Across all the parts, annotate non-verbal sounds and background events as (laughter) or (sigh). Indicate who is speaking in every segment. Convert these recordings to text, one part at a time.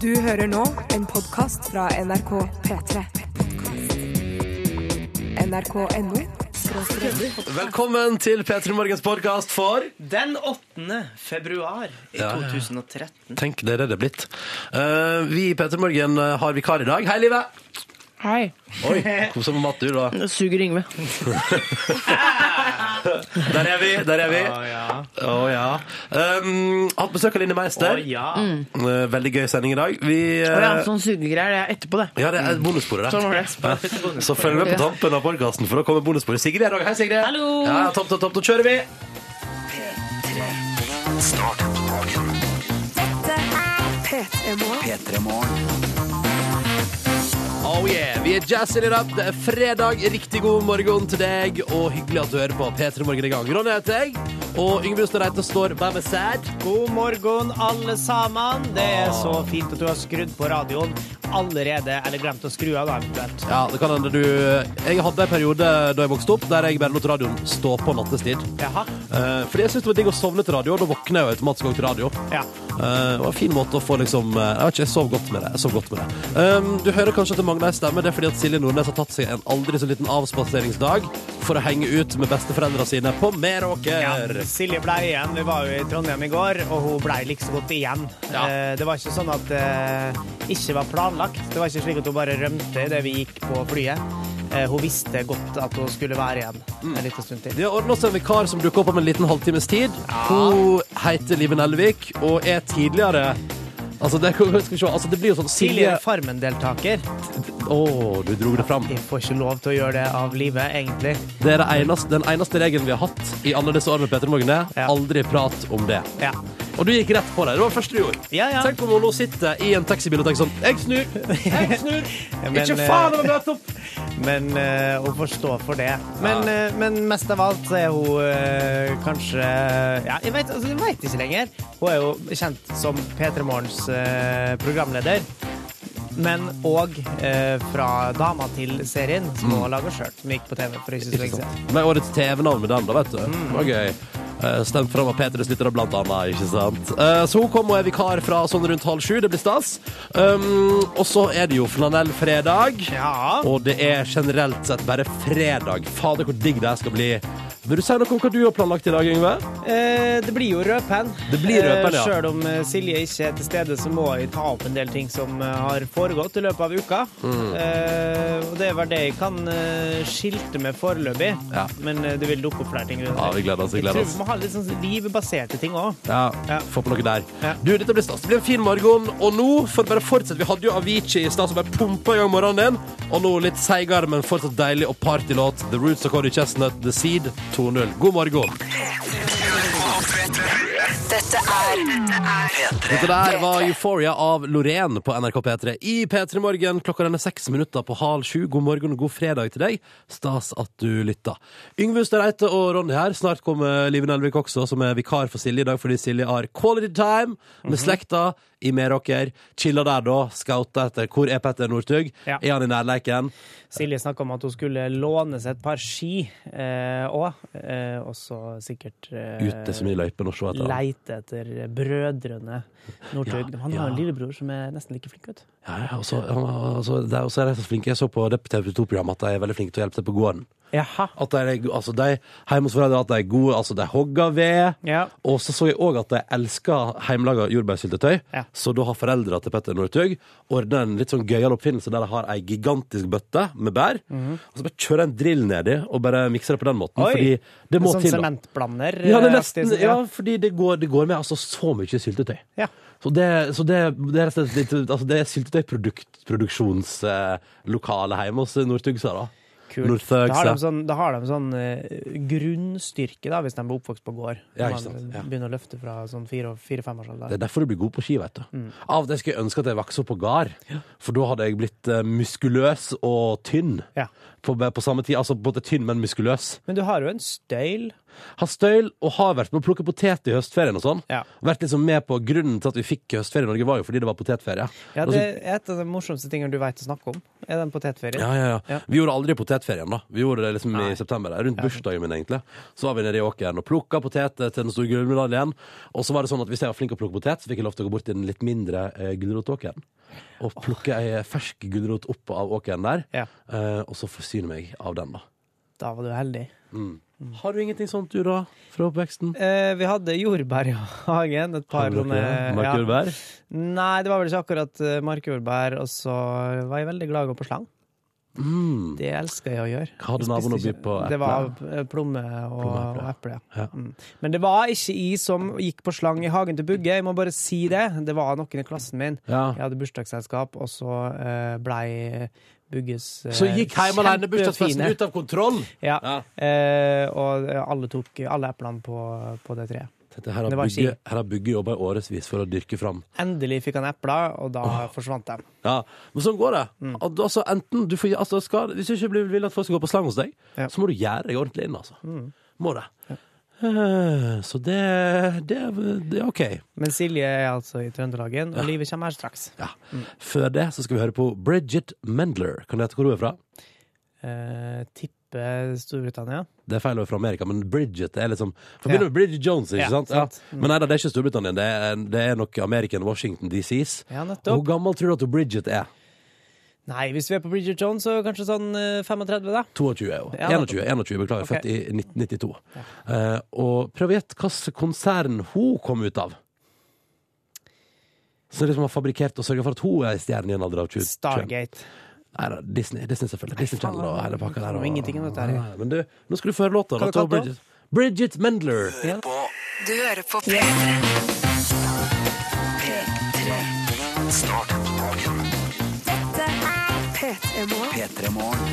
Speaker 1: Du hører nå en podkast fra NRK P3. NRK.no
Speaker 2: Velkommen til P3 Morgens podkast for
Speaker 3: Den 8. februar i
Speaker 2: Ja, ja, ja.
Speaker 3: 2013.
Speaker 2: Tenk, det er det det er blitt. Eh, vi i P3 Morgen eh, har vikar i dag. Hei, Live!
Speaker 4: Hei.
Speaker 2: Oi, Kos deg med matte, du, da.
Speaker 4: Det suger Yngve.
Speaker 2: Der er vi! der er vi.
Speaker 3: Å ja.
Speaker 2: Å ja. Um, hatt besøk av Line
Speaker 3: Å
Speaker 2: Meister.
Speaker 3: ja.
Speaker 2: Eh, Veldig gøy sending i dag. Vi, eh,
Speaker 4: Å Mm. ja, sånn sugegreier det er etterpå, det.
Speaker 2: ja, det er bonussporet
Speaker 4: Sånn
Speaker 2: der.
Speaker 4: var det.
Speaker 2: Så følg med på tampen av podkasten, for da kommer bonussporet. Sigrid er òg Hei, Sigrid.
Speaker 4: Hallo.
Speaker 2: Ja, topp, topp, topp. Nå kjører vi.
Speaker 1: P3 Morgen.
Speaker 2: Oh yeah, Vi er jazzing it up. Det er fredag. Riktig god morgen til deg, og hyggelig at du hører på P3 Morgen i gang. Ronny heter jeg, og Yngve Jostein Reite står by my side.
Speaker 3: God morgen, alle sammen. Det er så fint at du har skrudd på radioen allerede. Eller glemt å skru av, da, eventuelt.
Speaker 2: Ja, det kan hende du Jeg hadde en periode da jeg vokste opp, der jeg bare lot radioen stå på nattestid.
Speaker 3: Jaha.
Speaker 2: Eh, fordi jeg syntes det var digg å sovne til radio, og da våkner jeg jo automatisk også til radio.
Speaker 3: Ja.
Speaker 2: Eh, det var en fin måte å få liksom eh, Jeg vet ikke, jeg sov godt med det. Jeg sov godt med det. Um, du hører kanskje at det mangler ei stemme. Det er fordi at Silje Nordnes har tatt seg en aldri så liten avspaseringsdag for å henge ut med besteforeldra sine på
Speaker 3: Ja,
Speaker 2: Meråker.
Speaker 3: Eh, Silje blei igjen. Vi var jo i Trondheim i går, og hun blei like så godt igjen.
Speaker 2: Ja.
Speaker 3: Eh, Det var ikke sånn at det ikke var planlagt. Det var ikke slik at hun bare rømte idet vi gikk på flyet. Eh, Hun visste godt at hun skulle være igjen
Speaker 2: Mm.
Speaker 3: en liten stund til.
Speaker 2: De har ordna oss en vikar som dukker opp om en liten halvtimes tid. Hun heter Live Nelvik og er tidligere Altså, det, skal vi se. Altså, det blir jo sånn Silje
Speaker 3: Tidligere Farmen-deltaker.
Speaker 2: Å, du dro det fram.
Speaker 3: Jeg får ikke lov til å gjøre det av livet, egentlig.
Speaker 2: Det er det eneste, den eneste regelen vi har hatt i alle disse årene med Peter Morgen, er
Speaker 3: Ja.
Speaker 2: aldri prat om det.
Speaker 3: Ja.
Speaker 2: Og du gikk rett på det. Det var det første du gjorde.
Speaker 3: Ja, ja.
Speaker 2: Tenk om hun nå sitter i en taxibil og tenker sånn Jeg snur! Jeg
Speaker 3: (laughs)
Speaker 2: snur!
Speaker 3: men,
Speaker 2: Ikke
Speaker 3: eh,
Speaker 2: faen om jeg møter opp!
Speaker 3: Men eh, hun forstår for det. Men,
Speaker 2: Ja.
Speaker 3: eh, men mest av alt så er hun eh, kanskje Ja, jeg vet, altså, jeg vet ikke lenger. Hun er jo kjent som P3 Morgens eh, programleder. Men òg eh, fra Dama til-serien, som hun har laga sjøl, som gikk på TV for ikke så
Speaker 2: Mm. Ikke
Speaker 3: lenge siden.
Speaker 2: sant? Med årets TV-navn med den, da, vet du. Det var gøy. Eh, Stemt fram av Peter Slytter, blant annet. Ikke sant? Eh, Så hun kom og er vikar fra sånn rundt halv sju. Det blir stas. Um, og så er det jo flanellfredag.
Speaker 3: Ja.
Speaker 2: Og det er generelt sett bare fredag. Fader, hvor digg det her skal bli. Vil du si noe om hva du har planlagt i dag, Yngve?
Speaker 3: Eh, det blir jo rødpenn.
Speaker 2: Det blir rødpenn, ja.
Speaker 3: Sjøl om eh, Silje ikke er til stede, så må jeg ta opp en del ting som eh, har foregått i løpet av uka.
Speaker 2: Mm.
Speaker 3: Eh, og det var det jeg kan eh, skilte med foreløpig.
Speaker 2: Ja.
Speaker 3: Men eh, det vil dukke opp flere ting. rundt
Speaker 2: Ja,
Speaker 3: det.
Speaker 2: vi gleder oss, vi gleder
Speaker 3: Jeg
Speaker 2: oss.
Speaker 3: tror vi må ha litt sånn livbaserte ting òg.
Speaker 2: Ja,
Speaker 3: Ja.
Speaker 2: få på noe der.
Speaker 3: Ja.
Speaker 2: Du, dette blir stas. Det blir en fin morgen, og nå for bare fortsett. Vi hadde jo Avicii i stad som bare pumpa i gang morgenen din, og nå litt seigere, men fortsatt deilig og partylåt. The Roots og Cody Chestnut, The Seed 2-0. God morgen.
Speaker 1: Dette er
Speaker 2: Dette der var Euphoria av Loreen på NRK P3 i P3 Morgen. Klokka den er seks minutter på halv sju. God morgen og god fredag til deg. Stas at du lytter. Yngve Hustad Reite og Ronny her. Snart kommer Live Nelvik også, som er vikar for Silje i dag fordi Silje har quality time med
Speaker 3: Mhm.
Speaker 2: slekta i Meråker. Chilla der, da. Skauta etter hvor er Petter Northug?
Speaker 3: Ja.
Speaker 2: Er han i nærleiken?
Speaker 3: Silje snakka om at hun skulle låne seg et par ski òg. Eh, og så sikkert eh,
Speaker 2: Ute som i løypen og se etter han.
Speaker 3: Leite etter brødrene Northug.
Speaker 2: Ja,
Speaker 3: Han har en
Speaker 2: ja.
Speaker 3: lillebror som er nesten like flink, vet du.
Speaker 2: Ja, ja, og så- han- altså, det er- og så er de så flinke. Jeg så på det TV2-programmet at de er veldig flinke til å hjelpe til på gården.
Speaker 3: Jaha.
Speaker 2: At de, er- altså de, hjemme hos foreldre at de er gode, altså de hogger ved.
Speaker 3: Ja.
Speaker 2: Og så så jeg òg at de elsker hjemmelaga jordbærsyltetøy.
Speaker 3: Ja.
Speaker 2: Så da har foreldra til Petter Northug ordna en litt sånn gøyal oppfinnelse der de har ei gigantisk bøtte med bær. Og så bare kjører en drill nedi og bare mikser det på den måten.
Speaker 3: Mhm. Oi!
Speaker 2: Fordi det må
Speaker 3: sånn
Speaker 2: til. da.
Speaker 3: sementblander?
Speaker 2: Ja, det er
Speaker 3: eh,
Speaker 2: nesten,
Speaker 3: aktig, sånn,
Speaker 2: ja, fordi det går, det går med altså så mye syltetøy.
Speaker 3: Ja.
Speaker 2: Så det, så det, det er rett og slett litt- altså det er syltetøyproduksjonslokale hjemme hos Northugsa, da.
Speaker 3: Kult.
Speaker 2: Northug,
Speaker 3: Da har de
Speaker 2: så-
Speaker 3: sånn, da har de sånn eh, grunnstyrke, da, hvis de blir oppvokst på gård.
Speaker 2: Ja,
Speaker 3: Når
Speaker 2: ikke sant, ja.
Speaker 3: Man begynner å løfte fra sånn fire- fire-femårsalder.
Speaker 2: Det er derfor du blir god på ski, vet du.
Speaker 3: Mm.
Speaker 2: Av og til skulle jeg ønske at jeg vokste opp på gard, for da hadde jeg blitt eh, muskuløs og tynn.
Speaker 3: Ja.
Speaker 2: På, på samme tid, altså både tynn, men muskuløs.
Speaker 3: Men du har jo en støyl
Speaker 2: Har støyl og har vært med å plukke potet i høstferien og sånn.
Speaker 3: Ja.
Speaker 2: Vært liksom med på Grunnen til at vi fikk høstferie i Norge, var jo fordi det var potetferie.
Speaker 3: Ja,
Speaker 2: Og
Speaker 3: det
Speaker 2: så-
Speaker 3: er et av de morsomste tingene du vet å snakke om. Er den potetferien?
Speaker 2: ja, ja, ja.
Speaker 3: Ja.
Speaker 2: Vi gjorde aldri potetferien, da. Vi gjorde det liksom
Speaker 3: Nei.
Speaker 2: i september, rundt bursdagen min, egentlig. Så var vi nede i åkeren og plukka poteter til den store gullmedaljen. Og så var det sånn at hvis jeg var flink til å plukke potet, så fikk jeg lov til å gå bort til den litt mindre eh, gulrotåkeren. Og plukke ei eh, fersk gulrot opp av åkeren der,
Speaker 3: Ja.
Speaker 2: eh, og så forsyne meg av den, da.
Speaker 3: Da var du heldig. Mm.
Speaker 2: Har du ingenting sånt, du, da? Fra oppveksten?
Speaker 3: Eh, vi hadde jordbær i hagen. Et par
Speaker 2: Har dere
Speaker 3: sånne
Speaker 2: det? Mark
Speaker 3: ja.
Speaker 2: Jordbær?
Speaker 3: Nei, det var vel ikke akkurat eh, markjordbær. Og så var jeg veldig glad i å gå på slang.
Speaker 2: Mm.
Speaker 3: Det elsker jeg å gjøre.
Speaker 2: Hva hadde
Speaker 3: Jeg spiste
Speaker 2: naboen å by
Speaker 3: ikke-
Speaker 2: på?
Speaker 3: Det var
Speaker 2: eple?
Speaker 3: eh, plomme og,
Speaker 2: Plomme og eple.
Speaker 3: og eple. Ja.
Speaker 2: Ja.
Speaker 3: Mm. Men det var ikke jeg som gikk på slang i hagen til Bugge, jeg må bare si det. Det var noen i klassen min.
Speaker 2: ja.
Speaker 3: Jeg hadde bursdagsselskap, og så eh, blei Bugges eh,
Speaker 2: Så gikk hjemme alene bursdagsfesten
Speaker 3: kjempefine.
Speaker 2: ut av kontroll!
Speaker 3: Ja.
Speaker 2: Ja.
Speaker 3: Eh, og alle tok alle eplene på, på det treet.
Speaker 2: Dette her har
Speaker 3: Det var
Speaker 2: Bugge,
Speaker 3: ikke-
Speaker 2: her har Bugge jobba i årevis for å dyrke fram.
Speaker 3: Endelig fikk han epler, og da forsvant de.
Speaker 2: Ja, men sånn går det.
Speaker 3: Mm.
Speaker 2: At du, altså, enten du får, altså, skal, hvis du ikke blir- vil at folk skal gå på slang hos deg,
Speaker 3: Ja. Mm.
Speaker 2: så må du gjøre deg ordentlig inn, altså. Må det. Eh, Så det, det, er- det er OK.
Speaker 3: Men Silje er altså i Trøndelagen, og livet kommer her straks.
Speaker 2: Ja.
Speaker 3: Mm.
Speaker 2: Før det så skal vi høre på Bridget Mendler. Kan du hete hvor hun er fra?
Speaker 3: Eh, tipper Storbritannia.
Speaker 2: Det er feil å være fra Amerika, men Bridget er liksom Forbinder
Speaker 3: Ja.
Speaker 2: med Bridget Jones, ikke
Speaker 3: Ja,
Speaker 2: sant? Ja.
Speaker 3: sant. Mm.
Speaker 2: Men nei da, det er ikke Storbritannia. Det er, det er nok American Washington DCs.
Speaker 3: Ja,
Speaker 2: Hvor
Speaker 3: nettopp.
Speaker 2: gammel tror du at hun Bridget er?
Speaker 3: Nei, hvis vi er på Bridget Jones, så kanskje sånn eh, 35, da.
Speaker 2: 22 er hun.
Speaker 3: Ja,
Speaker 2: 21, 21, beklager.
Speaker 3: Ok.
Speaker 2: Født i 1992. Eh, og prøv å gjette hvilket konsern hun kom ut av. Så liksom har fabrikkert og sørga for at hun er ei stjerne i en alder av 20.
Speaker 3: Stargate.
Speaker 2: Nei da, Disney, Disney selvfølgelig. Disney Channel og hele pakka der.
Speaker 3: kan jo
Speaker 2: Og,
Speaker 3: ingenting om dette her.
Speaker 2: Nei, men du, nå skal du få høre låta.
Speaker 3: Hva
Speaker 2: da,
Speaker 3: er det
Speaker 2: til
Speaker 3: kalt da?
Speaker 2: Bridget, Bridget Mendler.
Speaker 1: Du hører på P3. Dette er P3 Morgen.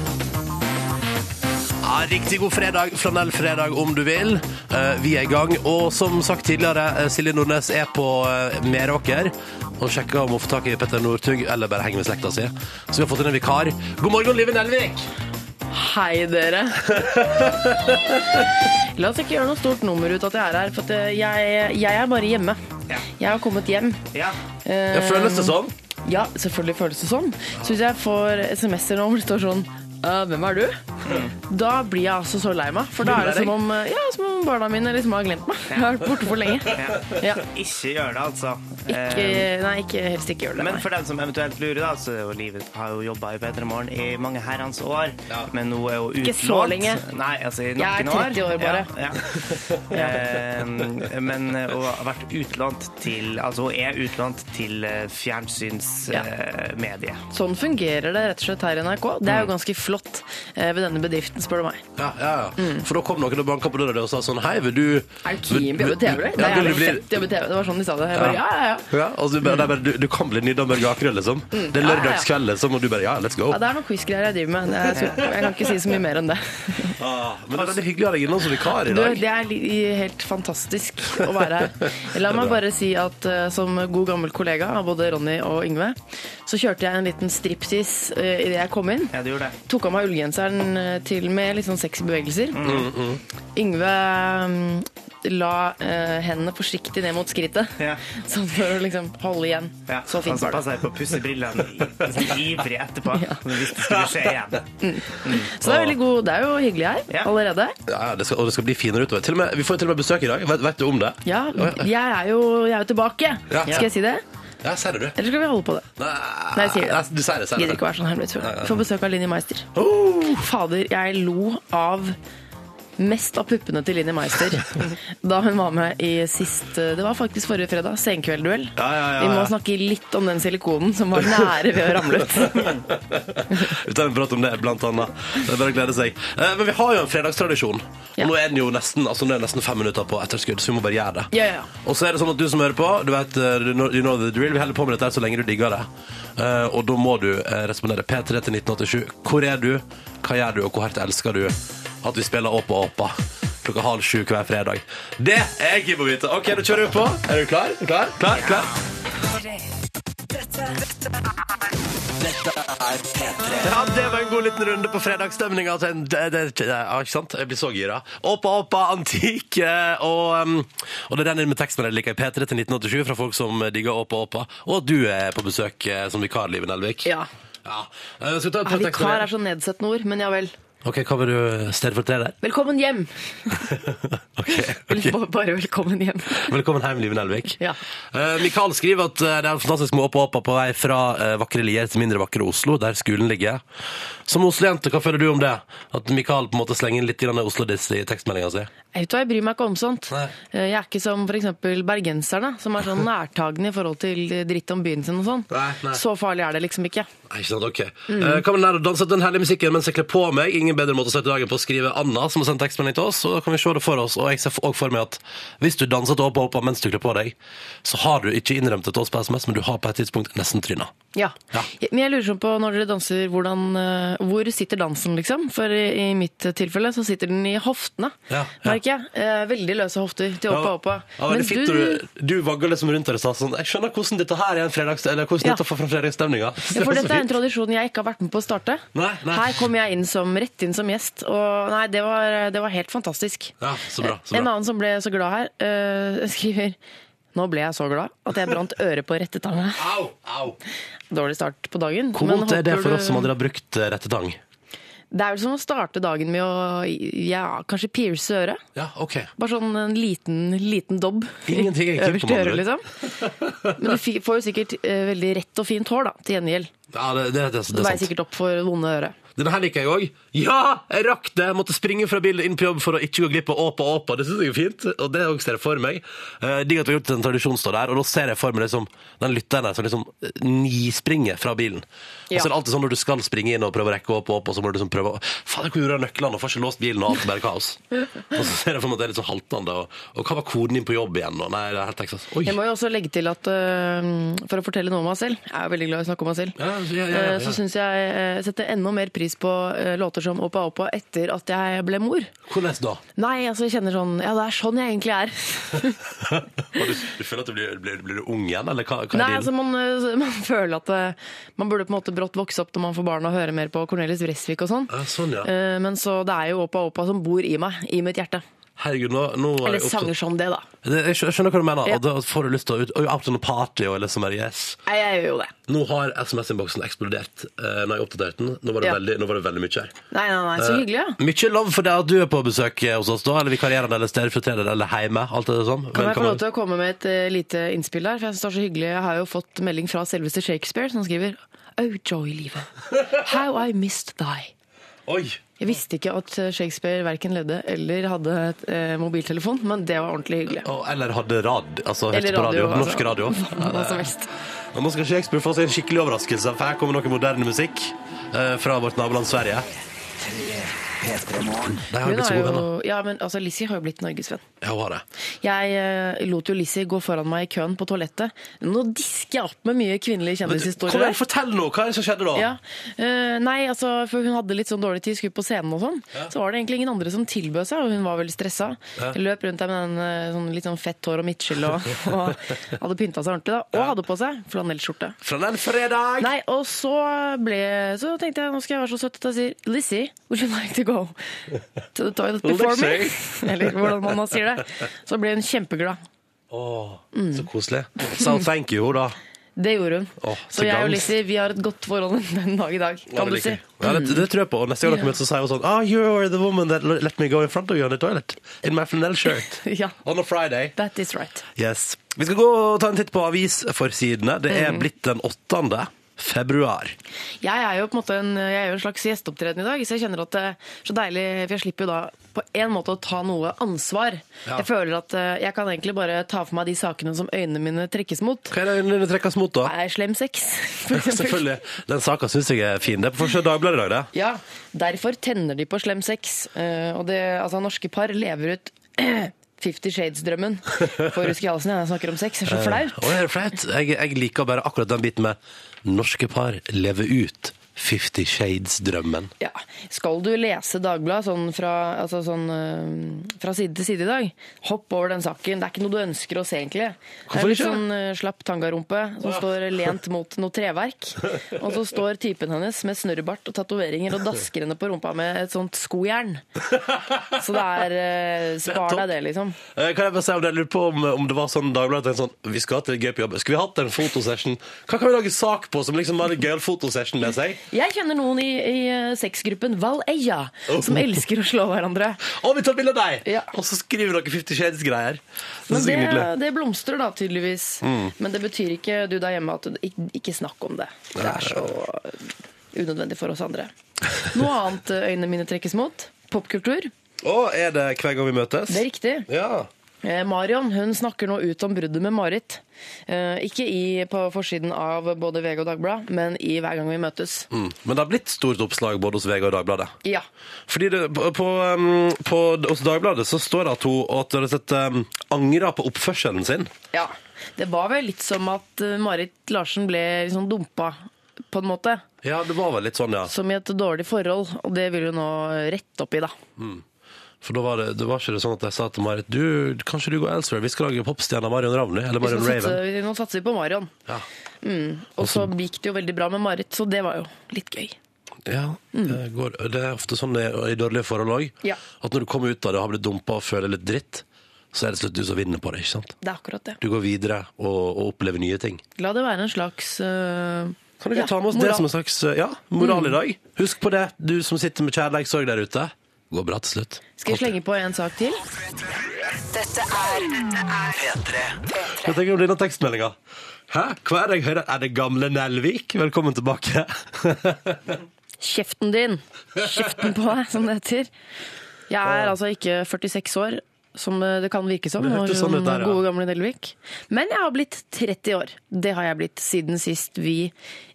Speaker 2: Ja, riktig god fredag, flanellfredag om du vil. Eh, vi er i gang. Og som sagt tidligere, eh, Silje Nordnes er på eh, Meråker og sjekker om hun får tak i Petter Northug, eller bare henger med slekta si. Så vi har fått inn en vikar. God morgen, Live Nelvik!
Speaker 4: Hei, dere. (laughs) La oss ikke gjøre noe stort nummer ut at jeg er her, for at eh, jeg, jeg er bare hjemme. Jeg har kommet hjem.
Speaker 2: Ja,
Speaker 3: Ja.
Speaker 4: Eh,
Speaker 2: føles det sånn?
Speaker 4: Ja, selvfølgelig føles det sånn. Så hvis jeg får SMS-er nå hvor det står sånn «Øh, hvem er du?
Speaker 2: Hmm.
Speaker 4: Da blir jeg altså så lei meg. For da er det som om, eh, ja, som om barna mine liksom har glemt meg. Jeg har vært borte for lenge.
Speaker 2: (laughs)
Speaker 4: Ja,
Speaker 5: Ikke gjør det, altså.
Speaker 4: ikke, nei, ikke, helst ikke gjør det.
Speaker 5: Men
Speaker 4: Nei.
Speaker 5: for dem som eventuelt lurer, da, så er jo livet har jo jobba i P3 Morgen i mange herrens år. Men nå er jo utlånt.
Speaker 4: Ikke så lenge.
Speaker 5: Nei, altså i
Speaker 4: Jeg er
Speaker 5: noen år.
Speaker 4: 30 år bare.
Speaker 5: Ja, ja. Eh, Men eh, hun har vært utlånt til Altså hun er utlånt til eh,
Speaker 4: Ja.
Speaker 5: fjernsynsmediet.
Speaker 4: Sånn fungerer det rett og slett her i NRK. Det
Speaker 2: Hmm.
Speaker 4: er jo ganske flott eh, ved denne bedriften, spør du meg.
Speaker 2: Ja, ja, ja. For da kom noen og banka på døra di og sa sånn Mm. Hei, vil du
Speaker 4: Er du keen på å jobbe i
Speaker 2: Ja,
Speaker 4: TV, eller? Det er
Speaker 2: vil
Speaker 4: jo
Speaker 2: du bli
Speaker 4: fett å jobbe i TV. Det var sånn de sa det. Jeg bare, ja, ja, ja.
Speaker 2: ja, og så bare, det er bare, du, du kan bli Nidar Børge Akerø, liksom. Det er
Speaker 4: Ja, ja, ja.
Speaker 2: lørdagskveld, liksom, og du bare Ja, let's go.
Speaker 4: Ja, det er noen quiz-greier jeg driver med. Jeg, tror, jeg kan ikke si så mye mer enn det.
Speaker 2: Ah, men det er veldig hyggelig å ha deg innom som vikar i
Speaker 4: Du,
Speaker 2: dag.
Speaker 4: det er li- helt fantastisk å være her. La meg bare si at eh, som god gammel kollega av både Ronny og Yngve, så kjørte jeg en liten striptease eh, idet jeg kom inn.
Speaker 5: Ja, du gjorde det.
Speaker 4: Tok av meg ullgenseren eh, til med litt sånn sexy bevegelser. Yngve mm, la eh, hendene forsiktig ned mot skrittet, (laughs)
Speaker 5: Ja.
Speaker 4: sånn for å liksom holde igjen.
Speaker 5: Ja,
Speaker 4: Så fint
Speaker 5: altså,
Speaker 4: var det.
Speaker 5: passer jeg på å pusse brillene i- ivrig etterpå.
Speaker 4: (laughs) Ja.
Speaker 5: Hvis det skulle skje igjen.
Speaker 4: Så det er, veldig god, det er jo hyggelig her
Speaker 5: Ja.
Speaker 4: allerede.
Speaker 2: Ja, ja, det skal, og det skal bli finere utover. Til og med, vi får jo til og med besøk i dag. Vet, vet du om det?
Speaker 4: Ja, jeg er jo, jeg er jo tilbake.
Speaker 2: Ja.
Speaker 4: Skal jeg si det?
Speaker 2: Ja, sier det, du.
Speaker 4: Eller skal vi holde på det?
Speaker 2: Nei,
Speaker 4: Nei, sier det.
Speaker 2: du sier det. Oh! Sier
Speaker 4: Gidder
Speaker 2: det.
Speaker 4: ikke å være sånn hemmelig, tror jeg. Får besøk av Linni Meister. Fader, jeg lo av Mest av puppene til Linni
Speaker 2: (laughs)
Speaker 4: Meister da hun var med i sist Det var faktisk forrige fredag. Senkveldduell.
Speaker 2: Ja, ja, ja,
Speaker 4: Vi må
Speaker 2: ja.
Speaker 4: snakke litt om den silikonen som var nære ved å
Speaker 2: (laughs)
Speaker 4: ramle ut.
Speaker 2: Vi tar en prat om det, blant annet. Det er bare å glede seg. Eh, Men vi har jo en fredagstradisjon. Og
Speaker 4: Ja.
Speaker 2: nå er den jo nesten, altså, nå er det nesten fem minutter på etterskudd, så vi må bare gjøre det.
Speaker 4: Ja, ja.
Speaker 2: Og så er det sånn at du som hører på, du vet, eh, du know- you know the drill, vi holder på med dette her så lenge du digger det. Eh, og da må du eh, respondere P3 til 1987. Hvor er du? Hva gjør du, og hvor hardt elsker du at vi spiller Åpa Åpa? Klokka halv sju hver fredag. Det er jeg keen på å vite. OK, da kjører vi på. Er du klar? Klar? Klar? klar?
Speaker 1: Dette, dette er
Speaker 2: Ja, det var en god liten runde på fredagsstemninga. til en- det- det- det- Ja, ikke sant? Jeg blir så gira. Oppa, oppa, antikk. eh, Og, um, og det renner inn med teksten jeg liker i P3 til 1987 fra folk som digger Oppa, oppa. Og at du er på besøk eh, som vikar, Liven Elvik.
Speaker 4: Ja.
Speaker 2: Ja. Eh, Skal vi ta et
Speaker 4: Ja,
Speaker 2: par
Speaker 4: Vikar
Speaker 2: tekster?
Speaker 4: er så nedsettende ord, men ja vel.
Speaker 2: Ok, hva vil du stedfortrede der?
Speaker 4: Velkommen hjem!
Speaker 2: (laughs) Ok,
Speaker 4: Vel-
Speaker 2: ok.
Speaker 4: ba- Bare velkommen hjem.
Speaker 2: Velkommen hjem, Liven Elvik.
Speaker 4: Ja.
Speaker 2: Eh, Mikael skriver at eh, det er fantastisk med Åpa Åpa på vei fra eh, vakre Lier til mindre vakre Oslo, der skolen ligger. Som Oslo-jente, hva føler du om det? At Mikael på en måte slenger inn litt grann Oslo-diss i tekstmeldinga si?
Speaker 4: Jeg vet hva, jeg bryr meg ikke om sånt.
Speaker 2: Nei.
Speaker 4: Eh, Jeg er ikke som f.eks. bergenserne, som
Speaker 2: (laughs)
Speaker 4: er sånn nærtagende i forhold til dritt om byen sin og sånn.
Speaker 2: Nei, nei.
Speaker 4: Så farlig er det liksom ikke.
Speaker 2: Nei, Ikke sant, ok. Eh, kan vi lære å danse til den herlige musikken mens jeg kler på meg? Ingen bedre måte å starte dagen på å skrive Anna, som har sendt tekstmelding til oss. Og da kan vi se det for oss. Og jeg ser f- også for meg at hvis du danser til Åpa Åpa mens du kler på deg, så har du ikke innrømt det til oss på SMS, men du har på et tidspunkt nesten tryna.
Speaker 4: Ja.
Speaker 2: Ja.
Speaker 4: Men jeg lurer sånn på når dere danser, hvordan, eh, hvor sitter dansen liksom? For i i mitt tilfelle så sitter den i hoftene,
Speaker 2: Ja, ja.
Speaker 4: merker jeg. Eh, Veldig løse hofter til oppa og oppa.
Speaker 2: Ja, men det er fint når du, du vagger liksom rundt her og sa sånn Jeg skjønner hvordan dette her er en fredags... Eller hvordan
Speaker 4: Ja.
Speaker 2: dette får fram fredagsstemninga. (laughs)
Speaker 4: Ja, for dette er en tradisjon jeg ikke har vært med på å starte.
Speaker 2: Nei, nei.
Speaker 4: Her kom jeg inn som, rett inn som gjest, og nei, det var, det var helt fantastisk.
Speaker 2: Ja, så bra, så bra.
Speaker 4: En annen som ble så glad her, eh, (laughs) skriver Nå ble jeg så glad at jeg brant øret på rettetanga.
Speaker 2: Au! Au!
Speaker 4: Dårlig start på dagen.
Speaker 2: Hvor
Speaker 4: men
Speaker 2: vondt er eh, det
Speaker 4: håper
Speaker 2: for
Speaker 4: du-
Speaker 2: oss som aldri har brukt eh, rettetang?
Speaker 4: Det er vel som å starte dagen med å ja, kanskje pierce øret.
Speaker 2: Ja, OK.
Speaker 4: Bare sånn en liten, liten dobb.
Speaker 2: Ingenting er
Speaker 4: Øverst
Speaker 2: kult,
Speaker 4: i
Speaker 2: med
Speaker 4: øret,
Speaker 2: andre
Speaker 4: liksom. Men du fi- får jo sikkert eh, veldig rett og fint hår, da, til gjengjeld.
Speaker 2: Ja, det, det, det,
Speaker 4: Du
Speaker 2: det
Speaker 4: veier
Speaker 2: er sant.
Speaker 4: sikkert opp for vonde øret.
Speaker 2: Denne her liker jeg òg. Ja, jeg rakk det! Jeg måtte springe fra bilen inn på jobb for å ikke gå glipp av Åpa Åpa. Det syns jeg er fint, og det også ser jeg for meg. Eh, Digg at vi har gjort en tradisjon står der, og da ser jeg for meg liksom, den lytteren her som liksom eh, nispringer fra bilen. Og
Speaker 4: Ja.
Speaker 2: så er det alltid sånn når du skal springe inn og prøve å rekke opp og opp, og så må du liksom prøve å Fader, hvor gjorde jeg nøklene? Og får ikke låst bilen, og alt er bare kaos. Og så ser jeg for meg at det er litt sånn haltende, og, og hva var koden din på jobb igjen? Og nei, det er helt Texas. Oi!
Speaker 4: Jeg må jo også legge til at eh, for å fortelle noe om meg selv, jeg er jo veldig glad i å snakke om meg selv,
Speaker 2: Ja, ja, ja, ja,
Speaker 4: Eh,
Speaker 2: ja.
Speaker 4: så syns jeg eh, setter enda mer pris på eh, låter som Oppa Oppa etter at jeg ble mor.
Speaker 2: Hvordan da?
Speaker 4: Nei, altså jeg kjenner sånn Ja, det er sånn jeg egentlig er.
Speaker 2: Og du, du føler at du blir, blir, blir du ung igjen, eller hva, hva er
Speaker 4: Nei,
Speaker 2: din-
Speaker 4: altså man, eh, man føler at eh, man burde på en måte brått vokse opp når man får barn og høre mer på Cornelis Vresvik og sånn.
Speaker 2: Ja, sånn, ja.
Speaker 4: Eh, Men så det er jo Åpa Åpa som bor i meg, i mitt hjerte.
Speaker 2: Herregud, nå, nå er
Speaker 4: Eller
Speaker 2: jeg opptatt-
Speaker 4: sanger som det, da.
Speaker 2: Det, jeg skjø- skjønner hva du mener.
Speaker 4: Ja.
Speaker 2: Og da får du lyst til å ut, og out on a party og liksom bare yes.
Speaker 4: Nei, jeg gjør jo det.
Speaker 2: Nå har SMS-innboksen eksplodert. Uh, når jeg oppdaterte den. Nå var, det
Speaker 4: Ja.
Speaker 2: veldig, nå var det veldig mye her.
Speaker 4: Nei, nei, nei, så
Speaker 2: Eh,
Speaker 4: hyggelig, ja.
Speaker 2: Mye love for deg at du er på besøk eh, hos oss, da. Eller vikarierende, eller stedfortreder, eller heime. Alt er det sånn.
Speaker 4: Kan jeg få lov til å komme med et eh, lite innspill der? For jeg synes det er så hyggelig. Jeg har jo fått melding fra selveste Shakespeare, som skriver Oh, joy, livet. How I missed thy.
Speaker 2: Oi!
Speaker 4: Jeg visste ikke at eh, Shakespeare verken levde eller hadde et, eh, mobiltelefon, men det var ordentlig hyggelig.
Speaker 2: Og, eller hadde rad, altså hørte
Speaker 4: Eller
Speaker 2: på radio.
Speaker 4: altså.
Speaker 2: Norsk (laughs) radio.
Speaker 4: Hva som helst.
Speaker 2: Og nå skal Shakespeare få seg en skikkelig overraskelse, for her kommer noe moderne musikk eh, fra vårt naboland Sverige. De har
Speaker 4: Hun
Speaker 2: blitt så
Speaker 4: har
Speaker 2: gode
Speaker 4: jo,
Speaker 2: venner.
Speaker 4: ja, men altså, Lizzie har jo blitt norgesvenn.
Speaker 2: Ja, hun har det.
Speaker 4: Jeg eh, lot jo Lizzie gå foran meg i køen på toalettet. Nå disker jeg opp med mye kvinnelige
Speaker 2: Kom
Speaker 4: kjendishistorier.
Speaker 2: igjen, fortell nå! Hva er det som skjedde da?
Speaker 4: Ja. Eh, nei, altså, for hun hadde litt sånn dårlig tid, skulle på scenen og sånn. Så var det egentlig ingen andre som tilbød seg, og hun var veldig stressa. Løp rundt der med den eh, sånn, litt sånn fett hår og midtskill
Speaker 2: (laughs)
Speaker 4: og, og hadde pynta seg ordentlig da. Og hadde på seg flanellskjorte.
Speaker 2: Fra den fredag!
Speaker 4: Nei, og så ble Så tenkte jeg, nå skal jeg være så søt at jeg sier Lizzie, would you like to go to the toilet before me? (laughs) Eller hvordan man nå sier det. Så ble hun kjempeglad.
Speaker 2: Åh, Så koselig. Sa hun thank you, da.
Speaker 4: Det gjorde hun.
Speaker 2: Åh, så
Speaker 4: så jeg og
Speaker 2: gans.
Speaker 4: Lizzie vi har et godt forhold den dag i dag.
Speaker 2: Ja,
Speaker 4: Kan
Speaker 2: det
Speaker 4: du
Speaker 2: liker
Speaker 4: si.
Speaker 2: jeg. Ja, det, det tror jeg på. Og neste gang dere møtes, så sier hun sånn Ah, you're the woman that let me go in front of you on the toilet. In my flannel shirt.
Speaker 4: (laughs) Ja.
Speaker 2: On a Friday.
Speaker 4: That is right.
Speaker 2: Yes. Vi skal gå og ta en titt på avisforsidene. Det
Speaker 4: Mm.
Speaker 2: er blitt den 8. februar.
Speaker 4: Jeg er jo på en måte en, jeg er jo en slags gjesteopptreden i dag, så jeg kjenner at det er så deilig, for jeg slipper jo da på en måte å ta noe ansvar.
Speaker 2: Ja.
Speaker 4: Jeg føler at eh, jeg kan egentlig bare ta for meg de sakene som øynene mine trekkes mot.
Speaker 2: Hva er det øynene dine trekkes mot, da?
Speaker 4: Er slem sex, (laughs) for
Speaker 2: (laughs)
Speaker 4: eksempel.
Speaker 2: Selvfølgelig. Den saka syns jeg er fin. Det er på forsiden av Dagbladet i dag, det.
Speaker 4: Ja, derfor tenner de på slem sex. Eh, og det, altså, norske par lever ut (clears throat) Fifty Shades-drømmen for Ruski Halsen. Jeg snakker om sex, det er så flaut.
Speaker 2: Å, er det flaut? Jeg, jeg liker bare akkurat den biten med norske par lever ut Fifty Shades-drømmen.
Speaker 4: Ja. Skal du lese Dagbladet sånn fra, altså sånn, eh, fra side til side i dag, hopp over den saken. Det er ikke noe du ønsker å se, egentlig. Det
Speaker 2: Hvorfor
Speaker 4: er litt
Speaker 2: ikke?
Speaker 4: sånn eh, slapp tangarumpe som står lent mot noe treverk. Og så står typen hennes med snørrebart og tatoveringer og dasker henne på rumpa med et sånt skojern. Så det er eh, Spar
Speaker 2: topp.
Speaker 4: deg det, liksom.
Speaker 2: Eh, Kan jeg bare si om det, jeg lurer på om, om det var sånn Dagbladet tenkte sånn Vi skal til gøy på jobb. Skulle vi hatt en fotosession? Hva kan vi lage sak på som liksom har en gøyal fotosession med seg?
Speaker 4: Jeg kjenner noen i, i eh, sexgruppen Valeia
Speaker 2: Oh.
Speaker 4: som elsker å slå hverandre.
Speaker 2: (laughs) Å, vi tar bilde av deg!
Speaker 4: Ja.
Speaker 2: Og så skriver dere Fifty Shades-greier. Det
Speaker 4: Men
Speaker 2: synes jeg er
Speaker 4: det,
Speaker 2: nydelig.
Speaker 4: det blomstrer da tydeligvis.
Speaker 2: Mm.
Speaker 4: Men det betyr ikke du der hjemme at du ikke, ikke snakk om det. Det er så unødvendig for oss andre. Noe annet eh, øynene mine trekkes mot. Popkultur.
Speaker 2: Å, er det hver gang vi møtes?
Speaker 4: Det er riktig.
Speaker 2: Ja.
Speaker 4: Eh, Marion hun snakker nå ut om bruddet med Marit. Eh, ikke i, på forsiden av både VG og Dagbladet, men i Hver gang vi møtes.
Speaker 2: Mm. Men det har blitt stort oppslag både hos VG og Dagbladet.
Speaker 4: Ja.
Speaker 2: Fordi det, på, på, um, på, Hos Dagbladet så står det at hun at hun rett og slett um, angrer på oppførselen sin.
Speaker 4: ja. Det var vel litt som at eh, Marit Larsen ble liksom dumpa, på en måte.
Speaker 2: Ja, det var vel litt sånn, ja.
Speaker 4: Som i et dårlig forhold. Og det vil hun nå rette opp i, da.
Speaker 2: For da var det, det var ikke det sånn at jeg sa til Marit Du, kanskje du går elsewhere, vi skal lage popstjerna Marion Ravny Eller
Speaker 4: Vi
Speaker 2: Marion
Speaker 4: skal satse,
Speaker 2: Raven
Speaker 4: vi- nå satser vi på Marion.
Speaker 2: Ja,
Speaker 4: Mm, Og så gikk det jo veldig bra med Marit, så det var jo litt gøy.
Speaker 2: ja det, går, det er ofte sånn det er i dårlige forhold også
Speaker 4: Mm. Ja.
Speaker 2: At når du kommer ut av det og har blitt dumpa og føler litt dritt Så er det slutt du som vinner på det, ikke sant?
Speaker 4: Det er akkurat det.
Speaker 2: Du går videre og, og opplever nye ting
Speaker 4: La det være en slags øh,
Speaker 2: Kan du ikke
Speaker 4: ja,
Speaker 2: ta med oss det
Speaker 4: moral. Mm.
Speaker 2: som en slags eh, ja, moral i dag? Husk på det, du som sitter med kjærleikssorg der ute Går bra til slutt
Speaker 4: Skal jeg slenge på en sak til?
Speaker 6: Dette er P3.
Speaker 2: Hva tenker du om denne tekstmeldinga? Hæ? Hva er det jeg hører? Er det gamle Nelvik? Velkommen tilbake
Speaker 4: Kjeften din! Kjeften på deg, som det heter. Jeg er altså ikke 46 år, som eh, det kan virke som.
Speaker 2: Det
Speaker 4: når
Speaker 2: hørtes sånn ut
Speaker 4: hun
Speaker 2: der, ja.
Speaker 4: Gode gamle Nelvik. Men jeg har blitt 30 år. Det har jeg blitt siden sist vi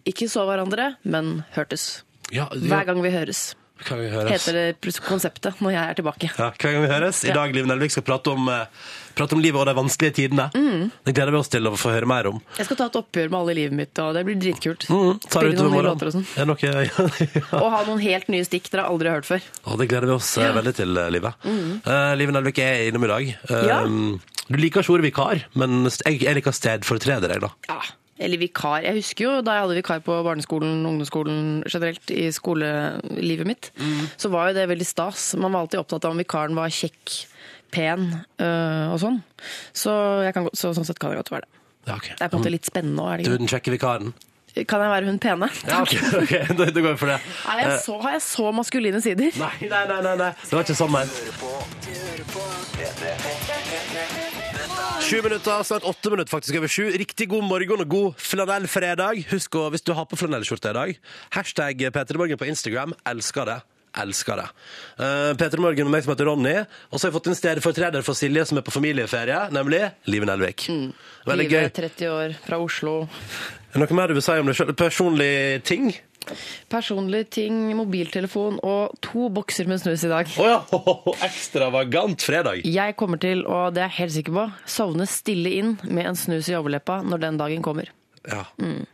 Speaker 4: ikke så hverandre, men hørtes.
Speaker 2: ja,
Speaker 4: Hver gang vi høres,
Speaker 2: Kan vi høres?
Speaker 4: heter det konseptet når jeg er tilbake.
Speaker 2: Ja, hver gang vi høres. I
Speaker 4: Ja.
Speaker 2: dag Liv Nelvik skal prate om, eh, prate om livet og de vanskelige tidene.
Speaker 4: Mm.
Speaker 2: Det gleder vi oss til å få høre mer om.
Speaker 4: Jeg skal ta et oppgjør med alle i livet mitt, og det blir dritkult.
Speaker 2: Mm, Tar
Speaker 4: Spille
Speaker 2: utover
Speaker 4: noen nye
Speaker 2: morgenen.
Speaker 4: låter og sånn.
Speaker 2: Er det noe, (laughs) ja.
Speaker 4: Og ha noen helt nye stikk dere aldri har hørt før.
Speaker 2: Og det gleder vi oss eh, veldig til, eh, Live. Eh, Liv Nelvik er innom i dag. Eh,
Speaker 4: Mm. Ja.
Speaker 2: Du liker ikke ordet vikar, men st- jeg, jeg liker stedfortreder, jeg, da.
Speaker 4: Ja, Eller vikar. Jeg husker jo da jeg hadde vikar på barneskolen, ungdomsskolen, generelt i skolelivet mitt,
Speaker 2: Mm.
Speaker 4: så var jo det veldig stas. Man var alltid opptatt av om vikaren var kjekk, pen øh, og sånn. Så, jeg kan, godt- så sånn sett kan det godt være det.
Speaker 2: Ja, ok.
Speaker 4: Det er på en måte litt spennende òg, er det
Speaker 2: Du er
Speaker 4: ikke?
Speaker 2: den kjekke vikaren?
Speaker 4: det? Kan jeg være hun pene?
Speaker 2: Ja,
Speaker 4: (laughs)
Speaker 2: ok, (laughs) Eh. ok, da, da går vi for det.
Speaker 4: Er jeg så, har jeg så maskuline sider?
Speaker 2: Nei, nei, nei, nei, nei. det var ikke sånn ment. Sju minutter, snart åtte minutter faktisk over sju. Riktig god morgen og god flanellfredag. Husk å, hvis du har på flanellskjorte i dag, hashtag P3morgen på Instagram. Elsker det. Elsker det. Uh, P3morgen med meg som heter Ronny. Og så har jeg fått en stedfortreder for Silje som er på familieferie, nemlig Liven Elvik. Veldig gøy.
Speaker 4: Livet 30 år, fra Oslo.
Speaker 2: Er det noe mer du vil si om deg selv? Personlige ting?
Speaker 4: Personlige ting, mobiltelefon og to bokser med snus i dag.
Speaker 2: Å ja! (laughs) Ekstravagant fredag.
Speaker 4: Jeg kommer til, og det er jeg helt sikker på, sovne stille inn med en snus i overleppa når den dagen kommer.
Speaker 2: Ja.
Speaker 4: Mm.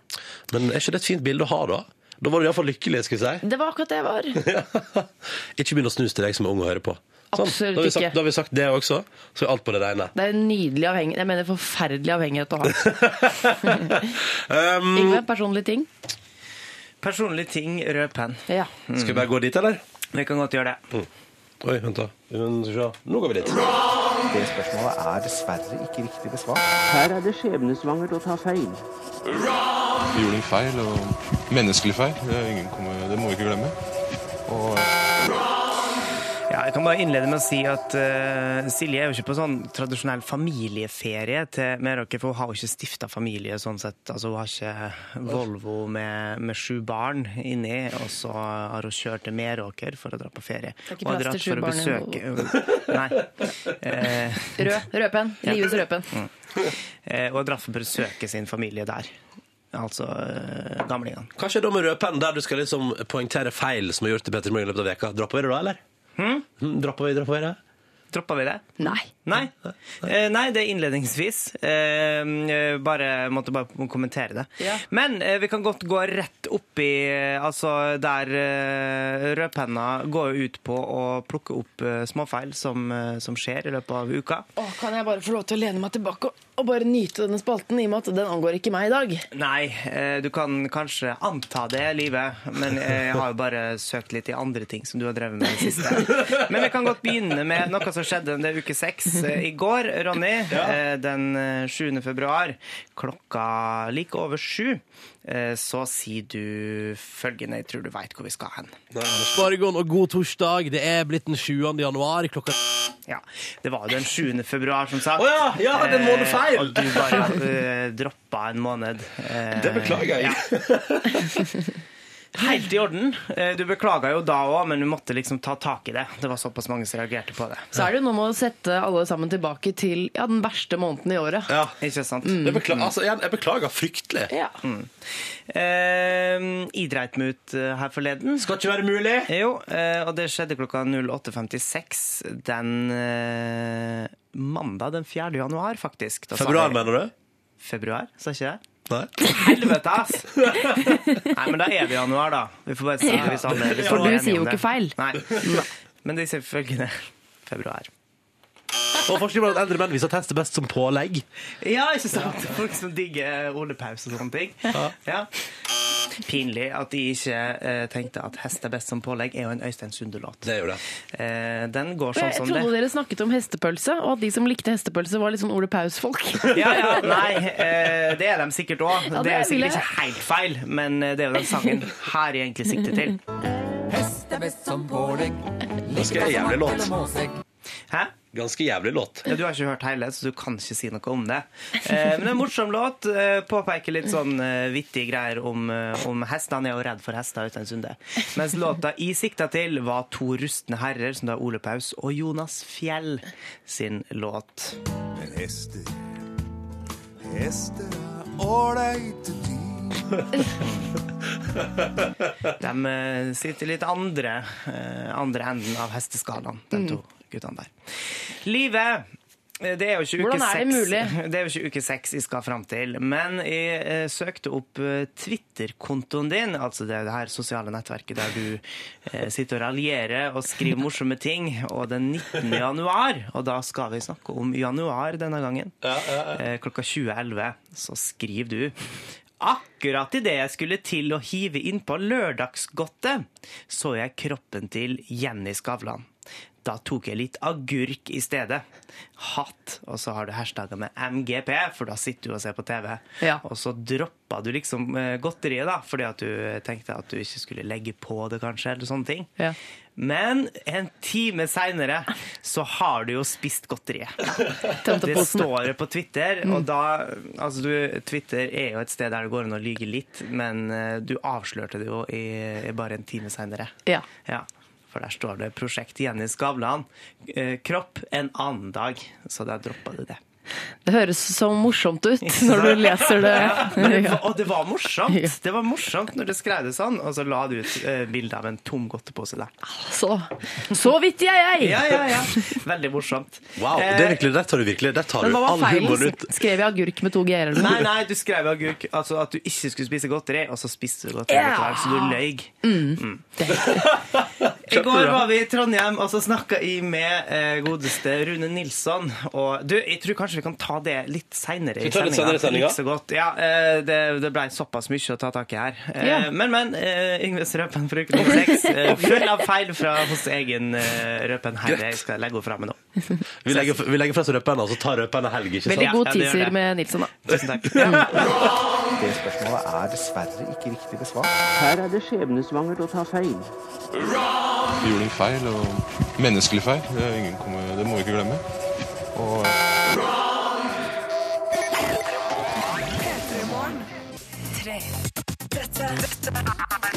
Speaker 2: Men er ikke det et fint bilde å ha, da? Da var du iallfall lykkelig, skal (laughs) jeg
Speaker 4: Det var akkurat det jeg var.
Speaker 2: si. ikke begynn å snuse til deg som er ung og hører på. Sånn.
Speaker 4: Absolutt
Speaker 2: da har vi sagt,
Speaker 4: ikke.
Speaker 2: Da har vi sagt det også, så er alt på det
Speaker 4: (laughs)
Speaker 2: reine.
Speaker 4: Det er en nydelig avhengighet. Jeg mener forferdelig
Speaker 5: (laughs)
Speaker 4: avhengighet å ha.
Speaker 2: Ehm,
Speaker 4: Yngve, personlige ting?
Speaker 5: Personlige ting, rød penn.
Speaker 4: Ja.
Speaker 2: Skal vi bare gå dit, eller?
Speaker 5: Vi kan godt gjøre det.
Speaker 2: Oi, vent, da. Men, skal vi se. Nå går vi dit.
Speaker 7: Det spørsmålet er dessverre ikke riktig besvart.
Speaker 8: Her er det skjebnesvangert å ta feil.
Speaker 9: Vi gjorde en feil, og menneskelig feil. Det, er ingen kommer, det må vi ikke glemme. Og
Speaker 5: Ja, jeg kan bare innlede med å si at eh, Silje er jo ikke på sånn tradisjonell familieferie til Meråker, for hun har jo ikke stifta familie sånn sett. Altså, hun har ikke Volvo med, med sju barn inni, og så har hun kjørt til Meråker for å dra på ferie.
Speaker 4: er ikke
Speaker 5: Og har
Speaker 4: plass
Speaker 5: dratt
Speaker 4: til sju
Speaker 5: for å
Speaker 4: barn i
Speaker 5: besøke- Nei. Eh,
Speaker 4: Rød. Rødpenn. Livets rødpenn.
Speaker 5: eh, og har dratt for å besøke sin familie der. Altså eh, gamlingene.
Speaker 2: Hva skjer da med rødpennen, der du skal liksom poengtere feil som er gjort i Petter Morgen i løpet av veka? Dropper Hm, vi det da, eller? Hm? Dropper vi, dropper vi det?
Speaker 5: Droppa vi det?
Speaker 10: Nei.
Speaker 5: Nei. Eh, nei, det er innledningsvis. Eh, eh, bare, måtte bare kommentere det.
Speaker 10: Ja.
Speaker 5: Men eh, vi kan godt gå rett opp i eh, Altså der eh, rødpenna går jo ut på å plukke opp eh, småfeil som, eh, som skjer i løpet av uka.
Speaker 4: Åh, kan jeg bare få lov til å lene meg tilbake og, og bare nyte denne spalten, i og med at den angår ikke meg i dag?
Speaker 5: Nei, eh, du kan kanskje anta det, livet, men jeg har jo bare søkt litt i andre ting som du har drevet med i det siste. Men vi kan godt begynne med noe som skjedde det er uke seks eh, i går, Ronny. eh, Den eh, 7. februar klokka like over sju. eh, Så sier du følgende, jeg tror du veit hvor vi skal hen.
Speaker 2: Spargon og god torsdag. Det er blitt den 7. januar klokka
Speaker 5: Ja, Det var jo den 7. februar, som sagt.
Speaker 2: Å ja, ja, det er en måned
Speaker 5: Eh,
Speaker 2: feil.
Speaker 5: Og du bare eh, droppa en måned. Eh,
Speaker 2: (laughs) Det beklager jeg.
Speaker 5: Helt i orden. Eh, Du beklaga jo da òg, men du måtte liksom ta tak i det. Det var såpass mange som reagerte på det.
Speaker 4: Så er det jo noe med å sette alle sammen tilbake til ja, den verste måneden i året.
Speaker 5: Ja. Ikke sant?
Speaker 4: Mm.
Speaker 5: Det
Speaker 4: bekla- altså,
Speaker 5: jeg, beklager fryktelig.
Speaker 4: Ja.
Speaker 5: Mm. Eh, I dreit meg ut eh, her forleden. Skal ikke være mulig! Jo, eh, og det skjedde klokka 08.56 den eh, mandag den 4. januar, faktisk. Da sa
Speaker 2: Februar,
Speaker 5: jeg-
Speaker 2: mener du?
Speaker 5: Februar, sa ikke jeg?
Speaker 2: Nei.
Speaker 5: Helvete, ass! Nei, men da er det januar, da. Vi får bare si det hvis alle hvis
Speaker 10: For
Speaker 5: alle er
Speaker 10: du
Speaker 5: enige
Speaker 10: sier jo
Speaker 5: om det.
Speaker 10: ikke feil.
Speaker 5: Nei. Men de sier følgende februar.
Speaker 2: Og forskning på at eldre menn viser test er best som pålegg.
Speaker 5: Ja, ikke sant? Folk som digger Ole Paus og sånne ting.
Speaker 2: Ja.
Speaker 5: Ja. Pinlig at de ikke eh, tenkte at 'Hest er best som pålegg' er jo en Øystein Sunde-låt.
Speaker 2: Det gjør det.
Speaker 5: Eh, den går sånn
Speaker 4: Jeg
Speaker 5: som det.
Speaker 4: trodde dere snakket om hestepølse, og at de som likte hestepølse, var litt sånn Ole Paus-folk. (laughs)
Speaker 5: Ja, ja, nei, eh, det er de sikkert òg.
Speaker 4: Ja,
Speaker 5: det
Speaker 4: det
Speaker 5: er
Speaker 4: vil jeg.
Speaker 5: sikkert ikke helt feil, men eh, det er jo den sangen her jeg egentlig sikter til.
Speaker 6: Hest er best som pålegg.
Speaker 5: Ganske jævlig låt. Hæ?
Speaker 2: Ganske jævlig låt.
Speaker 5: Ja, du har ikke hørt hele, så du kan ikke si noe om det. Eh, men det er en morsom låt. Eh, påpeker litt sånn eh, vittige greier om, eh, om hest. Han er jo redd for hester, Øystein Sunde. Mens låta i sikta til var to rustne herrer, som da er Ole Paus og Jonas Fjell sin låt.
Speaker 11: Men hester Hester er ålreite dyr.
Speaker 5: De eh, sitter litt andre, eh, andre enden av hesteskalaen, de
Speaker 4: Mm.
Speaker 5: to guttene der. Livet eh, det er, jo ikke uke
Speaker 4: Hvordan er det
Speaker 5: seks- (laughs)
Speaker 4: mulig?
Speaker 5: det er jo ikke uke seks jeg skal fram til. Men jeg eh, søkte opp eh, Twitter-kontoen din, altså det, det her sosiale nettverket der du eh, sitter og raljerer og skriver morsomme ting, og den
Speaker 4: (laughs)
Speaker 5: 19. januar, og da skal vi snakke om januar denne gangen, eh, klokka 20.11, så skriver du Akkurat idet jeg skulle til å hive innpå lørdagsgodtet, så jeg kroppen til Jenny Skavlan. Da tok jeg litt agurk i stedet. Hatt. Og så har du hashtagga med MGP, for da sitter du og ser på TV. Og så droppa du liksom eh, godteriet, da, fordi at du tenkte at du ikke skulle legge på det, kanskje, eller sånne ting. Men en time seinere så har du jo spist godteriet. Det
Speaker 4: posen.
Speaker 5: står det på Twitter, og da Altså, du, Twitter er jo et sted der det går an å lyge litt, men eh, du avslørte det jo i, i bare en time seinere.
Speaker 4: Ja.
Speaker 5: Ja, for der står det 'Prosjekt Jenny Skavlan'. eh, Kropp en annen dag. Så der droppa du det.
Speaker 4: Det høres så morsomt ut når du leser det.
Speaker 5: Ja, men det var- og det var morsomt! Det var morsomt når du skrev det sånn, og så la du ut eh, bilde av en tom godtepose der.
Speaker 4: Så, så vidt jeg er!
Speaker 5: Ja, ja, ja. Veldig morsomt.
Speaker 2: Wow, det er virkelig, Der tar du virkelig der tar
Speaker 4: Men
Speaker 2: du
Speaker 4: hva
Speaker 2: all
Speaker 4: var
Speaker 2: humoren
Speaker 4: feilen?
Speaker 2: ut.
Speaker 4: Skrev jeg agurk med to g-er? eller noe?
Speaker 5: Nei, nei, du skrev agurk. Altså at du ikke skulle spise godteri, og så spiste du godteri
Speaker 4: Ja.
Speaker 5: likevel, så du løy.
Speaker 4: Mm.
Speaker 5: (laughs) I går var vi i Trondheim, og så snakka jeg med eh, godeste Rune Nilsson. Og du, jeg tror kanskje vi kan ta det litt seinere
Speaker 2: Skal vi ta litt senere i sendinga?
Speaker 5: Like så godt. Ja, eh, det, det blei såpass mye å ta tak i her. Eh,
Speaker 2: Ja.
Speaker 5: Men, men. eh, Yngves Røpen fra uke nummer seks. eh, Full av feil fra hos egen eh, Røpen her. Jeg skal legge henne fra meg nå.
Speaker 2: Vi legger, vi legger fra oss rødpenna, og så tar rødpenna helg. ikke sant?
Speaker 4: Veldig god
Speaker 2: Ja, det gjør
Speaker 4: teaser
Speaker 2: det.
Speaker 4: med Nilsson, da.
Speaker 5: Tusen takk.
Speaker 7: Det spørsmålet er dessverre ikke riktig besvart.
Speaker 8: Her er det skjebnesvangert å ta feil.
Speaker 9: Vi gjorde en feil, og menneskelig feil. Det, er ingen kommer, det må vi ikke glemme. Og
Speaker 6: Tre. Dette, dette er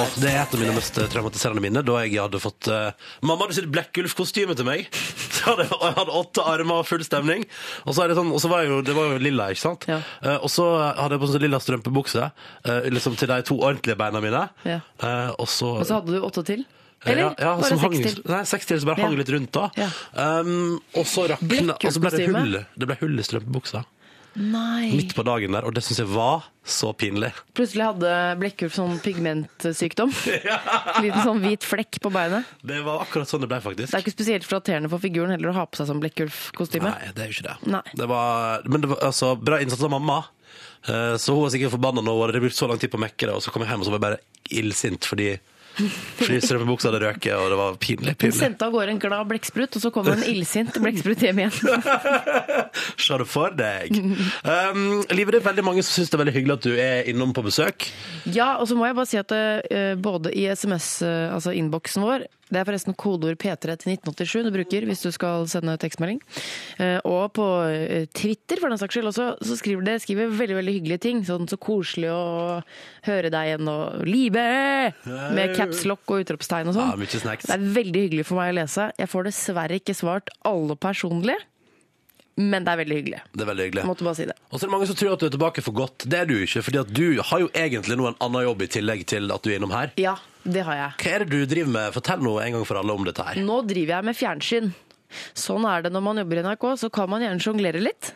Speaker 2: Og det er et av mine mest eh, traumatiserende minner da jeg hadde fått eh, Mamma hadde sydd Blekkulf-kostyme til meg. (laughs) Så hadde, og jeg hadde åtte armer og full stemning. Og så, er det sånn, og så var jeg jo, det var jo lilla, ikke sant? Eh, og så hadde jeg på sånn lilla strømpebukse eh, liksom til de to ordentlige beina mine.
Speaker 4: Ja.
Speaker 2: Eh, og så
Speaker 4: Og så hadde du åtte til.
Speaker 2: Ja,
Speaker 4: Eller?
Speaker 2: ja,
Speaker 4: Bare
Speaker 2: som hang,
Speaker 4: seks til.
Speaker 2: Nei, seks til som bare hang
Speaker 4: Ja.
Speaker 2: litt rundt da. Um, og så rakna Og så ble det hull, det ble hull i strømpebuksa.
Speaker 4: Nei.
Speaker 2: Midt på dagen der, og det syns jeg var så pinlig.
Speaker 4: Plutselig hadde Blekkulf sånn
Speaker 2: (laughs)
Speaker 4: pigmentsykdom. Liten sånn hvit flekk på beinet.
Speaker 2: Det var akkurat sånn det ble,
Speaker 4: Det er
Speaker 2: faktisk.
Speaker 4: ikke spesielt flatterende for figuren heller å ha på seg sånn Blekkulf-kostyme.
Speaker 2: Nei, det er jo ikke det.
Speaker 4: Nei.
Speaker 2: det var, men det var altså, bra innsats av mamma. Eh, Så hun var sikkert forbanna nå, og det brukte så lang tid på å mekke det, og så kom jeg hjem og så var jeg bare illsint fordi, fordi strømpebuksa hadde røket, og det var pinlig.
Speaker 4: Hun
Speaker 2: pinlig.
Speaker 4: sendte av gårde en glad blekksprut, og så kom en illsint blekksprut hjem igjen.
Speaker 2: Se det for deg. Um, Livet, det er veldig mange som syns det er veldig hyggelig at du er innom på besøk.
Speaker 4: Ja, og så må jeg bare si at eh, både i SMS, eh, altså innboksen vår, det er forresten kodeord P3 til 1987 du bruker hvis du skal sende tekstmelding, eh, og på eh, Twitter for den saks skyld også, så skriver det skriver veldig, veldig hyggelige ting, sånn så koselig å høre deg igjen, og Libe! Med caps lock og utropstegn og sånn.
Speaker 2: Ja, mye snacks.
Speaker 4: Det er veldig hyggelig for meg å lese. Jeg får dessverre ikke svart alle personlig, men det er veldig hyggelig.
Speaker 2: Det er veldig hyggelig.
Speaker 4: Måtte bare si det.
Speaker 2: Og så er det mange som tror at du er tilbake for godt. Det er du ikke, fordi at du har jo egentlig nå en annen jobb i tillegg til at du er innom her.
Speaker 4: Ja, det har jeg.
Speaker 2: Hva er det du driver med? Fortell nå en gang for alle om dette her.
Speaker 4: Nå driver jeg med fjernsyn. Sånn er det når man jobber i NRK, så kan man gjerne sjonglere litt.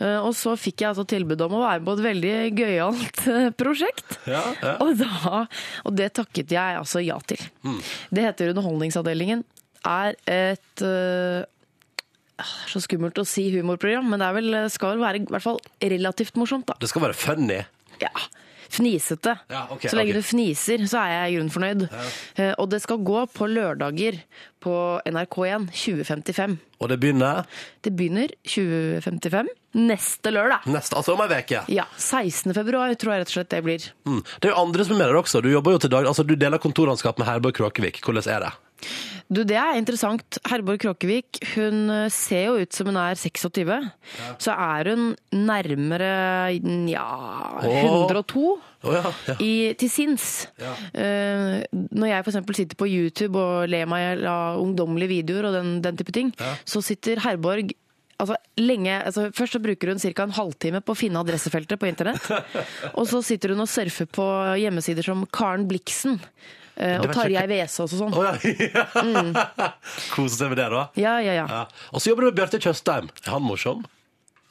Speaker 4: Eh, Og så fikk jeg altså tilbud om å være med på et veldig gøyalt eh, prosjekt. Og, da, og det takket jeg altså ja til. Det heter Underholdningsavdelingen. Er et eh, ah, så skummelt å si humorprogram, men det er vel, eh, skal vel være i hvert fall relativt morsomt, da.
Speaker 2: Det skal være funny.
Speaker 4: Ja, fnisete.
Speaker 2: Ja, ok,
Speaker 4: så lenge
Speaker 2: ok.
Speaker 4: du fniser, så er jeg i grunnen fornøyd. Eh, Og det skal gå på lørdager på NRK1 2055.
Speaker 2: Og det begynner
Speaker 4: Det begynner 2055 neste lørdag.
Speaker 2: neste, altså om ei uke.
Speaker 4: Ja, 16. februar tror jeg rett og slett det blir.
Speaker 2: Mm. Det er jo andre som er med der også. Du jobber jo til dag, altså du deler kontorlandskap med Herborg Kråkevik. Hvordan er det?
Speaker 4: Du, det er interessant. Herborg Kråkevik, hun eh, ser jo ut som hun er 26. Så er hun nærmere, ja, 102
Speaker 2: Å ja, ja.
Speaker 4: i, til sinns. Eh, når jeg for eksempel sitter på YouTube og ler meg i hjel av ungdommelige videoer og den, den type ting, så sitter Herborg Altså, lenge, altså, først så bruker hun ca. en halvtime på å finne adressefeltet på internett. og så sitter hun og surfer på hjemmesider som Karen Bliksen eh, og
Speaker 2: vet jeg
Speaker 4: Tarjei Vesaas og sånn.
Speaker 2: Å ja. (laughs) Kose seg med det, da.
Speaker 4: Mm. Ja, ja, ja.
Speaker 2: Ja. Og så jobber du med Bjarte Tjøstheim. Er han morsom?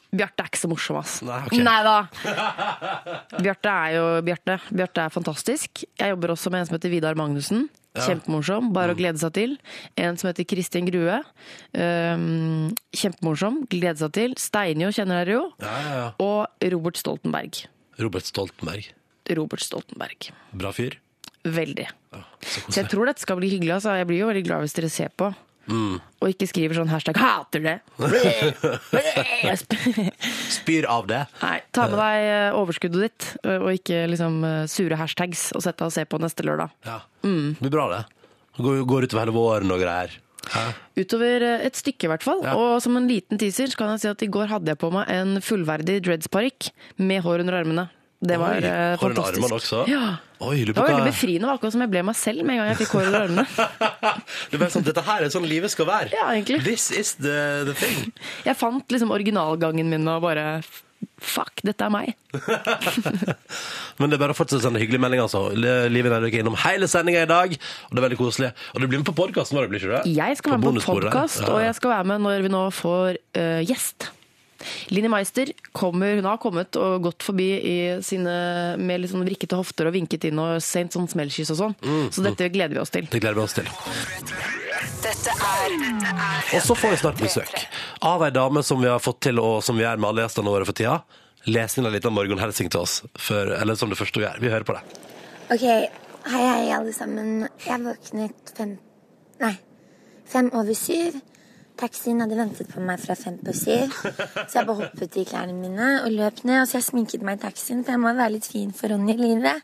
Speaker 4: Bjarte er ikke så morsom, ass.
Speaker 2: Nei, ok.
Speaker 4: da! Bjarte er jo Bjarte. Bjarte er fantastisk. Jeg jobber også med en som heter Vidar Magnussen. Kjempemorsom, bare
Speaker 2: Mm.
Speaker 4: å glede seg til. En som heter Kristin Grue. Um, kjempemorsom, glede seg til. Steinjo kjenner dere jo.
Speaker 2: Ja, ja, ja.
Speaker 4: Og Robert Stoltenberg.
Speaker 2: Robert Stoltenberg.
Speaker 4: Robert Stoltenberg.
Speaker 2: Bra fyr.
Speaker 4: Veldig.
Speaker 2: Så
Speaker 4: Så jeg tror dette skal bli hyggelig. Altså. Jeg blir jo veldig glad hvis dere ser på.
Speaker 2: Mm.
Speaker 4: Og ikke skriver sånn hashtag
Speaker 2: (laughs)
Speaker 4: 'hater det'.
Speaker 2: Spyr av det.
Speaker 4: Nei, ta med deg eh, overskuddet ditt, eh, og ikke liksom eh, sure hashtags, og sett deg og se på neste lørdag.
Speaker 2: Ja.
Speaker 4: Mm.
Speaker 2: Det blir bra, det. Går, går utover hele våren og greier.
Speaker 4: Utover eh, et stykke i hvert fall, og som en liten teaser så kan jeg si at i går hadde jeg på meg en fullverdig dreadsparykk med hår under armene. Det var
Speaker 2: Oi,
Speaker 4: eh,
Speaker 2: har hun
Speaker 4: fantastisk.
Speaker 2: armene også?
Speaker 4: Ja.
Speaker 2: Oi, du
Speaker 4: Det var veldig
Speaker 2: bruker... (laughs)
Speaker 4: befriende, det var akkurat som jeg ble meg selv med en gang jeg fikk hår under armene.
Speaker 2: Du vet sånn, Dette her er sånn livet skal være.
Speaker 4: Ja, egentlig.
Speaker 2: This is the, the thing.
Speaker 4: Jeg fant liksom originalgangen min og bare Fuck, dette er meg.
Speaker 2: Men det er bare å fortsette å sende hyggelige meldinger. altså. Le- Live Nelvik er innom hele sendinga i dag, og det er veldig koselig. Og du blir med på podkasten vår, blir ikke du det?
Speaker 4: Jeg skal være med på
Speaker 2: bonusbordet.
Speaker 4: podkast,
Speaker 2: Ja.
Speaker 4: og jeg skal være med når vi nå får eh, gjest. Linni Meister kommer, hun har kommet og gått forbi i sine, med litt sånn vrikkete hofter og vinket inn og sendt sånn smellkyss og sånn.
Speaker 2: Mm.
Speaker 4: Så dette gleder vi oss til.
Speaker 2: Det gleder vi oss til.
Speaker 6: Dette er
Speaker 2: Og så får vi snart besøk av ei dame som vi har fått til, og som vi gjør med alle gjestene våre for tida. Les inn en liten morgenhelsing til oss, før- eller som det første vi gjør. Vi hører på det.
Speaker 10: Ok, hei hei alle sammen. Jeg våknet fem Nei, fem over syv. Taxien hadde ventet på meg fra fem på syv. Så jeg bare hoppet i klærne mine og løp ned. Og så jeg sminket meg i taxien, for jeg må være litt fin for Ronny livet.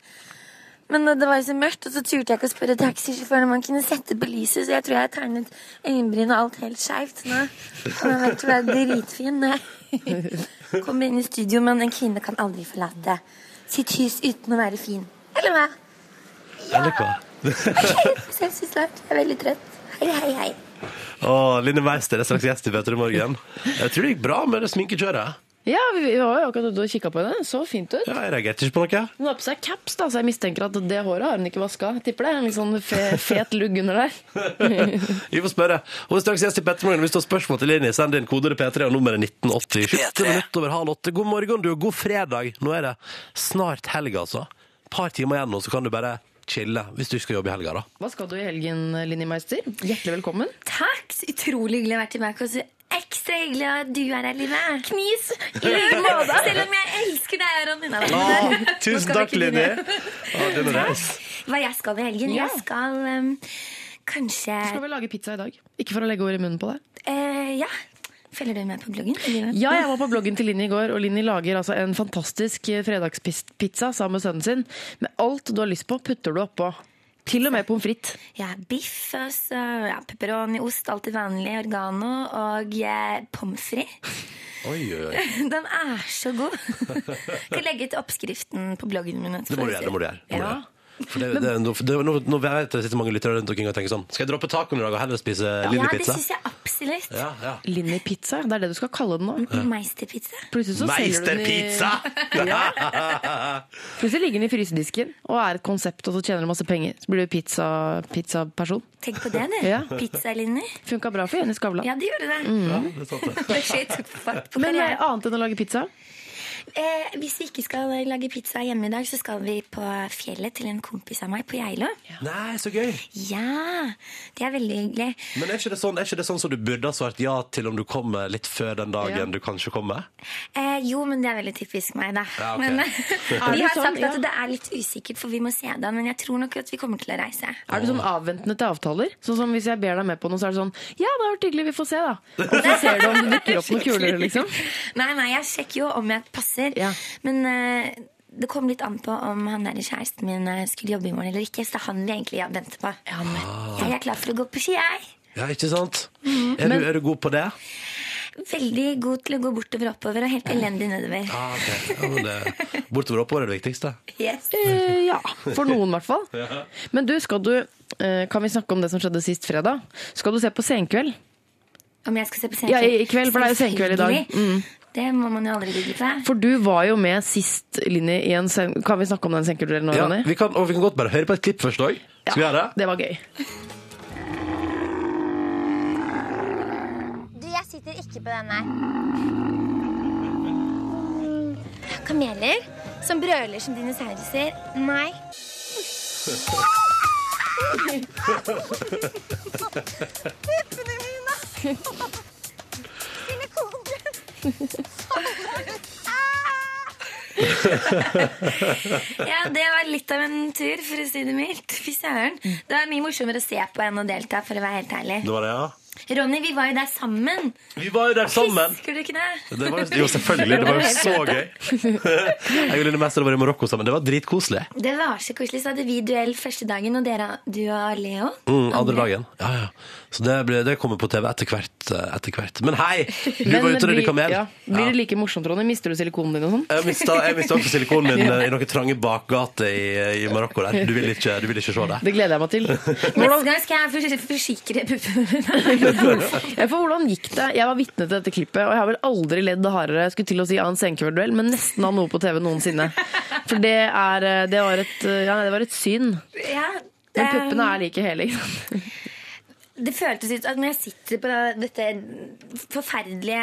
Speaker 10: Men det var jo så mørkt, og så turte jeg ikke å spørre taxisjåføren om han kunne sette på lyset, så jeg tror jeg tegnet øyenbryn og alt helt skeivt. Nå kan jeg vært være dritfin når jeg kommer inn i studio, men en kvinne kan aldri forlate sitt hus uten å være fin. Eller hva?
Speaker 2: Eller hva?
Speaker 10: (laughs) Ses vi snart. Jeg er veldig trøtt. Hei, hei, hei.
Speaker 2: Å, Line Meister er straks gjest i Petter i morgen. Jeg tror det gikk bra med det sminkekjøret.
Speaker 4: Ja, vi vi var jo akkurat ute og kikka på henne. Så fint ut.
Speaker 2: Ja, jeg reagerte ikke på noe.
Speaker 4: Hun har på seg caps, da, så jeg mistenker at det håret har hun ikke vaska. Tipper det er en litt sånn fe fet lugg
Speaker 2: (laughs)
Speaker 4: under der.
Speaker 2: Vi får spørre. Hun er straks gjest i Petter Morgen. Hvis du har spørsmål til Linni, send inn koder til P3 og nummeret 1987. 8 minutter over halv åtte. God morgen, du. og God fredag. Nå er det snart helg, altså. Par timer igjen nå, så kan du bare chille. Hvis du ikke skal jobbe i helga, da.
Speaker 4: Hva skal du i helgen, Linni Meister? Hjertelig velkommen.
Speaker 12: Takk! Så Utrolig hyggelig å være tilbake. Og så ekstra hyggelig at du er her, Line. Knis! I
Speaker 4: like måte.
Speaker 12: Selv om jeg elsker deg, Aron. Nei,
Speaker 2: Ah,
Speaker 12: nei. Nå
Speaker 2: tusen
Speaker 12: skal
Speaker 2: takk,
Speaker 12: vi ikke
Speaker 2: Linni.
Speaker 12: begynne.
Speaker 2: Ah, det er nice.
Speaker 12: Hva jeg skal i helgen?
Speaker 4: Ja.
Speaker 12: Jeg skal um, kanskje
Speaker 4: Du skal vel lage pizza i dag? Ikke for å legge ord i munnen på deg.
Speaker 12: Eh, Ja. Følger du med på bloggen? Line?
Speaker 4: Ja, jeg var på bloggen til Linni i går, og Linni lager altså en fantastisk eh, fredagspizza sammen med sønnen sin. Med alt du har lyst på, putter du oppå. Til og med pommes frites.
Speaker 12: Ja, biff, altså, og så, ja, pepperoni, ost, alt det vanlige, organo og eh, pommes frites. (laughs)
Speaker 2: Oi, oi, oi.
Speaker 12: Den er så
Speaker 2: (laughs)
Speaker 12: god! Kan legge ut oppskriften på bloggen min.
Speaker 2: Det må du gjøre. det må du gjøre. Det må du
Speaker 12: Ja.
Speaker 2: gjøre. For det, det, er nå- det, nå, nå vet jeg at det sitter mange lyttere rundt omkring og tenker sånn Skal jeg droppe tacoen i dag og heller spise
Speaker 12: Ja, det
Speaker 2: Linni-pizza?
Speaker 12: syns jeg absolutt.
Speaker 2: Ja, ja.
Speaker 4: Linni-pizza, det er det du skal kalle den nå.
Speaker 2: Ja.
Speaker 12: Meisterpizza.
Speaker 4: Plutselig så selger du den i-
Speaker 2: Meisterpizza! (laughs)
Speaker 4: Plutselig ligger den i frysedisken og er et konsept, og så tjener du masse penger. Så blir du pizza- pizzaperson.
Speaker 12: Tenk på det, du.
Speaker 4: Ja.
Speaker 12: Pizzalinjer.
Speaker 4: Funka bra for Jenny Skavlan.
Speaker 12: Ja, det gjorde det.
Speaker 4: Mm.
Speaker 12: Kanskje jeg tok fart på
Speaker 4: Men jeg,
Speaker 12: karrieren.
Speaker 4: annet enn å lage pizza?
Speaker 12: Eh, hvis vi ikke skal lage pizza hjemme i dag, så skal vi på fjellet til en kompis av meg på Geilo.
Speaker 2: Nei, så gøy!
Speaker 12: Ja, det er veldig hyggelig.
Speaker 2: Men er ikke det sånn, er ikke det sånn som du burde ha svart ja til om du kommer litt før den dagen
Speaker 12: Ja.
Speaker 2: du kanskje kommer?
Speaker 12: Eh, jo, men det er veldig typisk meg, da.
Speaker 2: Ja, ok.
Speaker 12: Men eh,
Speaker 4: Er
Speaker 12: vi
Speaker 4: det
Speaker 12: har
Speaker 4: sånn?
Speaker 12: sagt at
Speaker 4: Ja.
Speaker 12: det er litt usikkert, for vi må se da. Men jeg tror nok at vi kommer til å reise.
Speaker 4: Er du sånn avventende til avtaler? Sånn som Hvis jeg ber deg med på noe, så er det sånn Ja, det har vært hyggelig, vi får se, da. Og så ser du om det dukker opp noen kuler, liksom.
Speaker 12: Nei, nei, jeg sjekker jo om jeg passer. Men eh, det kom litt an på om han der kjæresten min eh, skulle jobbe i morgen eller ikke. Så det er han vi egentlig venter på. Jeg er klar for å gå på ski, jeg.
Speaker 2: Ja, ikke sant?
Speaker 12: Mhm.
Speaker 2: Er,
Speaker 12: Men-
Speaker 2: du, er du god på det?
Speaker 12: Veldig god til å gå bortover og oppover og helt elendig nedover.
Speaker 2: Ja, ok. Ja, men det, bortover og oppover er det viktigste.
Speaker 12: Yes.
Speaker 4: Eh, ja, for noen i hvert fall.
Speaker 2: Ja.
Speaker 4: Men du, skal du eh, Kan vi snakke om det som skjedde sist fredag? Skal du se på Senkveld?
Speaker 12: Om jeg skal se på
Speaker 4: Ja, i,
Speaker 12: senkveld?
Speaker 4: i kveld, for det er jo Senkveld i dag.
Speaker 12: Selvfølgelig.
Speaker 4: Mm.
Speaker 12: Det må man jo aldri google på.
Speaker 4: For du var jo med sist, Linni, i en sen Kan vi snakke om den Senkveld-duellen nå,
Speaker 2: Ja,
Speaker 4: Ronny?
Speaker 2: vi kan, og vi kan godt bare høre på et klipp først òg. Skal vi gjøre det?
Speaker 4: Det var gøy.
Speaker 10: Du, jeg sitter ikke på den her. Kameler som brøler som dinosauruser. Nei. Puppene mine!
Speaker 12: Ja, det var litt av en tur, for å si det mildt. Fy søren. Det var mye morsommere å se på enn å delta, for å være helt ærlig.
Speaker 2: Det var det, ja.
Speaker 12: Ronny, vi var jo der sammen.
Speaker 2: Vi var jo der sammen!
Speaker 12: Husker du ikke det?
Speaker 2: Det var, jo, selvfølgelig. Det var jo så gøy. Jeg og Line Mester var i Marokko sammen. Det var dritkoselig.
Speaker 12: Det var så koselig. Så hadde vi duell første dagen, og dere, du og Leo.
Speaker 2: Mm, andre dagen. Ja, ja. Så det, ble, det kommer på TV etter hvert. eh, Etter hvert. Men hei! Du var ute og rydda
Speaker 4: blir,
Speaker 2: kamel.
Speaker 4: ja, blir det like morsomt, Ronny? Mister du silikonen din og sånn?
Speaker 2: Jeg mista, jeg mista også silikonen min eh, i noen trange bakgater i, eh, i Marokko. Der. Du, vil ikke, du vil ikke se det.
Speaker 4: Det gleder jeg meg til.
Speaker 12: Neste gang skal jeg fors- forsikre puppene mine.
Speaker 4: Ja, for hvordan gikk det? Jeg var vitne til dette klippet, og jeg har vel aldri ledd hardere jeg skulle til å si av en senkveldduell, men nesten av noe på TV noensinne. For det, er, eh, det, var, et, eh, ja, det var et syn.
Speaker 12: (laughs) ja, ehm,
Speaker 4: Men puppene er like hele. ikke sant?
Speaker 12: Det føltes ut at når jeg sitter på dette forferdelige,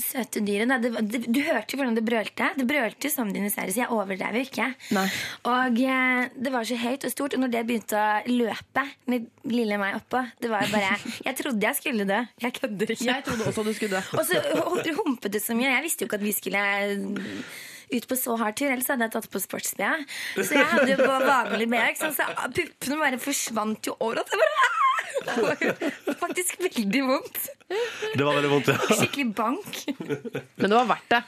Speaker 12: søte dyret da, det, det, Du hørte jo hvordan det brølte. Det brølte jo som dinosaurus. Jeg overdrev jo ikke. Og eh, det var så høyt og stort. Og når det begynte å løpe med lille meg oppå Det var jo bare Jeg trodde jeg skulle dø. Jeg kødder ikke.
Speaker 4: Jeg trodde også du skulle dø.
Speaker 12: Og så ho- humpet det så mye. Jeg visste jo ikke at vi skulle ut på så hard tur, ellers hadde jeg tatt på sportsbea. Så jeg hadde jo på vanlig bea, ikke sant, så puppene bare forsvant jo overalt. Jeg bare, "Ah!" det var faktisk veldig vondt.
Speaker 2: Det var veldig vondt, ja.
Speaker 12: Skikkelig bank.
Speaker 4: Men det var verdt det.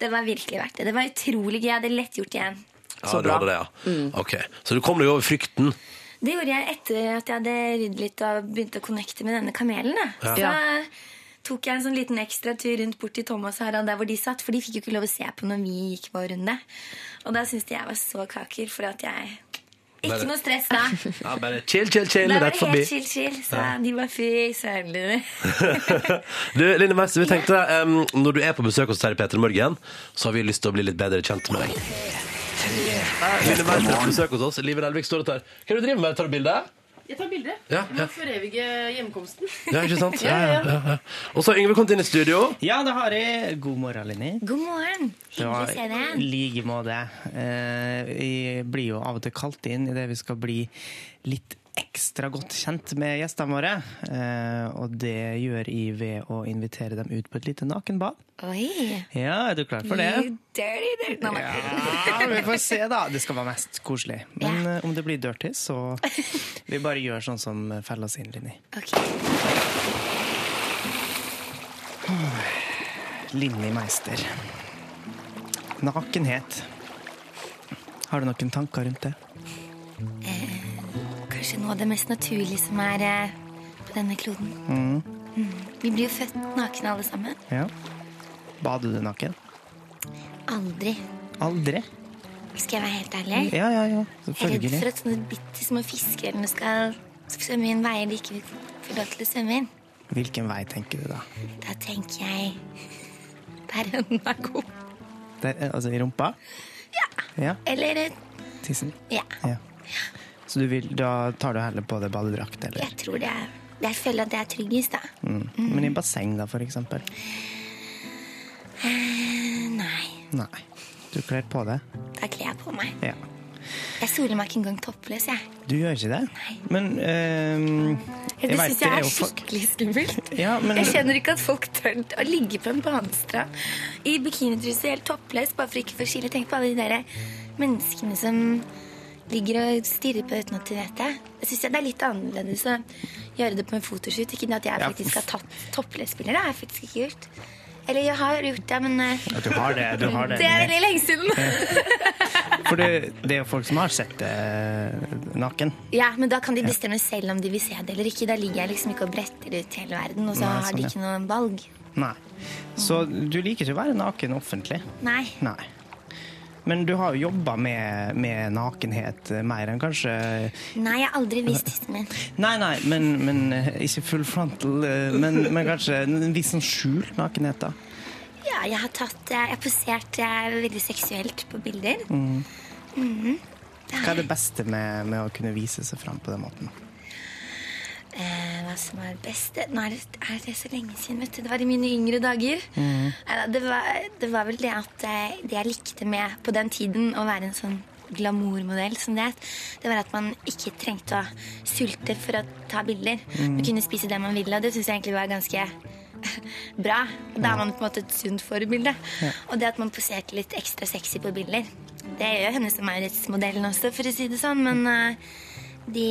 Speaker 12: Det var virkelig verdt det. Det var utrolig gøy. Jeg hadde lett gjort igjen.
Speaker 2: ja du hadde det, ja. Ok, Så du kom deg over frykten.
Speaker 12: Det gjorde jeg etter at jeg hadde ryddet litt og begynte å connecte med denne kamelen. Da.
Speaker 2: Ja.
Speaker 12: Så tok jeg en sånn liten ekstra tur rundt bort til Thomas og Harald der hvor de satt, for de fikk jo ikke lov å se på når vi gikk vår runde. Og da syntes de jeg var så kaker for at jeg Ikke noe stress
Speaker 2: (laughs)
Speaker 12: da.
Speaker 2: Ja, bare chill, chill, chill.
Speaker 12: Da var
Speaker 2: Rett
Speaker 12: det
Speaker 2: forbi.
Speaker 12: helt chill, chill. Så
Speaker 2: Ja.
Speaker 12: de var fy
Speaker 2: (laughs)
Speaker 12: søren.
Speaker 2: du, Line Merce, vi tenkte em, når du er på besøk hos oss her i Peter Morgen, så har vi lyst til å bli litt bedre kjent med deg. Line Merce er på besøk hos oss. Liven Elvik står og tar Hva er det du driver med? Tar du bilde?
Speaker 4: Jeg tar bilde.
Speaker 2: Ja, ja.
Speaker 4: Må forevige hjemkomsten.
Speaker 2: Ja, ikke sant?
Speaker 4: Ja, ja, ja.
Speaker 2: ja. Og så har Yngve kommet inn i studio.
Speaker 5: Ja, det har jeg. God morgen, Linni.
Speaker 12: God morgen.
Speaker 5: Det
Speaker 12: Hyggelig å se
Speaker 5: var
Speaker 12: deg.
Speaker 5: i like måte. Eh, Jeg blir jo av og til kalt inn i det vi skal bli litt ekstra godt kjent med gjestene våre. Eh, Og det gjør jeg ved å invitere dem ut på et lite nakenbad.
Speaker 12: Oi.
Speaker 5: Ja, er du klar for det?
Speaker 12: You dirty dirty. Nei, nei.
Speaker 5: Ja, vi får se, da. Det skal være mest koselig. Men eh, om det blir dirty, så Vi bare gjør sånn som feller oss inn, Linni. Linni Meister. Nakenhet. Har du noen tanker rundt det?
Speaker 12: Kanskje noe av det mest naturlige som er eh, på denne kloden.
Speaker 5: Mm.
Speaker 12: Vi blir jo født nakne alle sammen.
Speaker 5: Ja. Bader du naken?
Speaker 12: Aldri.
Speaker 5: Aldri.
Speaker 12: Skal jeg være helt ærlig?
Speaker 5: Ja, ja, ja.
Speaker 12: Jeg er redd for
Speaker 5: Selvfølgelig.
Speaker 12: at sånne bitte små fiskeørner skal skal svømme inn veier de ikke får lov til å svømme inn.
Speaker 5: Hvilken vei tenker du da?
Speaker 12: Da tenker jeg der hønen er god.
Speaker 5: Der, eh, altså i rumpa? Ja.
Speaker 12: Eller eh,
Speaker 5: Tissen?
Speaker 12: ja,
Speaker 5: Ja. Så du vil, da tar du heller på deg badedrakt, eller?
Speaker 12: jeg tror det er Jeg føler at det er tryggest, da.
Speaker 5: Mm. Men i basseng, da, for eksempel?
Speaker 12: Eh, Nei,
Speaker 5: Nei. Du kler på deg?
Speaker 12: da kler jeg på meg.
Speaker 5: Ja.
Speaker 12: Jeg soler meg ikke engang toppløs, jeg.
Speaker 5: Du gjør ikke det? Men eh,
Speaker 12: Det
Speaker 5: vet
Speaker 12: syns jeg
Speaker 5: jo
Speaker 12: er
Speaker 5: folk-
Speaker 12: skikkelig skummelt.
Speaker 5: (laughs) Ja, men-
Speaker 12: Jeg skjønner ikke at folk tør å ligge på en badestrand i bikinitruse helt toppløs bare for ikke å få skille. Tenk på alle de der menneskene som ligger og stirrer på uten at de vet det. Jeg synes Det er litt annerledes å gjøre det på en fotoshoot. Ikke at jeg
Speaker 5: Ja.
Speaker 12: faktisk har tatt toppløsbilder. Det har jeg faktisk ikke gjort. Eller jeg har gjort det, men eh,
Speaker 5: Ja, du har det. Du har det.
Speaker 12: det er veldig lenge siden.
Speaker 5: For det, det er jo folk som har sett det naken.
Speaker 12: (laughs) Ja, Men da kan de bestemme selv om de vil se det eller ikke. Da ligger jeg liksom ikke og bretter ut hele verden, og så
Speaker 5: Nei,
Speaker 12: har de
Speaker 5: sånn,
Speaker 12: ikke noen valg.
Speaker 5: Nei. Så du liker ikke å være naken offentlig?
Speaker 12: Nei.
Speaker 5: Nei. Men du har jo jobba med, med nakenhet eh, mer enn kanskje
Speaker 12: Nei, jeg har aldri vist tissen min.
Speaker 5: Nei, nei, men, men eh, ikke full frontal, eh, men, men kanskje en viss sånn skjult nakenhet, da.
Speaker 12: Ja, jeg har tatt eh, Jeg har posert eh, veldig seksuelt på bilder.
Speaker 5: Mm.
Speaker 12: Mhm.
Speaker 5: Hva er det beste med, med å kunne vise seg fram på den måten?
Speaker 12: Eh, hva som er best Nå er det, er det så lenge siden, vet du. Det var i mine yngre dager.
Speaker 13: Mm.
Speaker 12: Neida, Det var, det var vel det at eh, det jeg likte med på den tiden å være en sånn glamourmodell, som det het, det var at man ikke trengte å sulte for å ta bilder.
Speaker 13: Mm.
Speaker 12: Man kunne spise det man ville, og det syns jeg egentlig var ganske (laughs) bra. Da er man på en måte et sunt forbilde.
Speaker 13: Ja.
Speaker 12: Og det at man poserte litt ekstra sexy på bilder, det gjør henne som majoritetsmodellen også, for å si det sånn, men eh, de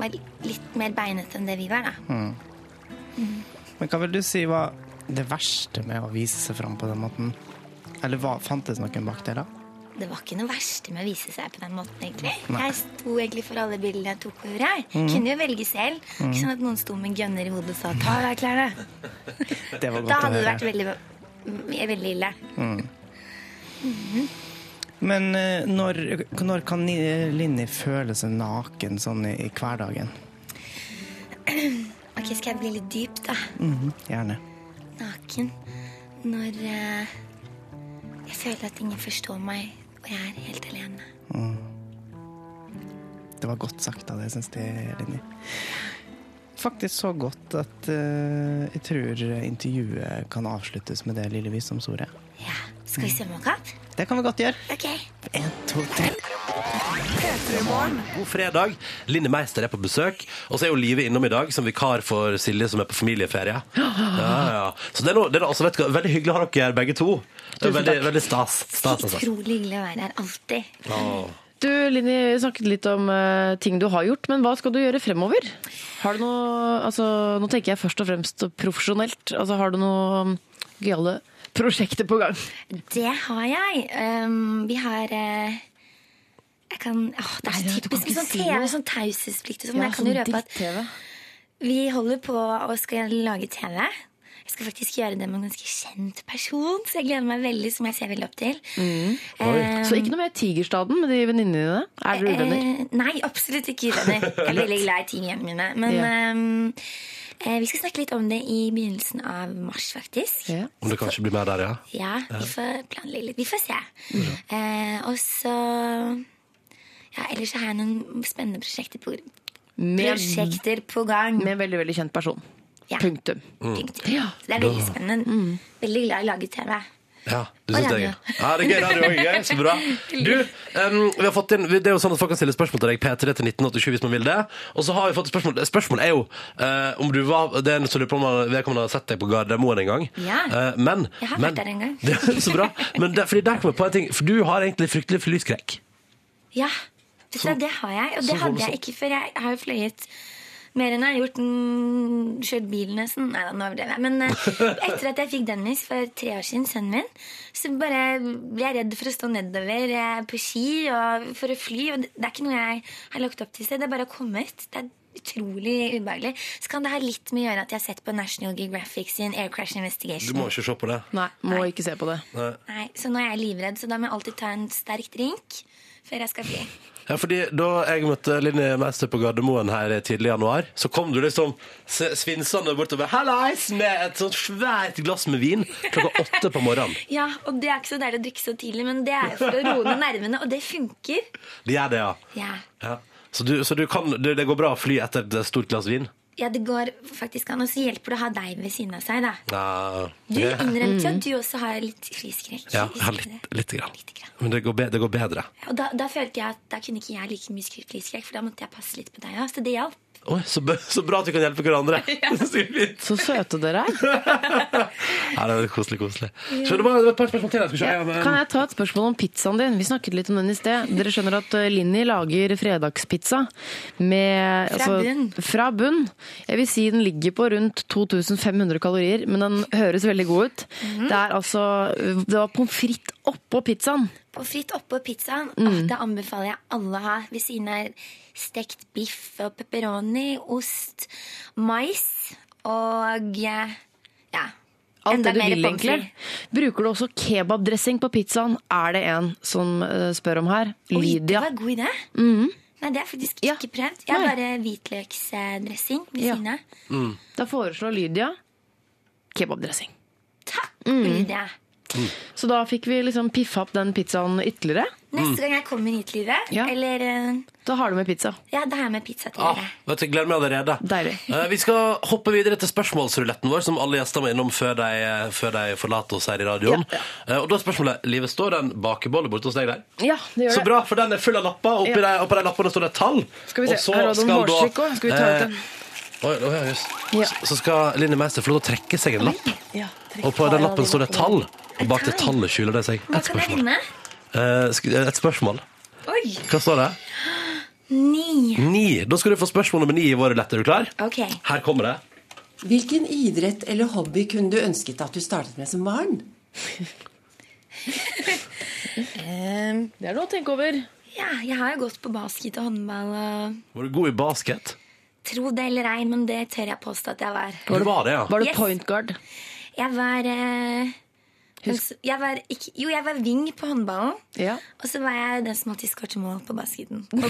Speaker 12: var litt mer beinete enn det vi var, da.
Speaker 5: Mm. Men hva vil du si var det verste med å vise seg fram på den måten? Eller hva, fantes noen bak det, da?
Speaker 12: Det var ikke noe verste med å vise seg på den måten, egentlig.
Speaker 5: Nei.
Speaker 12: Jeg sto egentlig for alle bildene jeg tok på huet. Jeg
Speaker 5: Mhm.
Speaker 12: kunne jo velge selv.
Speaker 5: Mhm.
Speaker 12: Ikke sånn at noen sto med en gunner i hodet og sa 'ta av deg klærne'.
Speaker 5: Det var
Speaker 12: Da
Speaker 5: godt å
Speaker 12: hadde det
Speaker 5: høre.
Speaker 12: vært veldig, veldig ille.
Speaker 5: Mm. Men eh, når, når kan ni- Linni føle seg naken sånn i, i hverdagen?
Speaker 12: Ok, skal jeg bli litt dyp, da?
Speaker 5: Mhm, Gjerne.
Speaker 12: Naken. Når eh, jeg føler at ingen forstår meg, og jeg er helt alene.
Speaker 5: Mm. Det var godt sagt av deg, syns jeg, Linni. Faktisk så godt at eh, jeg tror intervjuet kan avsluttes med det lille visdomsordet.
Speaker 12: Skal vi svømme oss opp?
Speaker 5: Det kan vi godt gjøre.
Speaker 12: Ok.
Speaker 5: En, to, tre.
Speaker 2: God fredag. Linni Meister er på besøk. Og så er jo Live innom i dag som vikar for Silje, som er på familieferie. Ja, ja. Så det er, noe, det er noe, altså, vet du, hva, veldig hyggelig å ha dere her, begge to. Det er
Speaker 4: Tusen
Speaker 2: veldig,
Speaker 4: takk.
Speaker 2: veldig stas. stas altså.
Speaker 12: Utrolig hyggelig å være her alltid.
Speaker 2: Åh.
Speaker 4: Du, Linni, vi snakket litt om eh, ting du har gjort, men hva skal du gjøre fremover? Har du noe, altså, nå tenker jeg først og fremst profesjonelt. Altså, har du noe mm, gøyale prosjekter på gang?
Speaker 12: Det har jeg. Ehm, vi har eh, jeg kan, åh, det er så typisk med sånn TV, sånn taushetsplikt og sånn. men jeg kan jo røpe at vi holder på og skal lage TV. Jeg skal faktisk gjøre det med en ganske kjent person, så jeg gleder meg veldig, som jeg ser veldig opp til. Eh,
Speaker 4: Så ikke noe mer Tigerstaden med de venninnene dine? Er dere uvenner?
Speaker 12: Eh, nei, absolutt ikke uvenner.
Speaker 4: (laughs)
Speaker 12: Jeg er veldig glad i tingene mine. Men
Speaker 4: Ja.
Speaker 12: ehm, eh, vi skal snakke litt om det i begynnelsen av mars, faktisk. Ja,
Speaker 2: Om det kanskje blir mer der, ja?
Speaker 12: vi får planlegge litt. Vi får se. Eh, og så Ja, ellers så har jeg noen spennende prosjekter på, prosjekter på gang.
Speaker 4: Med en veldig, veldig kjent person.
Speaker 12: Ja.
Speaker 4: Punktum.
Speaker 12: Ja. Så det er veldig
Speaker 2: Da-
Speaker 12: spennende. Veldig glad i å lage TV.
Speaker 2: Ja, det
Speaker 12: Og
Speaker 2: syns jeg.
Speaker 12: radio.
Speaker 2: Ja, det er gøy. Radio er gøy. Så bra. Du, em, vi har fått inn, det er jo sånn at folk kan stille spørsmål til deg, P3 til 1987 hvis man vil det. Og så har vi fått et spørsmål. Spørsmålet er jo eh, om du var Det er en som lurer på om han- vedkommende har sett deg på Gardermoen en gang.
Speaker 12: Ja.
Speaker 2: Eh, men
Speaker 12: Jeg har
Speaker 2: men,
Speaker 12: vært der en gang.
Speaker 2: (laughs) Det, er så bra. Men der, fordi der kom jeg på en ting. For du har egentlig fryktelig flyskrekk.
Speaker 12: Ja, vet du hva, det har jeg. Og
Speaker 2: så
Speaker 12: det hadde jeg
Speaker 2: voldsomt.
Speaker 12: ikke før. Jeg har jo fløyet mer enn jeg har gjort. Mm, kjørt bil nesten. Nei da, nå overdrev jeg.
Speaker 2: (laughs)
Speaker 12: Men eh, etter at jeg fikk Dennis for tre år siden, sønnen min, så bare ble jeg redd for å stå nedover eh, på ski og for å fly. Og det det er ikke noe jeg har lagt opp til seg. Det er bare kommet. Det er utrolig ubehagelig. Så kan det ha litt med å gjøre at jeg har sett på National Geographic sin Air Crash
Speaker 2: Du
Speaker 12: Investigation.
Speaker 2: må ikke se på det.
Speaker 4: Nei, må ikke se på det.
Speaker 2: Nei.
Speaker 12: Nei, Så nå er jeg livredd, så da må jeg alltid ta en sterk drink før jeg skal fly.
Speaker 2: Ja, fordi Da jeg møtte Linni Meister på Gardermoen her tidlig i januar, så kom du liksom s- svinsende bortover Hallais! med et sånt svært glass med vin klokka åtte på morgenen.
Speaker 12: Ja, og det er ikke så deilig å drikke så tidlig, men det er jo for å roe ned nervene, og det funker.
Speaker 2: Det gjør det, ja.
Speaker 12: Ja.
Speaker 2: ja. Så, du, så du kan, det, det går bra å fly etter et stort glass vin?
Speaker 12: ja, det går faktisk an. Og så hjelper det å ha deg ved siden av seg, da.
Speaker 2: Ja.
Speaker 12: Du innrømte
Speaker 4: Mm.
Speaker 12: jo at du også har litt flyskrekk.
Speaker 2: Ja, jeg har litt, litt, grann. Men det går, be, det går bedre.
Speaker 12: Og da, da følte jeg at da kunne ikke jeg like mye skrik- flyskrekk, for da måtte jeg passe litt på deg òg. Så det hjalp.
Speaker 2: Oi, så, bra- så bra at vi kan hjelpe hverandre.
Speaker 4: Så søte dere er.
Speaker 2: Ja, det er koselig, koselig. Så det var det var et par spørsmål til. Jeg skal se. Ja, men-
Speaker 4: Kan jeg ta et spørsmål om pizzaen din? Vi snakket litt om den i sted. Dere skjønner at eh, Linni lager fredagspizza med altså,
Speaker 12: Fra bunn.
Speaker 4: Fra bunn. Jeg vil si den ligger på rundt 2500 kalorier, men den høres veldig god ut.
Speaker 12: Mhm.
Speaker 4: Det er altså Det var pommes frites oppå pizzaen.
Speaker 12: Og fritt oppå pizzaen,
Speaker 4: Mm.
Speaker 12: åh, det anbefaler jeg alle å ha ved siden av stekt biff og pepperoni, ost, mais og eh, ja.
Speaker 4: Alt
Speaker 12: enda
Speaker 4: det du
Speaker 12: mer
Speaker 4: vil,
Speaker 12: pommes frites.
Speaker 4: egentlig. Bruker du også kebabdressing på pizzaen, er det en som eh, spør om her.
Speaker 12: Oi, det
Speaker 4: Lydia.
Speaker 12: var en god idé.
Speaker 4: Mhm.
Speaker 12: Nei, det har jeg faktisk ikke prøvd. Jeg har bare hvitløksdressing ved siden av.
Speaker 4: Da foreslår Lydia kebabdressing.
Speaker 12: Blir det.
Speaker 4: Så da fikk vi liksom piffa opp den pizzaen ytterligere.
Speaker 12: Neste gang jeg kommer hit, Live,
Speaker 4: Ja.
Speaker 12: eller eh,
Speaker 4: Da har du med pizza.
Speaker 12: Ja, da har jeg med pizza til dere.
Speaker 2: Vet du, jeg gleder meg allerede. Eh, vi skal hoppe videre til spørsmålsruletten vår, som alle gjester må innom før de, før de forlater oss her i radioen. Eh, og da er spørsmålet Livet, står det en bakebolle borte hos deg der?
Speaker 4: Ja, det gjør
Speaker 2: Så
Speaker 4: det.
Speaker 2: bra, for den er full av lapper. Oppi
Speaker 4: Ja.
Speaker 2: de, oppå de lappene står det et tall.
Speaker 4: Skal vi se,
Speaker 2: Og så
Speaker 4: her har du en
Speaker 2: skal da-
Speaker 4: hårstrikk også. Skal vi ta ut den?
Speaker 2: Eh, oi, oi, oi, just.
Speaker 4: Ja.
Speaker 2: Så- Så skal Linni Meister få lov til å trekke seg en lapp,
Speaker 4: Ja,
Speaker 2: og på den lappen står det et tall. Og bak det tallet skjuler det seg
Speaker 12: Hva
Speaker 2: et
Speaker 12: kan jeg
Speaker 2: spørsmål.
Speaker 12: vinne?
Speaker 2: Eh, sk- eh, et spørsmål.
Speaker 12: Oi!
Speaker 2: Hva står det?
Speaker 12: Ni.
Speaker 2: Ni. Da skal du få spørsmål nummer ni i vår lett. Er du klar?
Speaker 12: Ok.
Speaker 2: Her kommer det.
Speaker 13: Hvilken idrett eller hobby kunne du ønsket at du startet med som barn?
Speaker 4: det er noe å tenke over.
Speaker 12: Ja, jeg har jo gått på basket og håndball og
Speaker 2: Var du god i basket?
Speaker 12: Tro det eller ei, men det tør jeg påstå at jeg var.
Speaker 2: Du var det, ja.
Speaker 4: Var du
Speaker 12: Yes.
Speaker 4: point guard?
Speaker 12: Jeg var eh, den s- jeg var ikke, Jo, jeg var wing på håndballen.
Speaker 4: Ja.
Speaker 12: Og så var jeg den som alltid skåret mål på basketen.
Speaker 4: Det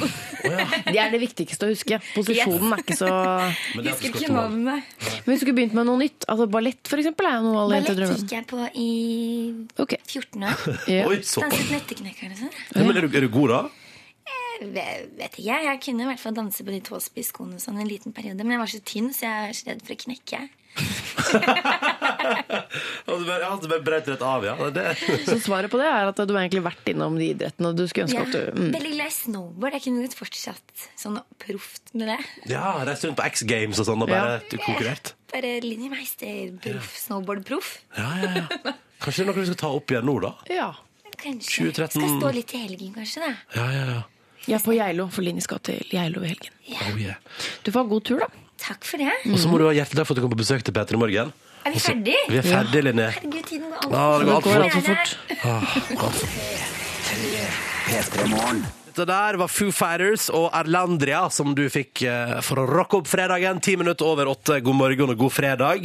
Speaker 4: er det viktigste å huske. Posisjonen er ikke så
Speaker 12: Men det er at du Husker ikke skal til mål. navnet.
Speaker 4: Men hvis du skulle begynt med noe nytt, altså ballett for eksempel, er jo noe alle heter
Speaker 12: Ballett
Speaker 4: drømmen.
Speaker 12: gikk jeg på i 14
Speaker 2: (laughs)
Speaker 12: år.
Speaker 4: Ja.
Speaker 2: Oi, såpass.
Speaker 12: Danset nøtteknekkerne og sånn.
Speaker 2: Ja, men er du, er du god, da?
Speaker 12: Jeg vet ikke, jeg kunne i hvert fall danse på de tåspisskoene sånn en liten periode. Men jeg var så tynn, så jeg er så redd for å knekke.
Speaker 2: Ja, du bare, ja, du bare brøt rett av, ja. Det.
Speaker 4: Så svaret på det er at du har egentlig vært innom de idrettene du skulle ønske
Speaker 12: Ja,
Speaker 4: at du mm.
Speaker 12: Veldig glad i snowboard. Jeg kunne godt fortsatt sånn proft med det.
Speaker 2: Ja, reist rundt på X Games og sånn og bare du konkurrert.
Speaker 12: Bare Linni Meister, proff, snowboardproff.
Speaker 2: Ja, ja, ja. Kanskje det er noe du skal ta opp igjen nå, da?
Speaker 4: Ja.
Speaker 12: Kanskje.
Speaker 2: 2013.
Speaker 12: Skal stå litt i helgen, kanskje. da
Speaker 2: Ja, ja, ja.
Speaker 4: Jeg er på Geilo, for Linni skal til Geilo i helgen.
Speaker 2: Oh, yeah.
Speaker 4: Du får ha god tur, da.
Speaker 12: Takk for det.
Speaker 2: Og så må du ha hjertelig takk for at du kom på besøk til Peter i morgen.
Speaker 12: Er
Speaker 2: Mm.
Speaker 12: vi
Speaker 2: Og så-
Speaker 12: ferdig?
Speaker 2: Vi er ferdig, Linné.
Speaker 12: Herregud, tiden går
Speaker 2: Ja, det går
Speaker 12: altfor
Speaker 2: altfor
Speaker 12: fort.
Speaker 2: fort. Ah, altfor fort.
Speaker 7: P3 Morgen.
Speaker 2: Dette der var Foo Fighters og Erlandria som du fikk eh, for å rocke opp fredagen. Ti minutter over åtte. God morgen og god fredag.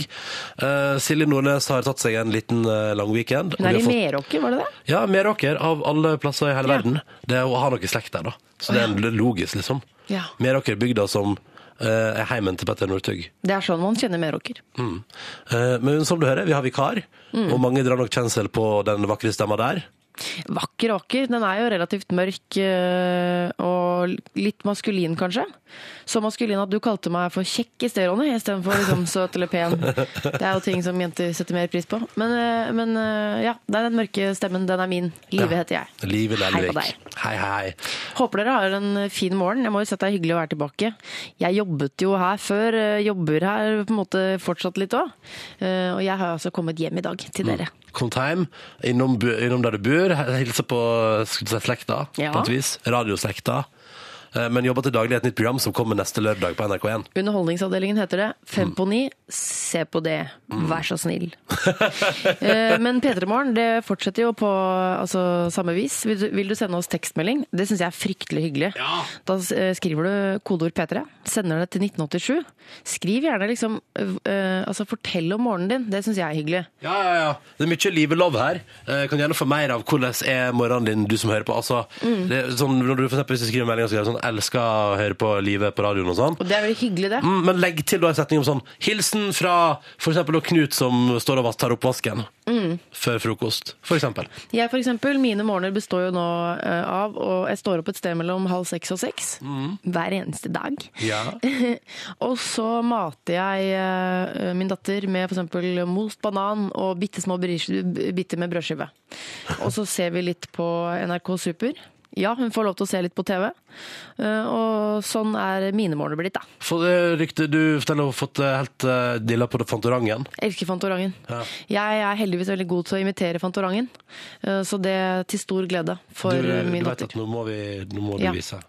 Speaker 2: Eh, Silje Nordnes har tatt seg en liten eh, lang weekend. og
Speaker 4: Hun er
Speaker 2: vi
Speaker 4: i
Speaker 2: har fått-
Speaker 4: Meråker, var det det?
Speaker 2: Ja, Meråker av alle plasser i hele verden. Det er å ha noe slekt der, da. Så det er det er logisk, liksom.
Speaker 4: Ja.
Speaker 2: Meråker er bygda som eh, er heimen til Petter Northug.
Speaker 4: Det er sånn man kjenner Meråker.
Speaker 2: Mm. Eh, men som du hører, vi har vikar,
Speaker 4: Mm.
Speaker 2: og mange drar nok kjensel på den vakre stemma der.
Speaker 4: Vakker og vakker. Den er jo relativt mørk eh, og litt maskulin, kanskje. Så maskulin at du kalte meg for kjekk i stedet, Ronny, istedenfor liksom søt eller pen. Det er jo ting som jenter setter mer pris på. Men, eh, men eh, ja, det er den mørke stemmen. Den er min. Live
Speaker 2: Ja.
Speaker 4: heter jeg.
Speaker 2: Liv
Speaker 4: Hei på
Speaker 2: Lellevik.
Speaker 4: deg.
Speaker 2: Hei, hei.
Speaker 4: Håper dere har en fin morgen. Jeg må jo si at det er hyggelig å være tilbake. Jeg jobbet jo her før, eh, jobber her på en måte fortsatt litt òg. Og jeg har altså kommet hjem i dag til dere.
Speaker 2: Komt hjem, innom, bu- innom der du bor, hilser på skulle du si, slekta,
Speaker 4: Ja.
Speaker 2: på et vis. Radioslekta. Eh, Men jobber til daglig i et nytt program som kommer neste lørdag på NRK1.
Speaker 4: Underholdningsavdelingen heter det. Fem på ni, se på det, vær så snill. Eh, Men P3 Morgen det fortsetter jo på altså, samme vis. Vil du, vil du sende oss tekstmelding? Det syns jeg er fryktelig hyggelig. Da eh, skriver du kodeord P3, sender det til 1987. Skriv gjerne liksom eh, Altså fortell om morgenen din, det syns jeg er hyggelig.
Speaker 2: Ja, ja, ja. Det er mye liv og love her. Eh, kan gjerne få mer av hvordan er morgenen din, du som hører på. Altså,
Speaker 4: Mm.
Speaker 2: det er sånn, når du for eksempel, hvis du skriver meldinger så skriver du sånn 'elsker å høre på livet på radioen' og sånn.
Speaker 4: Og det er veldig hyggelig, det.
Speaker 2: Mm, men legg til da en setning om sånn 'hilsen fra for eksempel Knut som står og vas- tar opp vasken
Speaker 4: Mm.
Speaker 2: før frokost', for eksempel.
Speaker 4: Jeg for eksempel, Mine morgener består jo nå eh, av og Jeg står opp et sted mellom halv seks og seks hver eneste dag.
Speaker 2: Ja.
Speaker 4: og så mater jeg eh, min datter med f.eks. most banan og bitte små bris- biter med brødskive. Og så ser vi litt på NRK Super. Ja, hun får lov til å se litt på TV. Eh, Og sånn er mine morgener blitt, da.
Speaker 2: For, eh, rykte, du forteller å ha fått eh, helt eh, dilla på Fantorangen.
Speaker 4: Jeg elsker Fantorangen.
Speaker 2: Ja.
Speaker 4: Jeg er heldigvis veldig god til å imitere Fantorangen, eh, så det er til stor glede for
Speaker 2: du,
Speaker 4: eh, min
Speaker 2: du vet
Speaker 4: datter.
Speaker 2: at nå må, vi, nå må du
Speaker 4: Ja.
Speaker 2: vise.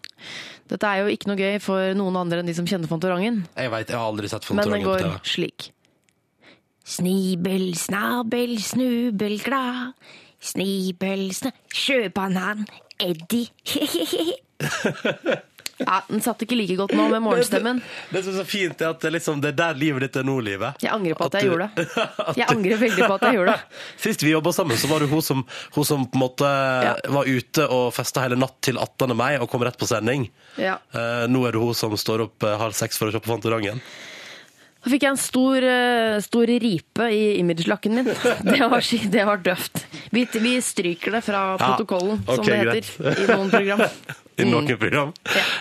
Speaker 4: Dette er jo ikke noe gøy for noen andre enn de som kjenner Fantorangen,
Speaker 2: Jeg vet, jeg har aldri sett
Speaker 4: men det
Speaker 2: Fantorangen på
Speaker 4: går
Speaker 2: TV.
Speaker 4: slik.
Speaker 14: Snibel, snabel, snubel, glad. Snibel, sna... Sjøbanan,
Speaker 2: (laughs)
Speaker 14: Eddie.
Speaker 4: Ja, den satt ikke like godt nå med morgenstemmen.
Speaker 2: Det som er så fint, er at det, liksom, det er der livet ditt er nå, livet.
Speaker 4: Jeg angrer på
Speaker 2: (laughs)
Speaker 4: at
Speaker 2: At
Speaker 4: jeg
Speaker 2: du-
Speaker 4: gjorde det. Jeg angrer veldig på at jeg gjorde det.
Speaker 2: (laughs) Sist vi jobba sammen, så var det hun som, hun som på en måte var ute og festa hele natt til 18. mai og kom rett på sending.
Speaker 4: Ja.
Speaker 2: Eh, nå er det hun som står opp eh, halv seks for å se på Fantorangen.
Speaker 4: Da fikk jeg en stor, eh, stor ripe i imagelakken min. Det var, sk- det var døvt. Vi, vi stryker det fra
Speaker 2: Ja,
Speaker 4: protokollen, som
Speaker 2: ok,
Speaker 4: det heter,
Speaker 2: greit.
Speaker 4: i noen program.
Speaker 2: (laughs)
Speaker 4: Mm.
Speaker 2: I noen program.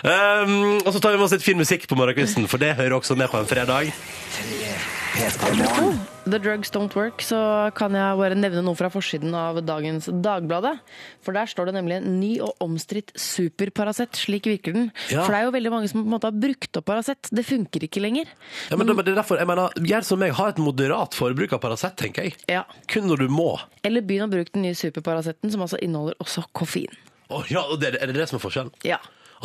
Speaker 2: Um, og så tar vi med oss litt fin musikk på morgenkvisten, for det hører også med på en fredag.
Speaker 4: Apropos The Drugs Don't Work, så kan jeg bare nevne noe fra forsiden av dagens Dagbladet. For der står det nemlig en ny og omstridt superparasett. Slik virker den.
Speaker 2: Ja.
Speaker 4: For det er jo veldig mange som på en måte har brukt opp Paracet. Det funker ikke lenger.
Speaker 2: Ja,
Speaker 4: Mm.
Speaker 2: men, det er derfor, jeg mener, Gjør som meg, ha et moderat forbruk av Paracet, tenker jeg.
Speaker 4: Ja.
Speaker 2: Kun når du må.
Speaker 4: Eller begynn å bruke den nye superparasetten, som altså inneholder også koffein.
Speaker 2: Å, ja, og det, er det det som er forskjellen?
Speaker 4: Ja.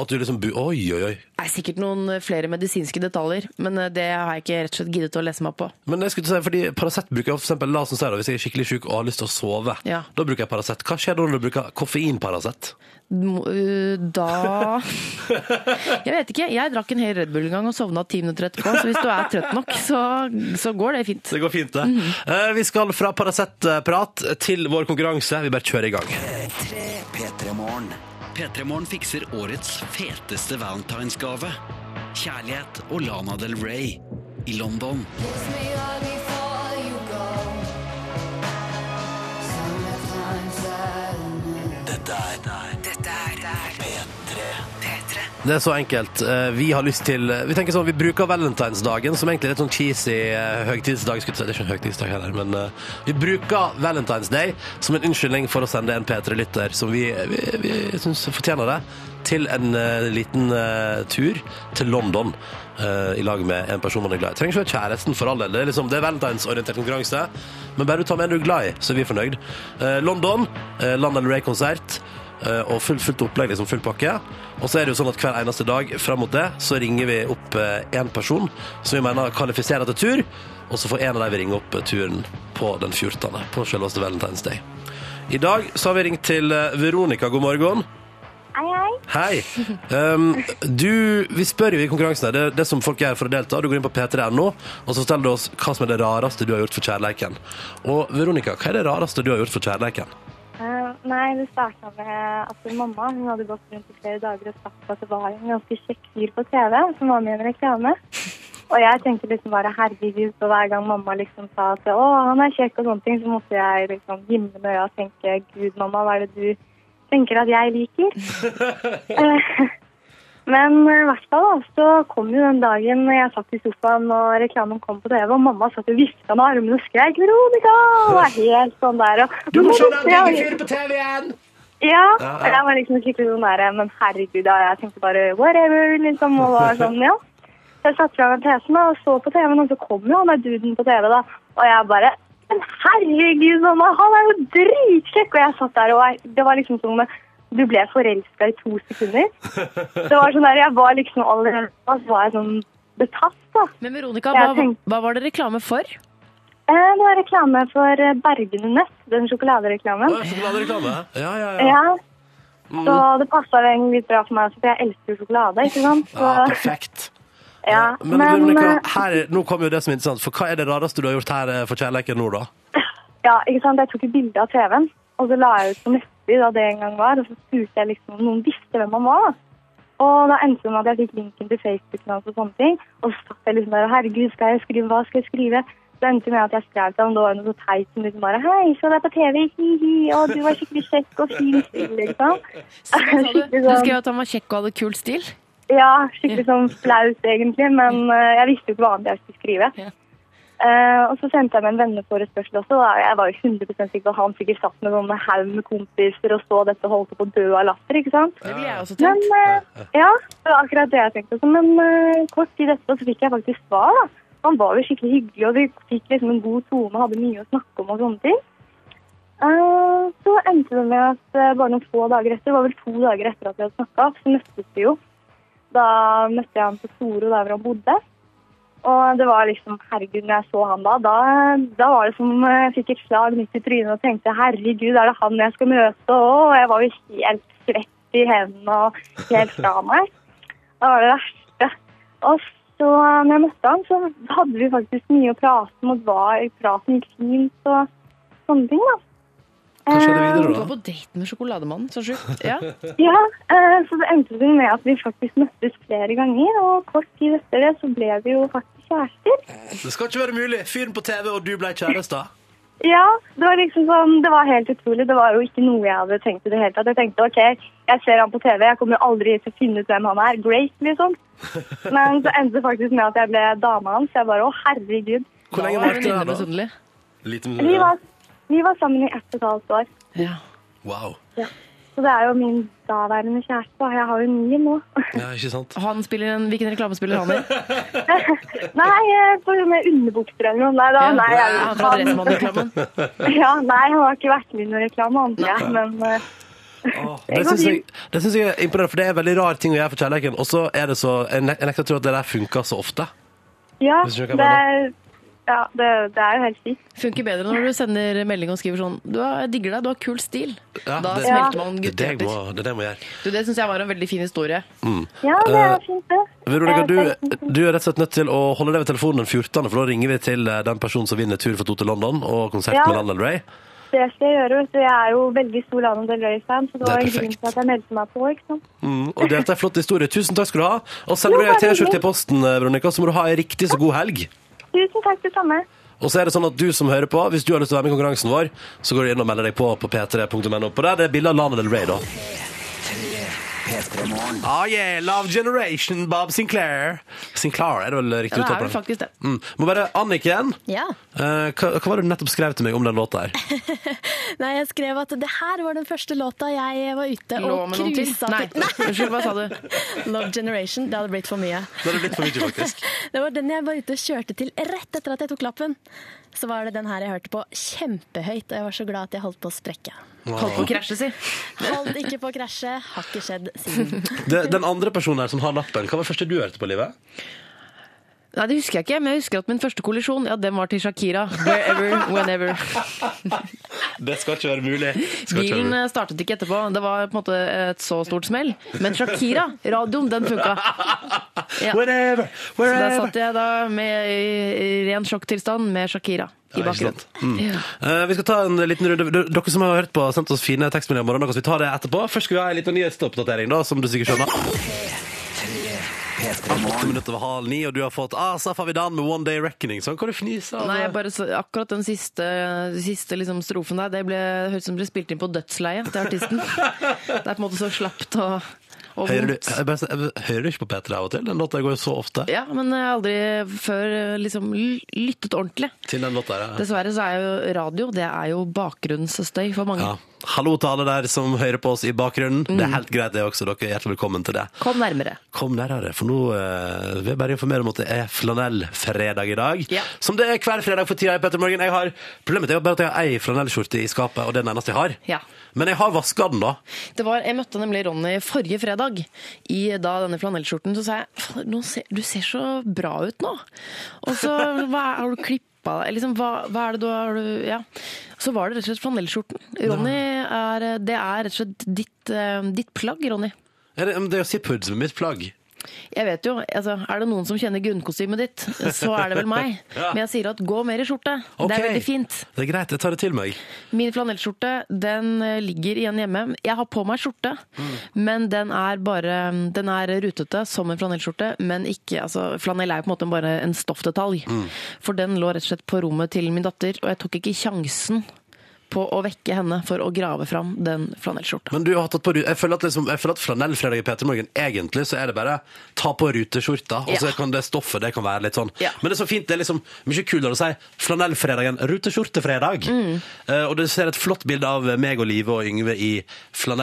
Speaker 2: At du liksom bu- Oi, oi, oi.
Speaker 4: Det er sikkert noen flere medisinske detaljer, men eh, det har jeg ikke rett og slett giddet å lese meg opp på.
Speaker 2: Men jeg skulle til å si, fordi Paracet bruker jeg for eksempel, la oss si da, hvis jeg er skikkelig syk og har lyst til å sove.
Speaker 4: Ja.
Speaker 2: Da bruker jeg Paracet. Hva skjer da når du bruker koffeinparacet?
Speaker 4: Mo- øh, Da Jeg vet ikke. Jeg drakk en hel Red Bull en gang og sovna ti minutter etterpå. Så hvis du er trøtt nok, så, så går det fint.
Speaker 2: Det går fint, det. Eh, Vi skal fra Paracet-prat til vår konkurranse. Vi bare kjører i gang.
Speaker 15: P3-morgen. P3-morgen fikser årets feteste valentinsgave. Kjærlighet og Lana Del Rey i London.
Speaker 6: Dette er Dette er P3. P3.
Speaker 2: Det er så enkelt. Eh, Vi har lyst til Vi tenker sånn, vi bruker valentinsdagen, som egentlig er litt sånn cheesy eh, høytidsdag. skulle jeg si. Det er ikke en høytidsdag heller, men eh, vi bruker Valentine's Day som en unnskyldning for å sende en P3-lytter som vi, vi, vi syns fortjener det, til en eh, liten eh, tur til London eh, i lag med en person man er glad i. Trenger ikke være kjæresten for all del. Det er, liksom, det er valentinsorientert konkurranse, men bare du tar med en du er glad i, så er vi fornøyd. Eh, London, eh, London Ray-konsert. Eh, og full, fullt opplegg, liksom full pakke. Og så er det jo sånn at hver eneste dag fram mot det, så ringer vi opp én person som vi mener kvalifiserer til tur, og så får en av dem vi ringer opp eh, turen på den 14., på selveste Valentine's Day. I dag så har vi ringt til eh, Veronica. God morgen.
Speaker 16: Hei, hei.
Speaker 2: Hei. Um, du, vi spør jo i konkurransen her, det, er det som folk gjør for å delta. Du går inn på p3.no, og så forteller du oss hva som er det rareste du har gjort for kjærleiken. Og Veronica, hva er det rareste du har gjort for kjærleiken?
Speaker 17: Eh, nei, det starta med at mamma hun hadde gått rundt i flere dager og sagt at det var en ganske kjekk fyr på TV som var med i en reklame. Og jeg tenkte liksom bare herregud, og hver gang mamma liksom sa at å, han er kjekk og sånne ting, så måtte jeg liksom himle med øya og tenke gud, mamma, hva er det du tenker at
Speaker 18: (laughs)
Speaker 17: jeg liker? Eh, Men eh, i hvert fall da, så kom jo den dagen jeg satt i sofaen og reklamen kom på TV, og mamma satt og vifta med armene og skrek 'Veronica!' og var helt sånn der. Og,
Speaker 18: Du må se den
Speaker 17: Ja,
Speaker 18: nye fyren på TV igjen!
Speaker 17: ja,
Speaker 18: Ja, ja.
Speaker 17: og jeg var liksom skikkelig sånn der, men herregud, ja, jeg tenkte bare whatever, liksom, og
Speaker 18: (laughs)
Speaker 17: var sånn, ja. Så jeg satt fra meg PC-en og så på TV-en, og så kom jo han der duden på TV da, og jeg bare, men herregud, mamma, han er jo dritkjekk, og jeg satt der, og jeg, det var liksom sånn, du ble forelsket i to sekunder. Det var sånn der, jeg var liksom allerede, da var jeg sånn betatt da.
Speaker 4: Men Veronica,
Speaker 17: Jeg
Speaker 4: hva,
Speaker 17: tenkte-
Speaker 4: hva var det reklame
Speaker 17: (laughs)
Speaker 4: for?
Speaker 17: Eh, Det var reklame for eh, Bergene Nett, den sjokoladereklamen.
Speaker 2: Ja, ja, ja.
Speaker 17: Ja.
Speaker 2: Mm.
Speaker 17: Så det passa egentlig litt bra for meg, også, for jeg elsker jo sjokolade. ikke sant? Så,
Speaker 2: Ja, perfekt.
Speaker 17: Ja,
Speaker 2: Men,
Speaker 17: men,
Speaker 2: Veronica,
Speaker 17: eh,
Speaker 2: her, er- nå kommer jo det som er interessant, for hva er det rareste du har gjort her eh, for kjærleiken nå, da?
Speaker 17: ja, ikke sant? Jeg tok et bilde av TV-en, og så la jeg ut på Nettby da det en gang var, og så spurte jeg liksom om noen visste hvem han var. da. Og da endte det med at jeg fikk linken til Facebooken hans og sånne ting. Og så satt jeg liksom der og herregud, skal jeg skrive, hva skal jeg skrive? Så endte det med at jeg skrev til ham, det var noe så teit som liksom bare hei, så deg på TV, hi-hi, og du var skikkelig kjekk og fin stil, liksom.
Speaker 4: Du,
Speaker 17: Skikkelig
Speaker 4: du
Speaker 17: sånn-
Speaker 4: skrev at han var kjekk og hadde kul stil. Mm.
Speaker 17: Ja, skikkelig sånn flaut egentlig, men eh, jeg visste jo ikke hva annet jeg skulle skrive. Eh, og så sendte jeg meg en venneforespørsel også. Da. Jeg var jo 100 sikker på at han sikkert satt med noen haug med kompiser og så dette og holdt på å dø av latter, ikke sant?
Speaker 4: Det ville jeg også
Speaker 17: Men, eh, ja, det var akkurat det jeg tenkte også. Men eh, kort tid etterpå så fikk jeg faktisk svar, da. Han var jo skikkelig hyggelig, og vi fikk liksom en god tone, hadde mye å snakke om og sånne ting. Eh, så endte det med at eh, bare noen få dager etter, det var vel to dager etter at vi hadde snakka, så møttes vi jo. Da møtte jeg han på Storo, der hvor han bodde. Og det var liksom, herregud, når jeg så han da, da, da var det som eh, jeg fikk et slag midt i trynet og tenkte, herregud, er det han jeg skal møte? Og jeg var jo helt svett i hendene og helt fra meg. Det var det verste. Og så eh, når jeg møtte han, så hadde vi faktisk mye å prate om, og det var, praten gikk fint og sånne ting
Speaker 4: Hva
Speaker 17: da.
Speaker 4: skjedde
Speaker 17: Eh,
Speaker 4: videre, da? Du var på date med sjokolademannen, så sjukt.
Speaker 2: (laughs)
Speaker 4: Ja.
Speaker 17: ja, eh, så det endte det med at vi faktisk møttes flere ganger, og kort tid etter det så ble vi jo faktisk kjærester.
Speaker 2: Det skal ikke være mulig. Fyren på TV, og du ble kjæreste.
Speaker 17: Ja, det var liksom sånn, det var helt utrolig. Det var jo ikke noe jeg hadde tenkt i det hele tatt. Jeg tenkte ok, jeg ser han på TV, jeg kommer jo aldri til å finne ut hvem han er. Great,
Speaker 2: (laughs)
Speaker 17: liksom. Men så endte det faktisk med at jeg ble dama hans. Jeg bare å, herregud.
Speaker 2: Hvor lenge
Speaker 4: var
Speaker 2: varte det her,
Speaker 4: venninne
Speaker 2: da? Lite
Speaker 17: Vi var, (laughs) vi var sammen i ett og et halvt år.
Speaker 2: Wow.
Speaker 17: Ja. Så det er jo min daværende kjæreste. da. Jeg har jo mye nå.
Speaker 2: Ja, ikke sant?
Speaker 4: Han spiller en, hvilken reklame spiller han i?
Speaker 17: (laughs) Nei, eh, for med underbukser eller noe. Nei da. Nei, jeg,
Speaker 4: han fra Dressmann-reklamen.
Speaker 17: ja, nei, han har ikke vært med i noen reklame, antar jeg. Men eh,
Speaker 2: Det
Speaker 17: går
Speaker 2: syns jeg,
Speaker 17: fint.
Speaker 2: det synes jeg er imponerende, for det er en veldig rar ting å gjøre for kjærleiken. Og så er det så Jeg nek- jeg nekter å tro at det der funker så ofte.
Speaker 17: ja,
Speaker 2: Hvis du skjønner hva jeg
Speaker 17: det, er- ja det, det er jo helt sykt.
Speaker 4: Funker bedre når du sender melding og skriver sånn du er, 'Jeg digger deg, du har kul stil'.
Speaker 2: Ja,
Speaker 4: da
Speaker 2: det-
Speaker 4: smelter man
Speaker 2: Det er det jeg
Speaker 4: guttehjerter.
Speaker 2: må- det er det jeg må gjøre.
Speaker 4: Du, Det syns jeg var en veldig fin historie.
Speaker 2: Mm.
Speaker 17: Ja,
Speaker 2: det er Eh,
Speaker 17: fint, det.
Speaker 2: Veronica, du, du er rett og slett nødt til å holde deg ved telefonen den 14., for da ringer vi til eh, den personen som vinner tur for to til London og konsert
Speaker 17: Ja.
Speaker 2: med Lana Del Rey.
Speaker 17: Det skal jeg gjøre. vet du. Jeg er jo veldig stor Lana Del Rey-fan, så det
Speaker 2: Det er
Speaker 17: var en
Speaker 2: perfekt.
Speaker 17: grunn til at jeg meldte meg på. ikke sant?
Speaker 2: Mm, og delte en flott historie. Tusen takk skal du ha. Og send meg ei T-skjorte i posten, eh, Veronica, så må du ha ei riktig så god helg.
Speaker 17: Tusen takk, det samme.
Speaker 2: Og så er det sånn at du som hører på, hvis du har lyst til å være med i konkurransen vår, så går du inn og melder deg på på p3.no. På der det er bilde av Lana Del Rey, da. Ah, yeah, Love Generation, Bob Sinclair. Sinclair er det vel riktig
Speaker 4: Ja, det
Speaker 2: uttalt?
Speaker 4: er vel faktisk det.
Speaker 2: Mm. Må bare, Anniken,
Speaker 12: Ja.
Speaker 2: eh, hva, hva var det du nettopp skrev til meg om den
Speaker 4: (laughs)
Speaker 2: låta her?
Speaker 12: Nei, jeg skrev at det her var den første låta jeg var ute
Speaker 4: Lå
Speaker 12: og
Speaker 4: med noen til?
Speaker 12: cruisa
Speaker 4: Nei, unnskyld, hva sa du?
Speaker 12: Love Generation. Det hadde blitt for mye.
Speaker 2: Det hadde blitt for mye, faktisk.
Speaker 12: (laughs) Det var den jeg var ute og kjørte til rett etter at jeg tok lappen. Så var det den her jeg hørte på kjempehøyt, og jeg var så glad at jeg holdt på å sprekke.
Speaker 4: Holdt på å krasje, si.
Speaker 12: Holdt ikke på å krasje, har ikke skjedd siden.
Speaker 2: Det, den andre personen her som har lappen, hva var det første du hørte på livet?
Speaker 4: Nei, det husker jeg ikke, men jeg husker at min første kollisjon, ja, den var til Shakira. Wherever, whenever.
Speaker 19: Det skal ikke være mulig. Skal ikke være
Speaker 4: Bilen
Speaker 19: mulig.
Speaker 4: eh, startet ikke etterpå. Det var på en måte et så stort smell. Men Shakira, radioen, den funka. Ja.
Speaker 19: Wherever,
Speaker 4: Så der
Speaker 19: wherever.
Speaker 4: satt jeg da med, i i ren sjokktilstand med Shakira i
Speaker 2: Ja, ikke
Speaker 4: bakgrunnen.
Speaker 2: sant. Mm. Eh, vi skal ta en liten runde. D- Dere som har hørt på, har sendt oss fine tekstmeldinger. om morgenen, så Vi tar det etterpå. Først skal vi ha en liten nyhetsoppdatering, da, som du sikkert skjønner. Åtte minutter over halv ni, og du har fått Asaf Avidan med One Day Reckoning. Sånn kan du fnise av.
Speaker 4: Nei, jeg bare, så- akkurat den siste, siste liksom strofen der, det ble, det høres ut som det ble spilt inn på dødsleiet til
Speaker 2: (laughs)
Speaker 4: artisten. Det er på en måte så slapt og, og
Speaker 2: Hører du,
Speaker 4: vondt.
Speaker 2: jeg bare, jeg hører du ikke på P3 av og til? Den låta går jo så ofte.
Speaker 4: Ja, men jeg har aldri før eh, liksom l- lyttet ordentlig.
Speaker 2: Til den låta her, ja.
Speaker 4: Dessverre så er jo radio, det er jo bakgrunnsstøy for mange.
Speaker 2: Ja. Hallo til alle der som hører på oss i bakgrunnen. Det er helt greit, det også. Dere er hjertelig velkommen til det.
Speaker 4: Kom nærmere.
Speaker 2: Kom nærmere, for nå eh, vil jeg bare informere om at det er flanellfredag i dag. Som det er hver fredag for tida i Petter Morgen. Jeg har, problemet er jo bare at jeg har ei flanellskjorte i skapet, og det er den eneste jeg har.
Speaker 4: Ja.
Speaker 2: Men jeg har vaska den, da.
Speaker 4: Det var, jeg møtte nemlig Ronny forrige fredag i da denne flanellskjorten. Så sa jeg "Faen, nå ser, du ser så bra ut nå. Og
Speaker 2: (laughs)
Speaker 4: så hva, er- har du klippa deg? Liksom, hva, hva er det du har du, ja. Så var det rett og slett flanellskjorten. Ronny er, det er rett og slett ditt, eh, ditt plagg, Ronny.
Speaker 2: Er det, men det er jo ziphood som er mitt plagg.
Speaker 4: Jeg vet jo, altså, Er det noen som kjenner grunnkostymet ditt, så er det vel meg.
Speaker 2: (laughs) Ja.
Speaker 4: Men jeg sier at gå mer i skjorte. Det er
Speaker 2: Ok.
Speaker 4: veldig fint.
Speaker 2: Det er greit, jeg tar det til meg.
Speaker 4: Min flanellskjorte den eh, ligger igjen hjemme. Jeg har på meg skjorte, men den er bare den er rutete som en flanellskjorte. Men ikke, altså, flanell er jo på en måte bare en stoffdetalj. For den lå rett og slett på rommet til min datter, og jeg tok ikke sjansen på å vekke henne for å grave fram den flanellskjorta.
Speaker 2: Men du har tatt på ru- Jeg føler at, liksom, jeg føler at flanellfredag i Peter Morgen egentlig så er det bare ta på ruteskjorta, og så
Speaker 4: Ja.
Speaker 2: kan det stoffet det kan være litt sånn.
Speaker 4: Ja.
Speaker 2: Men det er så fint. Det er liksom mye kulere å si flanellfredag enn ruteskjortefredag.
Speaker 4: Mm.
Speaker 2: Eh, og du ser et flott bilde av meg og Live og Yngve i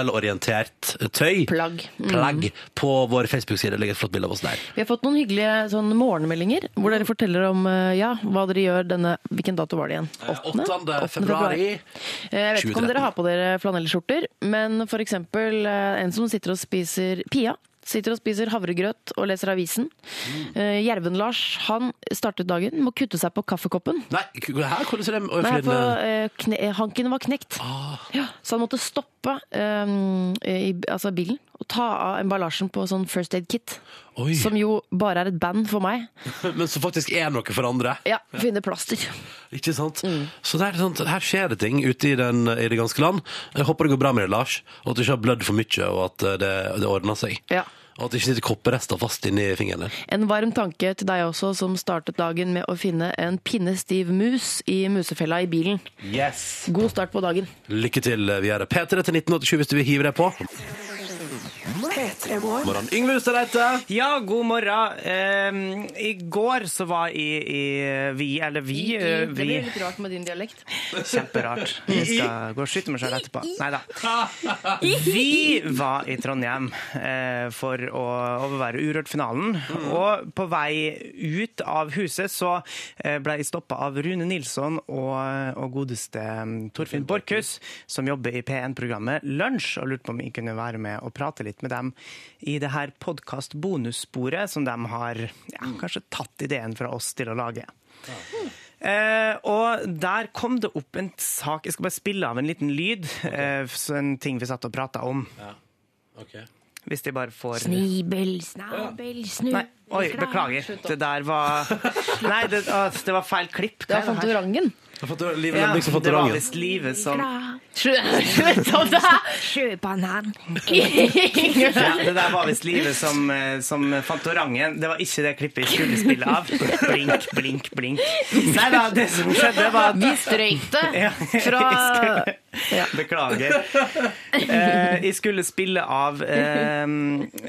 Speaker 2: flanellorientert tøy.
Speaker 4: Plagg. Mm.
Speaker 2: Plagg på vår Facebook-side. Det ligger et flott bilde av oss der.
Speaker 4: Vi har fått noen hyggelige sånn, morgenmeldinger hvor dere forteller om eh, ja, hva dere gjør denne Hvilken dato var det igjen? Åttende?
Speaker 2: 8. Eh,
Speaker 4: februar.
Speaker 2: februari.
Speaker 4: Eh, Jeg vet ikke
Speaker 2: 2013.
Speaker 4: om dere har på dere flanellskjorter, men for eksempel eh, en som sitter og spiser Pia. Sitter og spiser havregrøt og leser avisen.
Speaker 2: Mm.
Speaker 4: Eh, Jerven-Lars han startet dagen med å kutte seg på kaffekoppen.
Speaker 2: Nei, k- her, hvordan ser det
Speaker 4: Nei,
Speaker 2: Fordi den-
Speaker 4: på, eh, kne, eh, hanken var knekt.
Speaker 2: Ah.
Speaker 4: Ja, så han måtte stoppe eh, i altså bilen og ta av emballasjen på sånn First Aid Kit.
Speaker 2: Oi.
Speaker 4: Som jo bare er et band for meg.
Speaker 2: Men som faktisk er noe for andre.
Speaker 4: Ja, finne plaster.
Speaker 2: Ikke sant?
Speaker 5: Mm.
Speaker 2: Så det er sånn, her skjer det ting ute i, den, i det ganske land. Jeg håper det går bra med deg, Lars, og at du ikke har blødd for mye, og at eh, det, det ordner seg.
Speaker 4: Ja.
Speaker 2: Og at det ikke sitter kopperester fast inni fingeren der.
Speaker 4: En varm tanke til deg også, som startet dagen med å finne en pinnestiv mus i musefella i bilen. God start på dagen.
Speaker 2: Lykke til eh, videre. P3 til 1987 hvis du vil hive deg på. Morgen. Yngve Hustad Reite.
Speaker 5: Ja, god morgen. Ehm, I går så var i, i vi, eller vi, eh,
Speaker 4: Det
Speaker 5: vi
Speaker 4: blir litt rart med din dialekt.
Speaker 5: Kjemperart. Jeg skal gå og skyte meg selv etterpå. Nei da. Vi var i Trondheim eh, for å overvære Urørt-finalen. Og på vei ut av huset så eh, ble jeg stoppa av sånn. Rune Nilsson og, og godeste eh, Torfinn Borchhus, som jobber i P1-programmet Lunsj, og lurte på om jeg kunne være med og prate litt med dem i det her podkast-bonussporet som de har ja, kanskje tatt ideen fra oss til å lage. Eh, og der kom det opp en sak Jeg skal bare spille av en liten lyd. eh, så en ting vi satt og prata om. Hvis de bare får
Speaker 14: Snibel, snabel, snu.
Speaker 5: Nei, Oi, beklager. Det der var Nei, det, å, det var feil klipp.
Speaker 4: Det var Fantorangen.
Speaker 2: Liv
Speaker 5: Ja,
Speaker 2: Nelvik som fant
Speaker 5: det var
Speaker 2: orangen.
Speaker 5: visst Live som
Speaker 4: Slutt om det her!
Speaker 14: Sjøbanan.
Speaker 5: ja, Det der var visst Live som, eh, som fant orangen. Det var ikke det klippet vi skulle spille (laughs) av. Blink, blink, blink. Nei da, det som skjedde, var at
Speaker 4: Vi
Speaker 2: (laughs)
Speaker 4: strøyk det
Speaker 5: (laughs)
Speaker 4: fra
Speaker 5: jeg Beklager. Eh, jeg skulle spille av eh,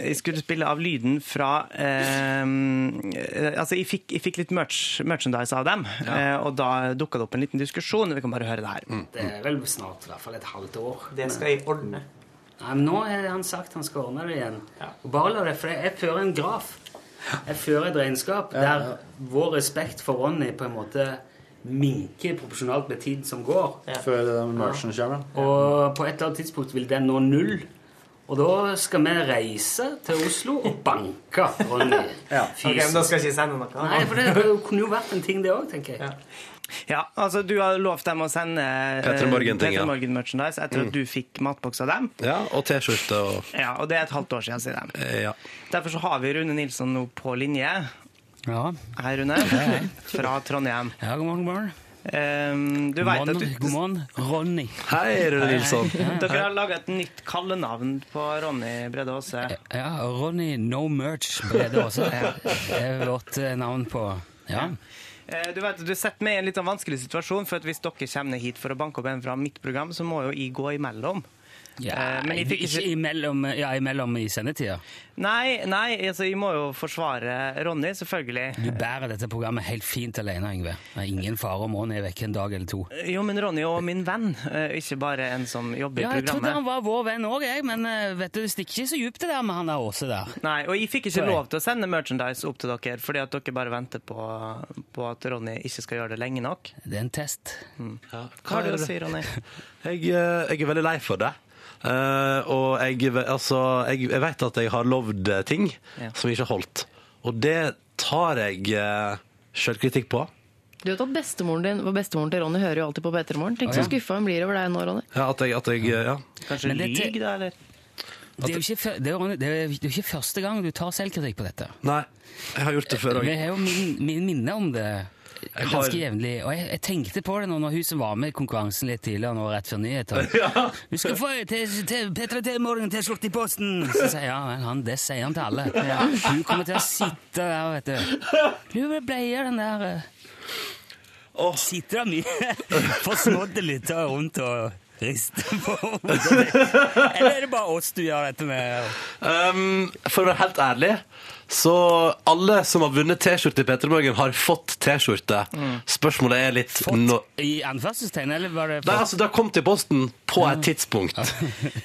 Speaker 5: Jeg skulle spille av lyden fra eh, eh, Altså, jeg fikk, jeg fikk litt merch, merchandise av dem, eh, og da dukka det opp en liten diskusjon. Vi kan bare høre det her.
Speaker 20: Det er vel snart i hvert fall et halvt år.
Speaker 5: Det skal jeg ordne.
Speaker 20: Nei, men nå har han sagt han skal ordne det igjen. Og bare la det, for jeg fører en graf. Jeg fører et regnskap der vår respekt for Ronny på en måte minker proporsjonalt med tiden som går.
Speaker 17: Før den merchen kommer.
Speaker 20: Og på et eller annet tidspunkt vil den nå null. Og da skal vi reise til Oslo og banke Ronny.
Speaker 5: Ja.
Speaker 20: Fysen.
Speaker 5: Ok, men da skal jeg ikke sende noe.
Speaker 20: Nei, for det kunne jo vært en ting, det òg, tenker jeg.
Speaker 5: Ja, altså du har lovt dem å sende eh,
Speaker 2: Petter Morgen-ting, ja.
Speaker 5: Petter Morgen merchandise etter
Speaker 2: Mm.
Speaker 5: at du fikk matboks av dem.
Speaker 2: Ja, og T-skjorte og
Speaker 5: Ja, og det er et halvt år siden, sier de.
Speaker 2: eh, Ja.
Speaker 5: Derfor så har vi Rune Nilsson nå på linje. Hei, Rune.
Speaker 17: hei.
Speaker 5: Fra Trondheim.
Speaker 17: Ja, god morgen, god morgen.
Speaker 5: Ehm, du
Speaker 17: God
Speaker 5: vet
Speaker 17: morgen,
Speaker 5: at du...
Speaker 17: god morgen, Ronny.
Speaker 2: Hei, Rune Nilsson.
Speaker 5: Dere har laga et nytt kallenavn på Ronny Brede Aase.
Speaker 17: Ja, Ronny No Merch Brede også. Det er vårt eh, navn på Ja.
Speaker 5: Eh, Du vet, du setter meg i en litt sånn vanskelig situasjon, for at hvis dere kommer hit for å banke opp en fra mitt program, så må jo jeg gå imellom.
Speaker 17: ja
Speaker 5: Eh, men jeg fikk
Speaker 17: ikke imellom, ja, imellom i sendetida.
Speaker 5: Nei, nei, altså, jeg må jo forsvare Ronny, selvfølgelig.
Speaker 17: Du bærer dette programmet helt fint alene, Yngve. Det er ingen fare om Ronny er vekke en dag eller to.
Speaker 5: Jo, men Ronny er også min venn, eh, ikke bare en som jobber
Speaker 17: Ja,
Speaker 5: i
Speaker 17: jeg trodde
Speaker 5: programmet.
Speaker 17: han var vår venn òg, jeg, men eh, vet du, det stikker ikke så djupt det der med han der Åse der.
Speaker 5: Nei, og jeg fikk ikke
Speaker 17: Sorry.
Speaker 5: lov til å sende merchandise opp til dere, fordi at dere bare venter på, på at Ronny ikke skal gjøre det lenge nok.
Speaker 17: Det er en test.
Speaker 5: Mm. Hva har du å si,
Speaker 17: (laughs)
Speaker 5: Ronny?
Speaker 2: Jeg, eh, jeg er veldig lei for det. Eh, og jeg, altså, jeg, jeg vet at jeg har lovd eh, ting
Speaker 5: Ja.
Speaker 2: som ikke har holdt. Og det tar jeg uh, sjølkritikk på.
Speaker 4: Du vet at bestemoren din for bestemoren til Ronny hører jo alltid på P3morgen. Tenk så
Speaker 2: Å, ja.
Speaker 4: skuffa hun blir over deg nå, Ronny.
Speaker 2: Ja, at jeg, at jeg eh, ja.
Speaker 17: Men det- lyg,
Speaker 5: da, eller?
Speaker 17: Det er jo ikke, fyr- det er, jo- det er jo ikke første gang du tar selvkritikk på dette.
Speaker 2: Nei, jeg har gjort det før
Speaker 17: Vi
Speaker 2: òg.
Speaker 17: har jo min, min minne om det
Speaker 2: Jeg har-
Speaker 17: ganske jevnlig. Og jeg, jeg tenkte på det nå når hun som var med i konkurransen litt tidligere, nå rett før nyheter.
Speaker 2: (laughs)
Speaker 17: Du skal få til- til Petra T. Morgen til skjorte i posten! Så sier jeg, ja, vel, han, det sier han til alle. Hun kommer til å sitte der,
Speaker 2: (laughs)
Speaker 17: vet du. Lurer på bleier den der eh. Sitter der mye (laughs) forsmådde lyttere rundt og rister på hodet?
Speaker 2: (laughs)
Speaker 17: Eller er det bare oss du gjør dette med?
Speaker 2: Um, for å være helt ærlig, så alle som har vunnet T-skjorte i P3 Morgen, har fått T-skjorte.
Speaker 17: Mm.
Speaker 2: Spørsmålet er litt når-
Speaker 17: I anførselstegn, eller var det
Speaker 2: Nei, altså, det har kommet i posten på et tidspunkt.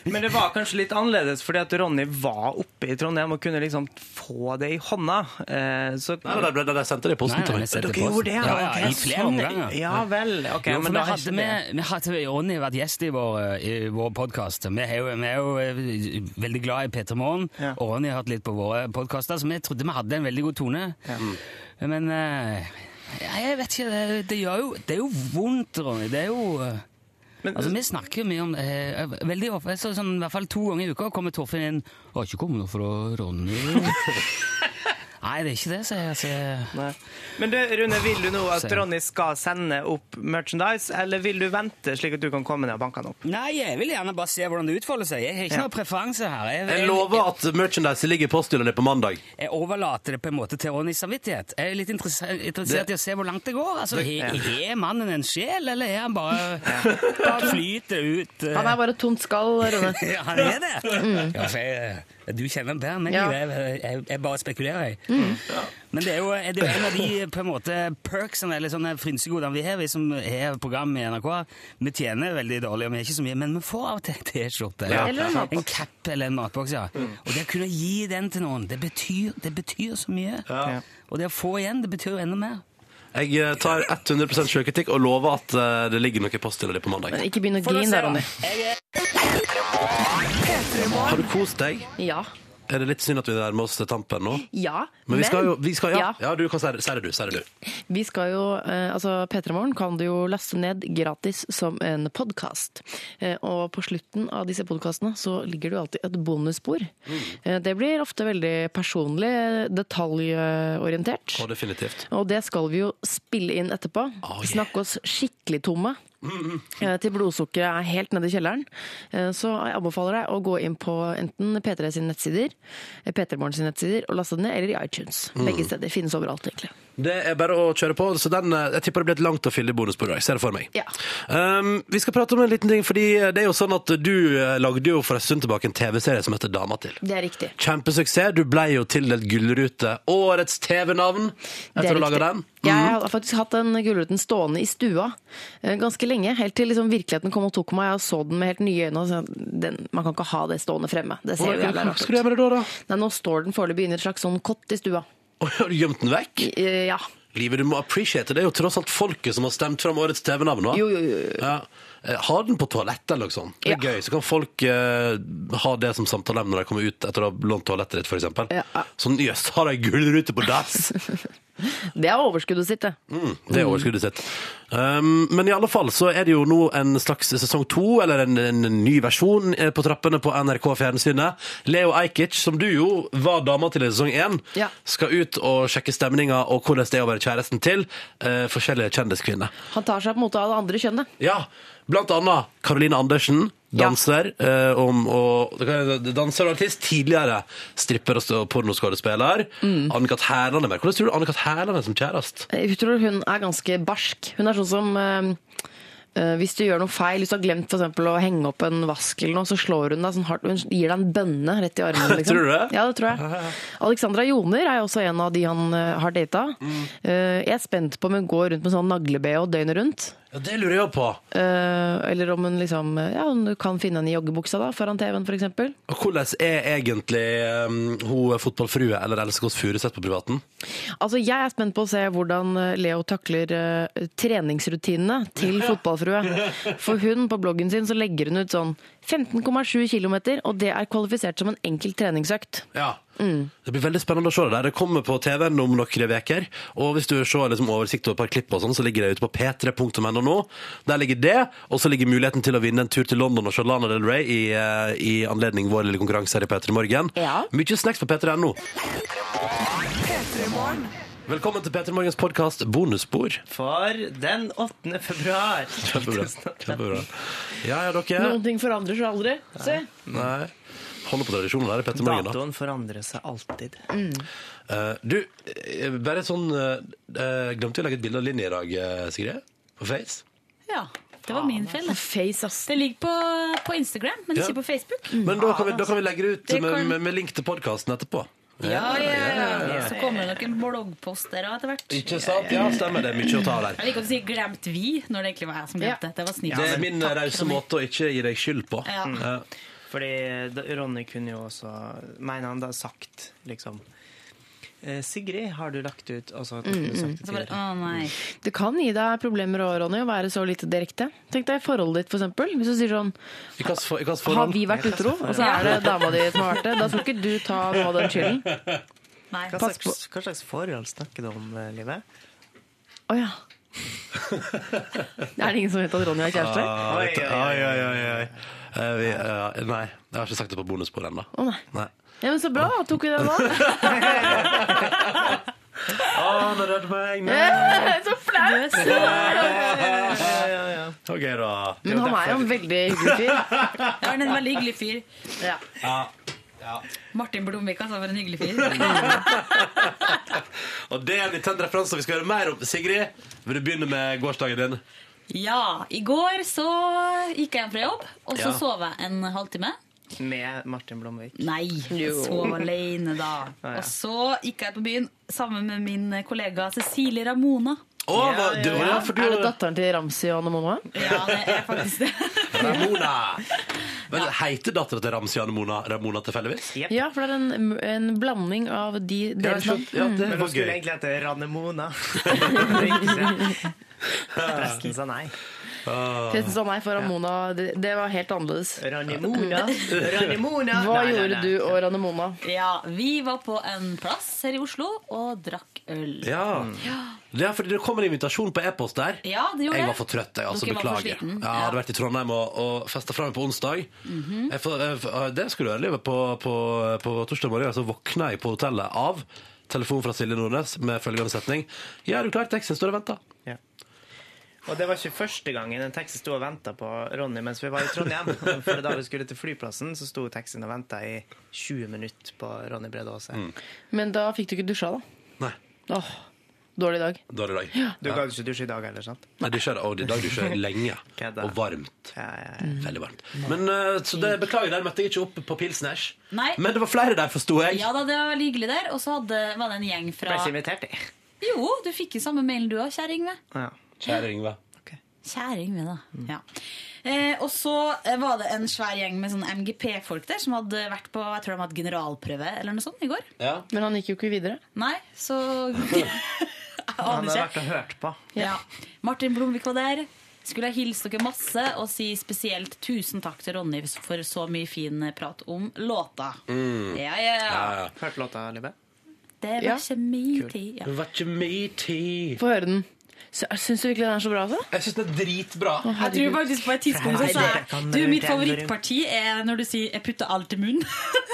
Speaker 5: Men det var kanskje litt annerledes, fordi at Ronny var oppe i Trondheim og kunne liksom få det i hånda. eh, Så
Speaker 2: Nei, nei, nei, nei, de sendte det i posten
Speaker 17: Nei, nei,
Speaker 2: til meg.
Speaker 17: de sendte
Speaker 5: Dere gjorde det?
Speaker 17: Ja, ja,
Speaker 5: ok,
Speaker 17: i flere omganger.
Speaker 5: Ja vel. ok,
Speaker 17: jo, for
Speaker 5: men da
Speaker 17: vi
Speaker 5: er ikke
Speaker 17: hadde,
Speaker 5: det.
Speaker 17: med, vi hadde Ronny vært gjest i vår, eh, i vår podkast. Vi er jo, vi er jo eh, veldig glad i Peter Morgen, og Ronny har hørt litt på våre podkaster, så vi trodde vi hadde en veldig god tone. Mm. Men eh, jeg vet ikke, det, det, gjør jo, det er jo vondt, Ronny. Det er jo eh, altså, Vi snakker jo mye om eh, Veldig ofte, så, sånn, i hvert fall to ganger i uka, kommer Torfinn inn 'Har ikke kommet noe fra (laughs) Ronny'. Nei, det er ikke det, sier jeg. Så jeg
Speaker 5: Men du, Rune, vil du nå at
Speaker 17: Se.
Speaker 5: Ronny skal sende opp merchandise, eller vil du vente slik at du kan komme ned og banke han opp?
Speaker 17: Nei, jeg vil gjerne bare se hvordan det utfolder seg. Jeg har ikke
Speaker 5: Ja.
Speaker 17: noen preferanse her. Jeg,
Speaker 2: Jeg lover at merchandise ligger i posthylla di på mandag.
Speaker 17: jeg eh, overlater det på en måte til Ronnys samvittighet. Jeg er litt interesse- interessert
Speaker 2: Det-
Speaker 17: i å se hvor langt det går. Altså,
Speaker 2: Det-
Speaker 17: he-
Speaker 2: Ja.
Speaker 17: Har mannen en sjel, eller er
Speaker 2: (laughs)
Speaker 17: han bare, bare flyter ut? eh?
Speaker 4: Han er bare et tomt skall, Ronny.
Speaker 17: (laughs) Ja, han er det?
Speaker 4: Mm.
Speaker 17: Ja, for jeg, du kjenner ham bedre enn meg.
Speaker 4: Ja.
Speaker 17: Jeg, jeg, jeg bare spekulerer, jeg.
Speaker 21: Mm.
Speaker 17: Men det er jo, det er jo en av de på en måte, perksene eller sånne frynsegodene vi har, vi som har program i NRK. Vi tjener veldig dårlig, og vi har ikke så mye, men vi får av og til en T-skjorte.
Speaker 4: Ja. Eller en matboks.
Speaker 17: en cap eller en matboks. ja.
Speaker 2: Mm.
Speaker 17: Og det å kunne gi den til noen, det betyr, det betyr så mye.
Speaker 2: Ja.
Speaker 17: Og det å få igjen, det betyr jo enda mer.
Speaker 2: Jeg eh, tar 100 sjøkritikk og lover at eh, det ligger noe i posthylla di på mandag.
Speaker 4: Men ikke begynn å grine der, Ronny.
Speaker 2: Har du kost deg?
Speaker 4: Ja.
Speaker 2: Er det litt synd at vi nærmer oss til tampen nå?
Speaker 4: Ja,
Speaker 2: Men vi skal jo vi skal, ja. ja, du kan si det, si det du. Si det du.
Speaker 4: Vi skal jo, eh, altså P3 Morgen kan du jo laste ned gratis som en podkast. Eh, og på slutten av disse podkastene så ligger det jo alltid et bonusspor.
Speaker 2: Mm.
Speaker 4: Eh, det blir ofte veldig personlig, eh, detaljorientert.
Speaker 2: Og Ah, definitivt.
Speaker 4: Og det skal vi jo spille inn etterpå. Snakke oss skikkelig tomme.
Speaker 2: Mm-hmm.
Speaker 4: Eh, Til blodsukkeret er helt nede i kjelleren. Eh, Så jeg anbefaler deg å gå inn på enten P3 sine nettsider, eh, P3 Morgen sine nettsider, og laste det ned, eller i iTunes.
Speaker 2: Mm.
Speaker 4: Begge steder. Finnes overalt, egentlig.
Speaker 2: Det er bare å kjøre på. Så den, eh, jeg tipper det blir et langt og fyldig bonusbord. Jeg ser det for meg. Um, vi skal prate om en liten ting, fordi det er jo sånn at du eh, lagde jo for en stund tilbake en TV-serie som heter Dama til.
Speaker 4: Det er riktig.
Speaker 2: Kjempesuksess. Du ble jo tildelt Gullrute. Årets TV-navn
Speaker 4: Det er
Speaker 2: etter å lage
Speaker 4: riktig.
Speaker 2: den. Mhm.
Speaker 4: Jeg har faktisk hatt den Gullruten stående i stua eh, ganske lenge, helt til liksom virkeligheten kom og tok meg. Jeg så den med helt nye øyne. og sa, den, man kan ikke ha det stående fremme. Det ser
Speaker 2: Hvordan-
Speaker 4: jo jævla
Speaker 2: hvordan
Speaker 4: rart
Speaker 2: Mm. skal du gjøre med det da, da?
Speaker 4: Nei, nå står den foreløpig inne i et slags sånn kott i stua. Eh,
Speaker 2: Oi, har du gjemt den vekk?
Speaker 4: Ja. (laughs)
Speaker 2: Livet, du må appreciate det. Det er jo tross alt folket som har stemt fram årets TV-navn.
Speaker 4: Jo, jo, jo.
Speaker 2: Ja. Eh, Ha den på toalettet eller noe sånt. Det er gøy. Så kan folk eh, ha det som samtaleemne når de kommer ut etter å ha lånt toalettet ditt, f.eks. Ja. Sånn jøss, har ei gullrute på dass!
Speaker 4: Det er overskuddet sitt, det.
Speaker 2: Mm, det er overskuddet sitt. Um, men i alle fall så er det jo nå en slags sesong to, eller en, en ny versjon, eh, på trappene på NRK Fjernsynet. Leo Ajkic, som du jo var dama til i sesong én, skal ut og sjekke stemninga og hvordan det er å være kjæresten til eh, forskjellige kjendiskvinner.
Speaker 4: Han tar seg på en måte av det andre kjønnet.
Speaker 2: Ja, blant annet Karoline Andersen, danser, eh, om, og, danser og artist, tidligere stripper og stå- pornoskuespiller.
Speaker 4: Mm.
Speaker 2: Anne-Kat. Hærland er med. Hvordan tror du Anne-Kat. Hærland er som kjæreste?
Speaker 4: Eh, Jeg tror hun er ganske barsk. Hun er sånn som eh, eh, hvis du gjør noe feil, hvis du har glemt for eksempel, å henge opp en vask eller noe, så slår hun deg sånn hardt. Hun gir deg en bønne rett i armen.
Speaker 2: (laughs)
Speaker 4: Liksom.
Speaker 2: Tror du det?
Speaker 4: Ja, det tror
Speaker 2: (laughs)
Speaker 4: jeg. Alexandra Joner er jo også en av de han eh, har data. Eh, jeg er spent på om hun går rundt med sånn nagle-BH døgnet rundt.
Speaker 2: Ja, det lurer jeg også på.
Speaker 4: Eh, eller om hun liksom eh, ja, hun kan finne henne i joggebuksa da, foran TV-en f.eks.
Speaker 2: Og Hvordan er egentlig um, hun fotballfrue eller Else Kåss Furuseth på privaten?
Speaker 4: Altså, jeg er spent på å se hvordan eh, Leo takler eh, treningsrutinene (laughs) til fotballfrue. For hun, på bloggen sin, så legger hun ut sånn 15,7 km, og det er kvalifisert som en enkel treningsøkt.
Speaker 2: Ja.
Speaker 4: Mm.
Speaker 2: Det blir veldig spennende å se det der. Det kommer på TV-en om noen uker. Og hvis du vil se liksom, oversikt over et par klipp, og sånn, så ligger det ute på p3.no nå. Der ligger det, og så ligger muligheten til å vinne en tur til London og se Lana Del Rey i, eh, i anledning vår lille konkurranse her i P3 Morgen. Mye snacks på p3.no. Velkommen til P3 Morgens podkast Bonusbord.
Speaker 5: For den 8.
Speaker 17: (laughs)
Speaker 5: februar
Speaker 2: Kjempebra. Kjempebra. Ja, ja, dere.
Speaker 4: Noen ting forandrer seg aldri. Se.
Speaker 2: Nei. Holder på tradisjonen der i P3 Morgen, da.
Speaker 5: Datoen forandrer seg alltid.
Speaker 2: Eh, du, eh, bare sånn eh, eh, Glemte vi å legge et bilde av Linni i dag, eh, Sigrid? På Face?
Speaker 21: Ja, det var min feil. da. Det ligger på, på Instagram, men
Speaker 2: Ja. Mm.
Speaker 21: ikke på Facebook.
Speaker 2: Men da kan, vi, da kan vi legge det ut
Speaker 21: Det
Speaker 2: med,
Speaker 21: kan-
Speaker 2: med, med link til podkasten etterpå.
Speaker 21: Ja, ja,
Speaker 2: ja,
Speaker 21: ja.
Speaker 2: ja.
Speaker 21: Så kommer det noen bloggposter og etter hvert.
Speaker 2: Ikke sant? Ja, stemmer det. Mye å ta der.
Speaker 21: Jeg liker å si 'glemt vi', når det egentlig var jeg som glemte. Det var snilt.
Speaker 2: Det er min eh, rause måte å ikke gi deg skyld på.
Speaker 21: Ja.
Speaker 2: Mm. Eh,
Speaker 5: Fordi da, Ronny kunne jo også Mener han da sagt, liksom eh, Sigrid, har du lagt ut Og så kunne
Speaker 4: Mm,
Speaker 5: du sagt
Speaker 4: mm.
Speaker 5: det til
Speaker 4: Det kan gi deg problemer òg, Ronny, å være så lite direkte. Tenk deg forholdet ditt, for eksempel. Hvis du sier sånn
Speaker 2: I hvilket for- i hvilket forhold?
Speaker 4: Har vi vært utro? Og så er det dama di som har vært det. Da skal ikke du ta noe av den skylden. (laughs)
Speaker 5: Hva
Speaker 4: Pass på.
Speaker 5: slags, hva slags forhold snakker du om, eh, Live?
Speaker 4: Å ja. Er det ingen som vet at Ronny er kjæreste?
Speaker 2: Ah,
Speaker 4: Oi,
Speaker 2: vet du-
Speaker 4: oi,
Speaker 2: Oi, oi, oi. oi. Eh, vi, eh, nei, jeg har ikke sagt det på bonusbordet ennå.
Speaker 4: Å, nei. Ja, men Så bra, da tok vi den nå.
Speaker 2: (laughs) Han har rørt meg!
Speaker 4: Så flaut!
Speaker 2: OK, da.
Speaker 4: Men han er jo en veldig hyggelig fyr.
Speaker 21: Ja, han er en veldig hyggelig fyr.
Speaker 2: Ja.
Speaker 21: Martin Blomvik, altså, for en hyggelig fyr.
Speaker 2: Og det er en intens referanse vi skal høre mer om. Sigrid, vil du begynne med gårsdagen din?
Speaker 21: Ja, i går så gikk jeg hjem fra jobb, og så
Speaker 5: Ja.
Speaker 21: sov jeg en halvtime.
Speaker 5: Med Martin Blomvik
Speaker 21: Nei, jeg
Speaker 5: Jo.
Speaker 21: sov alene da.
Speaker 5: Ja, ja.
Speaker 21: Og så gikk jeg på byen sammen med min kollega Cecilie Ramona.
Speaker 2: Å, hva- det var
Speaker 21: Ja,
Speaker 2: derfor du-
Speaker 4: Er det datteren til Ramsi og Anne Mamma?
Speaker 2: Ramona.
Speaker 21: (laughs)
Speaker 2: Vel, Heter dattera til Ramsi Anne Mona Ramona tilfeldigvis?
Speaker 4: Ja, for det er en, en blanding av de deres navn.
Speaker 2: Ja, det
Speaker 4: Mm.
Speaker 5: Men
Speaker 2: var
Speaker 5: hun skulle
Speaker 2: gøy.
Speaker 5: egentlig hette (laughs) Ranemona Presten sa nei
Speaker 4: Forresten sa nei for Ramona. Det, det var helt annerledes.
Speaker 5: Ranemona, Ranemona.
Speaker 4: Hva
Speaker 21: Nei, nei,
Speaker 4: gjorde
Speaker 21: nei.
Speaker 4: du og Ranemona?
Speaker 21: Ja, vi var på en plass her i Oslo og drakk øl.
Speaker 2: Ja. Det er fordi det kommer en invitasjon på e-post der.
Speaker 21: Mm. Ja, det gjorde
Speaker 2: jeg
Speaker 21: det.
Speaker 2: var for trøtt, jeg. altså
Speaker 21: Dere var for
Speaker 2: Beklager. Ja,
Speaker 21: sliten.
Speaker 2: jeg hadde vært i Trondheim og, og festa fra meg på onsdag.
Speaker 21: Mhm.
Speaker 2: jeg, får- jeg, får- det skulle du høre, Livet. På, på, på torsdag morgen så våkna jeg på hotellet av telefon fra Silje Nordnes med følgende setning. Ja, er du klar? Teksten står og venter.
Speaker 5: Og det var ikke første gangen en taxi sto og venta på Ronny mens vi var i Trondheim. For da vi skulle til flyplassen, så sto taxien og venta i 20 minutter på Ronny Brede Aase.
Speaker 2: Mm.
Speaker 4: Men da fikk du ikke dusja, da?
Speaker 2: Nei.
Speaker 4: Åh, dårlig dag.
Speaker 2: Dårlig dag.
Speaker 5: Du kan ikke dusje i dag heller, sant?
Speaker 2: Nei, dusjer, og i dag dusjer jeg lenge og varmt. Veldig varmt.
Speaker 21: Mm.
Speaker 2: Men eh, så det, Beklager, der møtte jeg ikke opp på Pilsners.
Speaker 21: Nei.
Speaker 2: Men det var flere der, forsto jeg.
Speaker 21: Ja da, det var veldig hyggelig der. Og så hadde, var det en gjeng fra
Speaker 5: invitert, jeg.
Speaker 21: Jo, du fikk jo samme mailen du òg, kjære Yngve.
Speaker 2: Kjære Yngve.
Speaker 21: Kjære Yngve, da. Ja. Eh, og så eh, var det en svær gjeng med sånn MGP-folk der som hadde vært på jeg tror de hadde generalprøve eller noe sånt i går.
Speaker 4: Men han gikk jo ikke videre.
Speaker 21: Nei, så Jeg aner
Speaker 5: Han har
Speaker 21: ikke.
Speaker 5: vært og hørt på.
Speaker 21: Ja. Martin Blomvik var der. Skulle jeg hilse dere masse og si spesielt tusen takk til Ronny for så mye fin prat om låta. Ja, ja, ja.
Speaker 5: Hørt låta, Libe?
Speaker 21: Det var
Speaker 4: Ja.
Speaker 21: ikke min tid. Ja.
Speaker 2: var ikke mye tid.
Speaker 4: Få høre den. Syns du virkelig den er så bra, altså?
Speaker 2: Jeg syns den er dritbra.
Speaker 21: Jeg tror faktisk på et tidspunkt så sa jeg
Speaker 3: Nei, det-
Speaker 21: Du, mitt favorittparti er når du sier 'jeg putter alt i munnen'.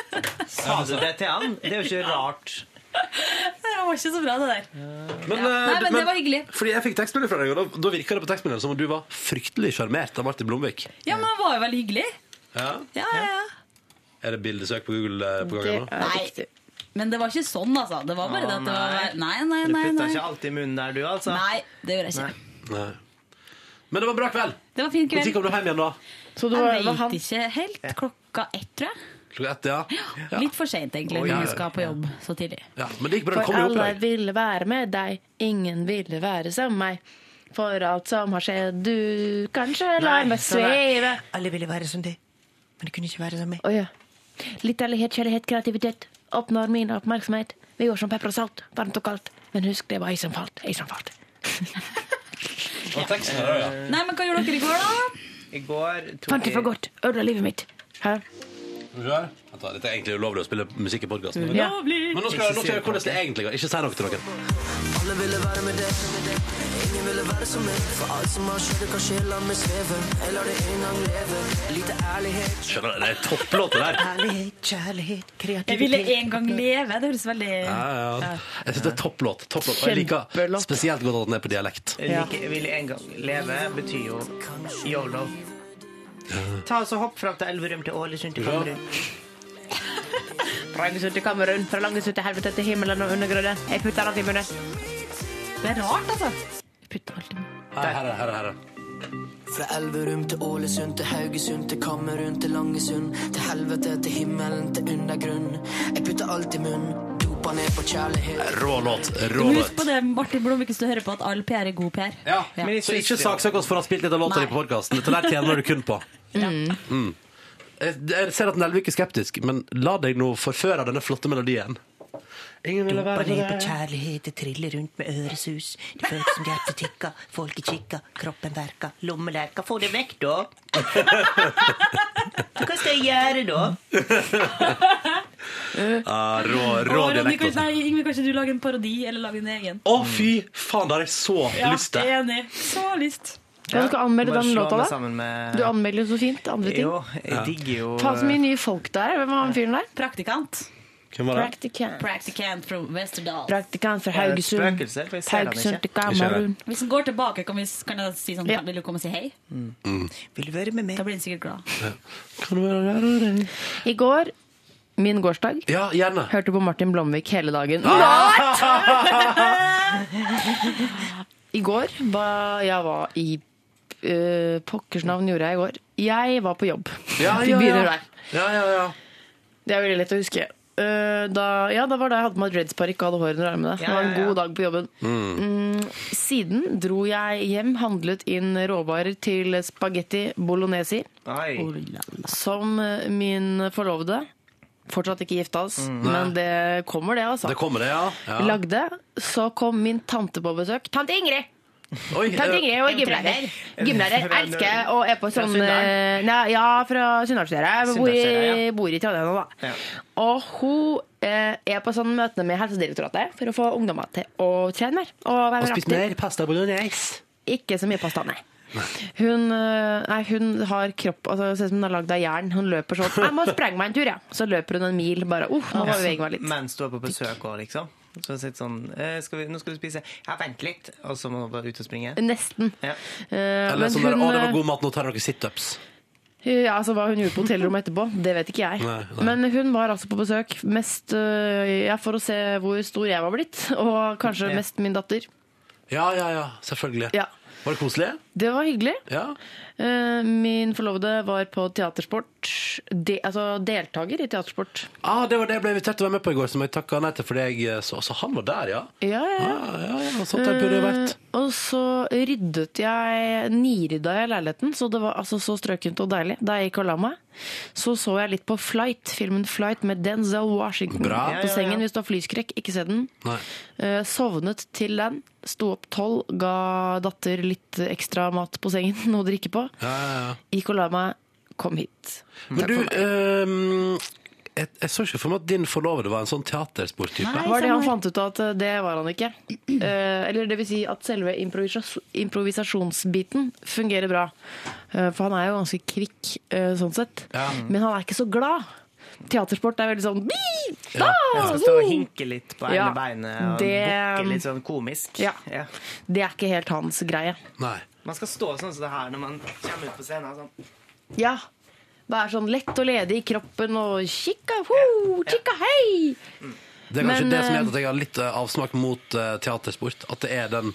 Speaker 21: (laughs)
Speaker 3: Sa du det til han? Det er jo ikke rart.
Speaker 21: Det var ikke så bra, det der.
Speaker 2: Men,
Speaker 21: Ja.
Speaker 2: eh,
Speaker 21: Nei,
Speaker 2: du-
Speaker 21: men det var hyggelig.
Speaker 2: Fordi jeg fikk tekstmelding fra deg, og da, da virka det på tekstmeldingen som om du var fryktelig sjarmert av Martin Blomvik.
Speaker 21: Ja, men det var jo veldig hyggelig.
Speaker 2: Ja.
Speaker 21: Ja, ja, ja.
Speaker 2: Er det bildesøk på Google eh, på gang nå?
Speaker 21: Nei, men det var ikke sånn, altså. Det var bare
Speaker 3: Å,
Speaker 21: det at det var Nei, nei,
Speaker 3: Du
Speaker 21: nei.
Speaker 3: putta
Speaker 21: nei.
Speaker 3: ikke alt i munnen der, du, altså?
Speaker 21: Nei, det gjør jeg ikke.
Speaker 2: Nei. Men det var en bra kveld.
Speaker 21: Det var fin
Speaker 2: Når
Speaker 21: kveld.
Speaker 2: kom du hjem igjen, da?
Speaker 21: jeg vet ikke helt. Klokka ett, tror jeg.
Speaker 2: Klokka ett, ja. ja.
Speaker 21: Litt for seint, egentlig,
Speaker 2: Oi, ja,
Speaker 21: når
Speaker 2: ja,
Speaker 21: du skal på jobb så tidlig.
Speaker 2: ja. Men det gikk bra. Du
Speaker 4: For
Speaker 2: kom jo opp
Speaker 4: alle
Speaker 2: deg.
Speaker 4: ville være med deg, ingen ville være som meg. For alt som har skjedd, du kanskje lar meg sveive.
Speaker 3: Alle ville være som deg, men du kunne ikke være som meg.
Speaker 4: Å ja. Litt ærlighet, kjærlighet, kreativitet oppnår min oppmerksomhet. Vi går som pepper og salt, varmt og kaldt. Men husk, det var jeg som falt. Jeg som
Speaker 3: (laughs)
Speaker 4: falt.
Speaker 2: Og teksten er der, ja.
Speaker 21: Nei, men hva gjorde dere i går, da?
Speaker 3: I går
Speaker 4: Fant det for godt. Ødela livet mitt. Hæ?
Speaker 2: Skal vi se her? Vent da, Dette er egentlig ulovlig å spille musikk i podkasten.
Speaker 4: Ja.
Speaker 2: Men nå skal jeg nå skal jeg høre hvordan det egentlig går. Ikke si noe til noen.
Speaker 6: Alle ville være med deg. Ingen ville være som meg. For alt som har skjedd, kan skje, la meg sveve. Jeg lar det en gang leve. Lite ærlighet.
Speaker 2: Skjønner du, det er topplåter der.
Speaker 3: Ærlighet, kjærlighet, kreativitet
Speaker 21: Jeg ville en gang leve. Det høres veldig
Speaker 2: Ja, ja. ja. Jeg synes det er topplåt. topplåt. Og jeg liker spesielt godt at den er på dialekt.
Speaker 3: Jeg liker- Vil en gang leve betyr jo yolo. Ta oss og Hopp fram til Elverum, til Ålesund, til Kamerun.
Speaker 4: Ranges ut til Kamerun, fra langes ut til helvete, til himmelen og undergrunnen. Jeg putter alt i munnen.
Speaker 21: Det er rart, altså.
Speaker 2: Her, her, her, her, her.
Speaker 6: Fra Elverum til Ålesund til Haugesund til Kamerun til Langesund til helvete til himmelen til undergrunn. Jeg putter alt i munn. Dopa ned på kjærlighet.
Speaker 2: Rå låt.
Speaker 21: Du
Speaker 2: Rå
Speaker 21: må
Speaker 2: låt.
Speaker 21: huske på det, Martin Blom, hvis du hører på at all PR er god PR. Ja.
Speaker 2: Så ikke saksøk oss for å ha spilt litt av låta di på podkasten. Dette der tjener du
Speaker 21: (laughs)
Speaker 2: kun på. Mm. Jeg jeg ser at Nelvik er skeptisk, men la deg nå forføre av denne flotte melodien. Ingen ville være
Speaker 3: Dumpa ned på
Speaker 2: med.
Speaker 3: kjærlighet, det triller rundt med øresus. Det føles som hjertet tikka, folket kikka, kroppen verka, lommelerka. Få det vekk, da! Hva skal jeg gjøre, da?
Speaker 2: Ah, rå rå
Speaker 21: Å, Ronny,
Speaker 2: dialekt.
Speaker 21: kanskje,
Speaker 2: altså.
Speaker 21: nei, Ingvild, kanskje du lager en parodi eller lager en egen?
Speaker 2: Å, fy faen, det har jeg så
Speaker 21: Ja,
Speaker 2: lyst til.
Speaker 21: enig. Så lyst.
Speaker 4: Ja, du skal anmelde
Speaker 3: Bare
Speaker 4: den
Speaker 3: slå
Speaker 4: låta,
Speaker 3: meg
Speaker 4: da?
Speaker 3: sammen med-
Speaker 4: Du anmelder jo så fint andre ting.
Speaker 3: Jo, jeg digger jo
Speaker 4: Faen
Speaker 5: eh,
Speaker 4: så mye nye folk det er. Hvem var han fyren der?
Speaker 21: Praktikant.
Speaker 2: Hvem
Speaker 4: Praktikant.
Speaker 21: Praktikant fra Westerdal.
Speaker 4: Praktikant fra
Speaker 21: Ja,
Speaker 5: eh,
Speaker 21: det er et
Speaker 4: Haugesund.
Speaker 3: spøkelse, for jeg Eh, ser han
Speaker 4: Haugesund
Speaker 3: ikke.
Speaker 4: til Kamerun.
Speaker 21: Hvis den går tilbake, kan, vi, kan jeg si sånn Vil du komme og si hei?
Speaker 2: Mm.
Speaker 3: Vil du være med meg?
Speaker 21: Da blir den sikkert glad.
Speaker 2: Kan du være der og der?
Speaker 4: I går, min gårsdag,
Speaker 2: Ja, gjerne.
Speaker 4: hørte på Martin Blomvik hele dagen.
Speaker 3: Ah!
Speaker 4: (laughs) I går var Jeg var i eh, Pokkers navn gjorde jeg i går. Jeg var på jobb.
Speaker 2: Ja,
Speaker 4: Vi
Speaker 2: ja,
Speaker 4: begynner
Speaker 2: ja.
Speaker 4: der.
Speaker 2: ja, ja, ja.
Speaker 4: Det er veldig lett å huske. Eh, da, ja, da var det jeg hadde på meg dreadsparykk og hadde hår under armene. Det
Speaker 6: Ja,
Speaker 4: var en
Speaker 6: ja, ja.
Speaker 4: god dag på jobben. Mm, siden dro jeg hjem, handlet inn råvarer til spagetti bolognesi.
Speaker 3: Oi.
Speaker 4: Som eh, min forlovede. Fortsatt ikke gifta oss,
Speaker 2: Mm.
Speaker 4: men det kommer, det, altså.
Speaker 2: Det kommer det, ja. ja.
Speaker 4: Lagde. Så kom min tante på besøk. Tante Ingrid!
Speaker 2: Oi,
Speaker 4: Tante
Speaker 2: eh,
Speaker 4: Ingrid er jo gymlærer. Gymlærer
Speaker 2: Fra-
Speaker 4: elsker jeg og er på
Speaker 2: Fra
Speaker 4: sånn
Speaker 2: Sunndal?
Speaker 4: eh, nei, Ja, fra Sunndalsøra. Jeg bor,
Speaker 6: Sunndalsøra,
Speaker 4: i- bor i Trondheim nå, da. Og hun eh, er på sånn møtene med Helsedirektoratet for å få ungdommer til å trene mer. Og,
Speaker 2: Og
Speaker 4: være mer
Speaker 2: spist
Speaker 4: aktiv.
Speaker 2: mer pasta bolognese.
Speaker 4: Ikke så mye pasta, nei. Hun, eh, nei, hun har kropp altså, det Ser ut som hun er lagd av jern. Hun løper sånn 'Jeg
Speaker 2: (laughs)
Speaker 4: må sprenge meg en tur, ja'. Så løper hun en mil. Bare, uh, nå må jeg bevege meg litt.
Speaker 3: Mens du er på besøk òg, liksom. Så sitter sånn eh, skal vi, 'Nå skal du spise.' 'Ja, vent litt.' Og så må du bare ut og springe.
Speaker 4: Nesten.
Speaker 3: Ja.
Speaker 4: Eh,
Speaker 2: Eller
Speaker 4: men
Speaker 2: sånn der,
Speaker 4: hun,
Speaker 2: å, det
Speaker 4: eh,
Speaker 2: var god mat, nå tar jeg noen situps.
Speaker 4: Ja, altså Hva hun gjorde på hotellrommet etterpå, det vet ikke jeg.
Speaker 2: Nei, nei.
Speaker 4: Men hun var altså på besøk mest øh, ja, for å se hvor stor jeg var blitt, (laughs) og kanskje
Speaker 2: Ja.
Speaker 4: mest min datter.
Speaker 2: Ja, ja, ja, selvfølgelig.
Speaker 4: Ja.
Speaker 2: Var det koselig?
Speaker 4: Det var hyggelig.
Speaker 2: Ja.
Speaker 4: Eh, Min forlovede var på teatersport, de, altså deltaker i teatersport.
Speaker 2: Ah, det var det jeg ble invitert til å være med på i går, som jeg takka nei til fordi jeg eh, så, så han var der, ja.
Speaker 4: Ja, ja, ja.
Speaker 2: Ah, Ja, ja, ja, sånt der burde det vært.
Speaker 4: Eh, Og så ryddet jeg, nirydda jeg leiligheten, så det var altså så strøkent og deilig. Da jeg gikk og la meg, så så jeg litt på Flight, filmen Flight med Denzel Washington
Speaker 6: Bra. Ja, ja,
Speaker 4: på
Speaker 6: ja.
Speaker 4: sengen hvis du har flyskrekk. Ikke se den.
Speaker 2: Nei.
Speaker 4: Eh, Sovnet til den. Sto opp tolv, ga datter litt ekstra bra mat på sengen (laughs) og drikke på.
Speaker 2: Ja, ja, ja.
Speaker 4: Gikk og la meg, kom hit.
Speaker 2: Men du, ehm, jeg, jeg så ikke for meg at din forlovede var en sånn teatersporttype.
Speaker 4: var det han fant ut av at eh, det var han ikke. Eh, eller det vil si at selve improvisas improvisasjonsbiten fungerer bra. Eh, for han er jo ganske kvikk eh, sånn sett.
Speaker 5: Ja.
Speaker 4: Men han er ikke så glad. Teatersport er veldig sånn «Bi! da!
Speaker 5: Jeg skal stå og hinke litt på ene
Speaker 4: Ja,
Speaker 5: beinet og
Speaker 4: det-
Speaker 5: bukke litt sånn komisk.
Speaker 4: Ja.
Speaker 5: Ja.
Speaker 4: Det er ikke helt hans greie.
Speaker 5: Man skal stå sånn som det her når man kommer ut på scenen. Sånn.
Speaker 4: Ja. Være sånn lett og ledig i kroppen og kikka, ho, kikka, hei!
Speaker 2: Det er kanskje
Speaker 4: Men,
Speaker 2: det som gjør
Speaker 4: eh,
Speaker 2: at jeg har litt eh, avsmak mot eh, teatersport. At det er den,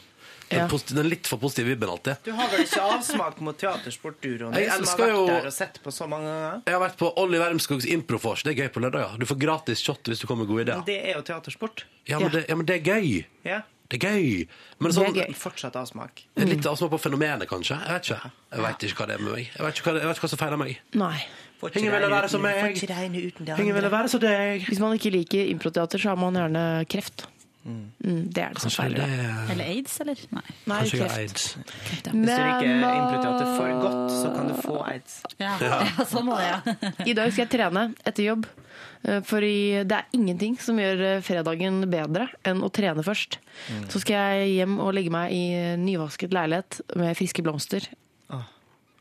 Speaker 2: den,
Speaker 5: Ja.
Speaker 2: posi- den litt for positive vibben alltid.
Speaker 5: Du har vel ikke avsmak mot teatersport, du, Ronny,
Speaker 2: Jeg
Speaker 5: som har
Speaker 2: elsker
Speaker 5: vært
Speaker 2: jo-
Speaker 5: der og sett på så mange ganger?
Speaker 2: Jeg har vært på Olli Wermskogs improfors. Det er gøy på lørdag. Ja. Du får gratis shot hvis du kommer med gode
Speaker 5: Men
Speaker 2: ideer.
Speaker 5: det er jo teatersport.
Speaker 2: Ja, men det, ja, men det er gøy.
Speaker 5: Ja.
Speaker 2: Det er gøy. Men sånn,
Speaker 5: Fortsatt avsmak.
Speaker 4: Mm.
Speaker 2: Litt avsmak på fenomenet, kanskje. Jeg vet ikke. Jeg vet ikke hva det er med meg. Jeg vet ikke hva, det, jeg vet ikke hva som feiler meg.
Speaker 4: Nei.
Speaker 5: Får
Speaker 2: Ingen ville være som meg.
Speaker 5: Får ikke regne uten det
Speaker 2: Ingen ville
Speaker 5: andre.
Speaker 2: være som deg.
Speaker 4: Hvis man ikke liker improteater, så har man gjerne kreft. Mm, det er det som feiler deg.
Speaker 21: Eller aids, eller? Nei.
Speaker 4: Nei,
Speaker 2: Kanskje jeg har
Speaker 4: kreft.
Speaker 2: aids.
Speaker 5: Hvis du
Speaker 4: Men,
Speaker 5: ikke improteater for godt, så kan du få aids.
Speaker 21: Ja,
Speaker 2: Ja.
Speaker 21: ja sånn var det, ja.
Speaker 4: I dag skal jeg trene etter jobb, eh, for i- det er ingenting som gjør eh, fredagen bedre enn å trene først. Så skal jeg hjem og legge meg i eh, nyvasket leilighet med friske blomster.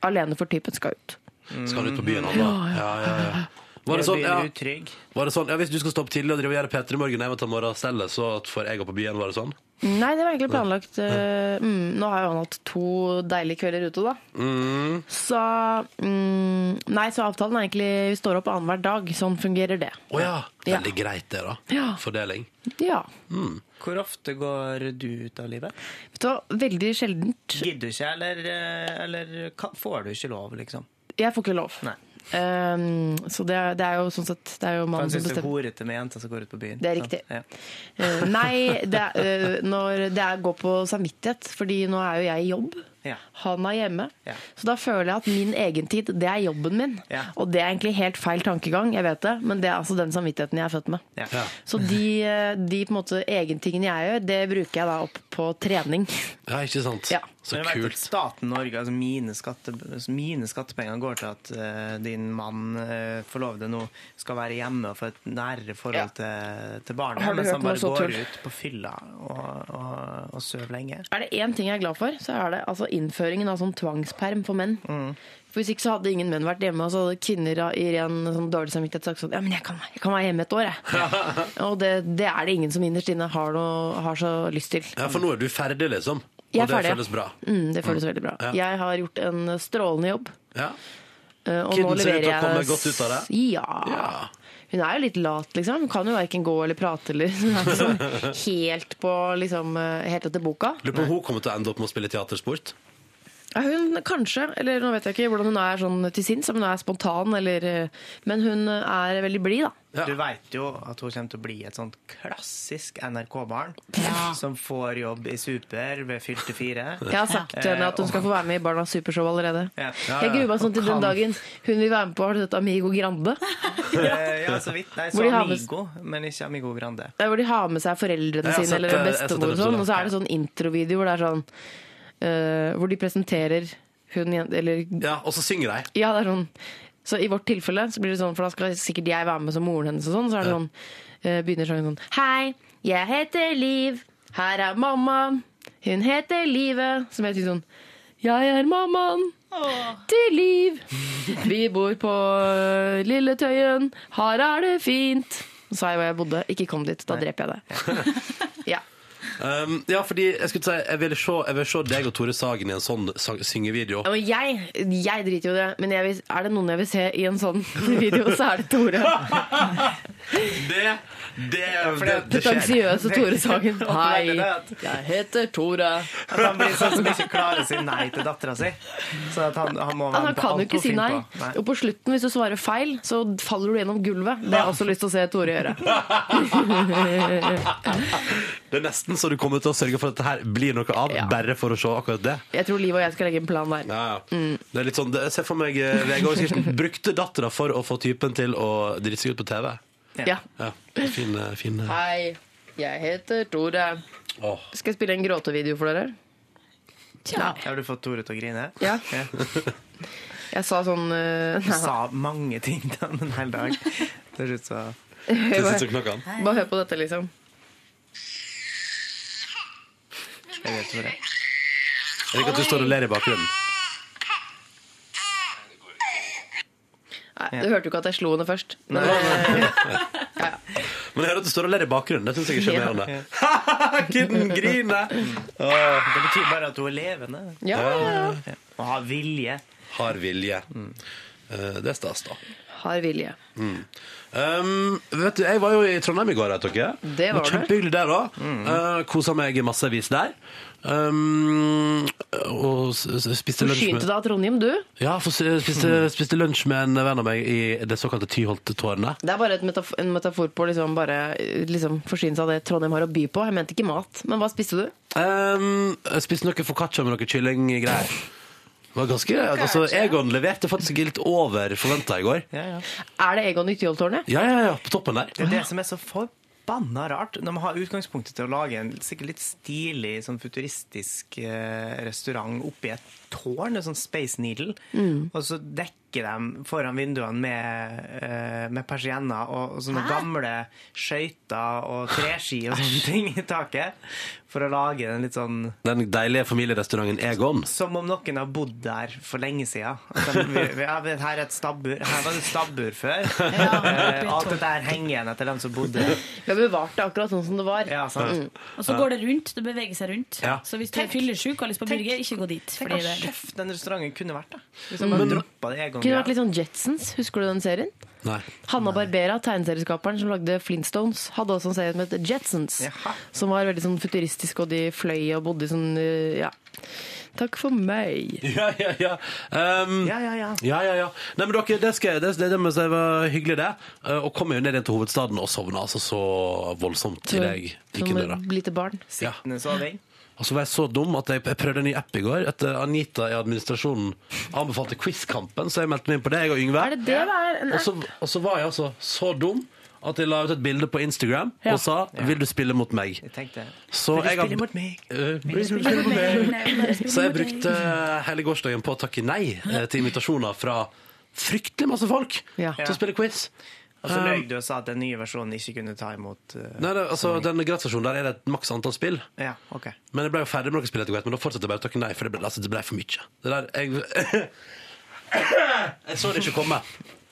Speaker 4: Alene for typen skal ut.
Speaker 2: Skal du ut på byen nå, da?
Speaker 4: Mm. Ja, ja.
Speaker 2: Ja, ja, ja. Var det
Speaker 5: Jeg
Speaker 2: sånn,
Speaker 5: blir
Speaker 2: ja,
Speaker 5: utrygg.
Speaker 2: var det sånn, ja, Hvis du skal stå opp tidlig og drive og gjøre P3 i morgen, jeg må ta morgenstellet, så får jeg gå på byen, var det sånn?
Speaker 4: Nei, det var egentlig planlagt. eh, Mm, nå har jo han hatt to deilige kvelder ute, da.
Speaker 2: Mm.
Speaker 4: Så mm, Nei, så avtalen er egentlig vi står opp annenhver dag. Sånn fungerer det.
Speaker 2: Å ja. Veldig greit, det, da.
Speaker 4: Ja.
Speaker 2: Fordeling.
Speaker 4: Ja.
Speaker 5: Hvor ofte går du ut av livet?
Speaker 4: Vet du hva, veldig sjeldent.
Speaker 5: Gidder du ikke, eller, eh, eller kan- får du ikke lov, liksom?
Speaker 4: Jeg får ikke lov.
Speaker 5: Nei.
Speaker 4: Um, så det, er- det er jo sånn sett Det er jo
Speaker 5: For
Speaker 4: mannen
Speaker 5: han
Speaker 4: som
Speaker 5: syns du er
Speaker 4: bestemmer.
Speaker 5: horete med jenter som går ut på byen.
Speaker 4: Det er
Speaker 5: sant?
Speaker 4: riktig.
Speaker 5: Ja.
Speaker 4: Eh, nei, det, er, eh, når det er, går på samvittighet, fordi nå er jo jeg i jobb.
Speaker 5: Ja.
Speaker 4: Han er hjemme.
Speaker 5: Ja.
Speaker 4: Så da føler jeg at min egentid, det er jobben min.
Speaker 5: Ja.
Speaker 4: Og det er egentlig helt feil tankegang, jeg vet det, men det er altså den samvittigheten jeg er født med.
Speaker 5: Ja.
Speaker 4: Så de, eh, de på en måte egentingene jeg gjør, det bruker jeg da opp på trening.
Speaker 2: Ja, ikke sant? Så
Speaker 5: Men jeg vet
Speaker 2: kult.
Speaker 5: at Staten Norge, altså mine, skatte, altså mine skattepenger går til at eh, din mann, uh, forlovede nå, skal være hjemme og få et nærere forhold til, til barnet.
Speaker 4: Har du
Speaker 5: mens
Speaker 4: hørt
Speaker 5: han
Speaker 4: noe
Speaker 5: bare
Speaker 4: så
Speaker 5: går
Speaker 4: tull?
Speaker 5: ut på fylla og, og, og sover
Speaker 4: (laughs)
Speaker 5: lenge.
Speaker 4: Er det én ting jeg er glad for, så er det altså innføringen av sånn tvangsperm for menn.
Speaker 5: Mm.
Speaker 4: For Hvis ikke så hadde ingen menn vært hjemme, og så hadde kvinner i ren sånn dårlig samvittighet sagt sånn Ja, men jeg kan, jeg kan være hjemme et år, jeg. og det, det er det ingen som innerst inne har, noe, har så lyst til.
Speaker 2: Ja, For nå er du ferdig, liksom?
Speaker 4: Jeg er
Speaker 2: og det
Speaker 4: ferdig, ja.
Speaker 2: føles bra?
Speaker 4: Mm, det føles veldig bra.
Speaker 2: Ja.
Speaker 4: Jeg har gjort en strålende jobb.
Speaker 2: Ja.
Speaker 4: eh, Og
Speaker 2: Kidden
Speaker 4: nå
Speaker 2: ser ut
Speaker 4: leverer
Speaker 2: til å
Speaker 4: jeg
Speaker 2: komme godt ut av det.
Speaker 4: Ja. Hun er jo litt lat, liksom. Hun kan jo verken gå eller prate eller (laughs) Hun er ikke sånn helt på liksom eh, Helt etter boka.
Speaker 2: Lurer på om hun kommer til å ende opp med å spille teatersport?
Speaker 4: Ja, hun kanskje, eller nå vet jeg ikke hvordan hun er sånn til sinns, om hun er spontan eller eh, Men hun er veldig blid, da.
Speaker 5: Du veit jo at hun kommer til å bli et sånt klassisk NRK-barn som får jobb i Super ved fylte fire.
Speaker 4: Jeg har sagt til henne at hun skal få være med i Barnas supershow allerede.
Speaker 5: Ja.
Speaker 4: Jeg gruer meg sånn til den dagen hun vil være med på har du sett Amigo Grande.
Speaker 5: Eh, ja, så vidt. Nei, så
Speaker 4: Hvor de har med-
Speaker 5: Amigo, men ikke Amigo Grande.
Speaker 4: Der hvor de har med seg
Speaker 5: Jeg
Speaker 4: foreldrene
Speaker 5: har
Speaker 4: sine
Speaker 5: sett,
Speaker 4: eller
Speaker 5: eh, jeg har sett
Speaker 4: bestemor og
Speaker 5: den
Speaker 4: sånn,
Speaker 5: episoden.
Speaker 4: og så er det sånn introvideo hvor det er sånn eh, Hvor de presenterer hun jen- eller
Speaker 2: Ja, og så synger de.
Speaker 4: Ja, det er sånn. Så i vårt tilfelle, så blir det sånn, for da skal sikkert jeg være med som moren hennes og sånn, så er det sånn, eh, begynner sangen sånn Hei, jeg heter Liv, her er mammaen, hun heter Livet, som heter sånn Jeg er mammaen til Liv, vi bor på eh, Lilletøyen, her er det fint. Så sa jeg hvor jeg bodde, ikke kom dit, da dreper jeg deg.
Speaker 2: Um, ja, fordi jeg skulle si Jeg vil se, jeg vil se deg og Tore Sagen i en sånn sang- syngevideo.
Speaker 4: Og jeg, jeg driter jo i det, men jeg vil, er det noen jeg vil se i en sånn (laughs) video, så er det Tore.
Speaker 2: Det, det, det, det
Speaker 4: Pretensiøse Tore Sagen.
Speaker 5: Opplegget er
Speaker 4: (laughs) Hei,
Speaker 5: at-
Speaker 4: jeg heter Tore.
Speaker 5: At han blir sånn som ikke klarer å si nei til dattera si. Så at han, han må
Speaker 4: Altså,
Speaker 5: være
Speaker 4: han
Speaker 5: på
Speaker 4: kan jo
Speaker 5: alt
Speaker 4: ikke
Speaker 5: hun
Speaker 4: si nei.
Speaker 5: finner på.
Speaker 4: Og på slutten, hvis du svarer feil, så faller du gjennom gulvet. Det har jeg også lyst til å se Tore gjøre.
Speaker 2: Det er nesten så du kommer til å sørge for at det her blir noe av, bare for å se akkurat det.
Speaker 4: Jeg tror Liv og jeg skal legge en plan der.
Speaker 2: Ja, ja. Det er litt sånn, det, jeg ser for meg eh, (laughs) VG-overskriften 'Brukte dattera for å få typen til å drite seg ut på TV'.
Speaker 4: Ja.
Speaker 2: Ja, fin, eh, fin eh.
Speaker 4: Hei, jeg heter Tore.
Speaker 2: Åh.
Speaker 4: Skal jeg spille en gråtevideo for dere? Tja.
Speaker 3: Har du fått Tore til å grine?
Speaker 4: Ja. Jeg sa sånn eh,
Speaker 3: Du
Speaker 4: nei,
Speaker 3: sa mange ting da, en hel dag. Til slutt så
Speaker 4: Til slutt så knakk han. Bare hør på dette, liksom.
Speaker 3: Jeg vet hvor det er.
Speaker 2: Jeg liker at du står og ler i bakgrunnen.
Speaker 4: Nei, Du hørte jo ikke at jeg slo henne først.
Speaker 2: Nei, nei, nei. Men jeg hører at du står og ler i bakgrunnen. Det syns jeg er (laughs) sjarmerende. Kidden griner!
Speaker 3: Det betyr bare at hun er levende.
Speaker 4: Ja, ja,
Speaker 3: Og har vilje.
Speaker 2: Har vilje. Eh, Det er stas, da.
Speaker 4: Har vilje.
Speaker 2: Mm. Um, vet du, jeg var jo i Trondheim i går, vet dere.
Speaker 4: Det
Speaker 2: var
Speaker 4: var du. Mm.
Speaker 2: Kjempehyggelig der òg. Kosa meg massevis der. Um, og s- s- spiste
Speaker 4: Du
Speaker 2: lunsj
Speaker 4: skynte
Speaker 2: med
Speaker 4: deg Mm. av Trondheim, du.
Speaker 2: ja, for s- spiste, spiste lunsj med en venn av meg i det såkalte Tyholttårnet.
Speaker 4: Det er bare et metaf en metafor på liksom bare eh, liksom, forsyne seg av det Trondheim har å by på. Jeg mente ikke mat. Men hva spiste du?
Speaker 2: Um, jeg spiste noe focaccia med noe kyllinggreier. Det var ganske, altså, Egon leverte faktisk litt over forventa i går.
Speaker 3: Ja, ja.
Speaker 4: Er det Egon i Tyholttårnet?
Speaker 2: Ja, ja, ja, på toppen der.
Speaker 3: Det er det som er så forbanna rart. Når man har utgangspunktet til å lage en sikkert litt stilig, sånn futuristisk eh, restaurant oppi et tårn, en sånn Space Needle,
Speaker 22: Mm.
Speaker 3: og så dekker de foran vinduene med, eh, med persienner og, og sånne
Speaker 22: Hæ?
Speaker 3: gamle skøyter og treski og sånne ting i taket, for å lage en litt sånn
Speaker 2: Den deilige familierestauranten Egon.
Speaker 3: som om noen har bodd der for lenge siden. At de, vi, vi, ja, vet, her, er et stabbur, her var det et stabbur før. Eh, alt dette her henger igjen etter dem som bodde der.
Speaker 4: Vi har bevart det akkurat sånn som det var.
Speaker 3: Ja, sant.
Speaker 23: Og så går det rundt. Det beveger seg rundt.
Speaker 3: Ja.
Speaker 23: Så hvis du er fyllesyk og har lyst på burger, ikke gå dit.
Speaker 3: Tenk
Speaker 23: fordi
Speaker 3: hva
Speaker 23: det-
Speaker 3: sjef den restauranten kunne vært, da. Hvis
Speaker 4: Mm.
Speaker 3: han bare
Speaker 4: Men-
Speaker 3: droppa det
Speaker 4: Kunne
Speaker 3: Egon-greia.
Speaker 4: vært litt sånn Jetsons. Husker du den serien?
Speaker 2: Nei. (laughs)
Speaker 4: Hanna Barbera, tegneserieskaperen som lagde Flintstones, hadde også en serie som het Jetsons.
Speaker 3: Jaha.
Speaker 4: Som var veldig sånn futuristisk, og de fløy og bodde i sånn eh, Ja. Takk for meg.
Speaker 2: Ja, ja, ja. Um,
Speaker 3: ja, ja, ja.
Speaker 2: ja, ja, Nei, men dere, det, skal, jeg- det, det, det må jeg si var hyggelig, det. Eh, Og kom jo ned igjen til hovedstaden og sovna altså så voldsomt i deg. Ikke
Speaker 4: Som
Speaker 2: det, da.
Speaker 4: et lite barn.
Speaker 3: Sittende soving.
Speaker 2: Og så var jeg så dum at jeg, jeg prøvde en ny app i går. Etter Anita i administrasjonen anbefalte Quizkampen, så jeg meldte meg inn på det, jeg og Yngve.
Speaker 4: Er det det det er, en
Speaker 2: Og så, og så var jeg altså så dum at jeg la ut et bilde på Instagram
Speaker 3: Ja.
Speaker 2: og sa 'Vil du spille mot meg?'
Speaker 3: Jeg tenkte
Speaker 2: Så
Speaker 3: Vil du
Speaker 2: jeg har-
Speaker 3: spille mot meg?
Speaker 2: Eh,
Speaker 3: Vil du spille mot meg?
Speaker 2: Så jeg brukte hele gårsdagen på å takke nei eh, til invitasjoner fra fryktelig masse folk til å spille quiz.
Speaker 3: Og så
Speaker 2: Um,
Speaker 3: løy du og sa at den nye versjonen ikke kunne ta imot eh,
Speaker 2: Nei, det, altså, den gratisversjonen der er det et maks antall spill.
Speaker 3: Ja, ok.
Speaker 2: Men jeg ble jo ferdig med noen spill etter hvert, men da fortsatte jeg bare å takke nei, for det ble, altså, det ble for mye. Det der, jeg, (coughs) jeg så det ikke komme.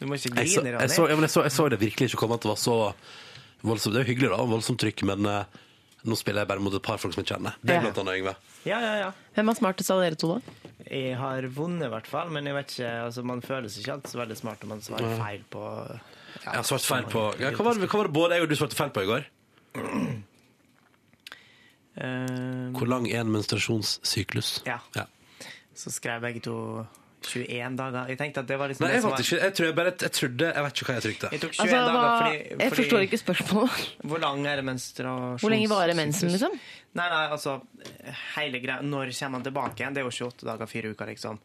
Speaker 3: Du må ikke
Speaker 2: Jeg så,
Speaker 3: grine,
Speaker 2: jeg, så,
Speaker 3: Ronny.
Speaker 2: ja, men jeg, så, jeg så det virkelig ikke komme at det var så voldsomt. Det er jo hyggelig, da, voldsomt trykk, men eh, nå spiller jeg bare mot et par folk som jeg kjenner. Det
Speaker 3: Ja.
Speaker 2: er blant annet Yngve.
Speaker 3: Ja, ja, ja.
Speaker 4: Hvem er smartest av dere to, da?
Speaker 3: Jeg har vunnet, i hvert fall, men jeg vet ikke, altså, man føler seg ikke alltid så veldig smart om man svarer
Speaker 2: Nei.
Speaker 3: feil på
Speaker 2: Jeg har svart feil på ja, hva, var det, hva var det både jeg og du svarte feil på i går?
Speaker 3: Eh,
Speaker 2: Hvor lang er en menstruasjonssyklus?
Speaker 3: Ja. Så skrev begge to 21 dager. Jeg tenkte at det var liksom
Speaker 2: Nei,
Speaker 3: det
Speaker 2: jeg
Speaker 3: som
Speaker 2: valgte
Speaker 3: var-
Speaker 2: ikke. Jeg tror jeg bare jeg trodde Jeg vet ikke hva jeg trykte.
Speaker 3: Jeg tok 21 dager fordi, fordi
Speaker 4: Altså, jeg forstår ikke
Speaker 3: (laughs)
Speaker 4: spørsmålet.
Speaker 3: Hvor lang er det menstruasjons...
Speaker 4: Hvor lenge varer mensen, liksom?
Speaker 3: Nei, nei, altså hele greia, Når kommer man tilbake igjen? Det er jo 28 dager, fire uker, liksom.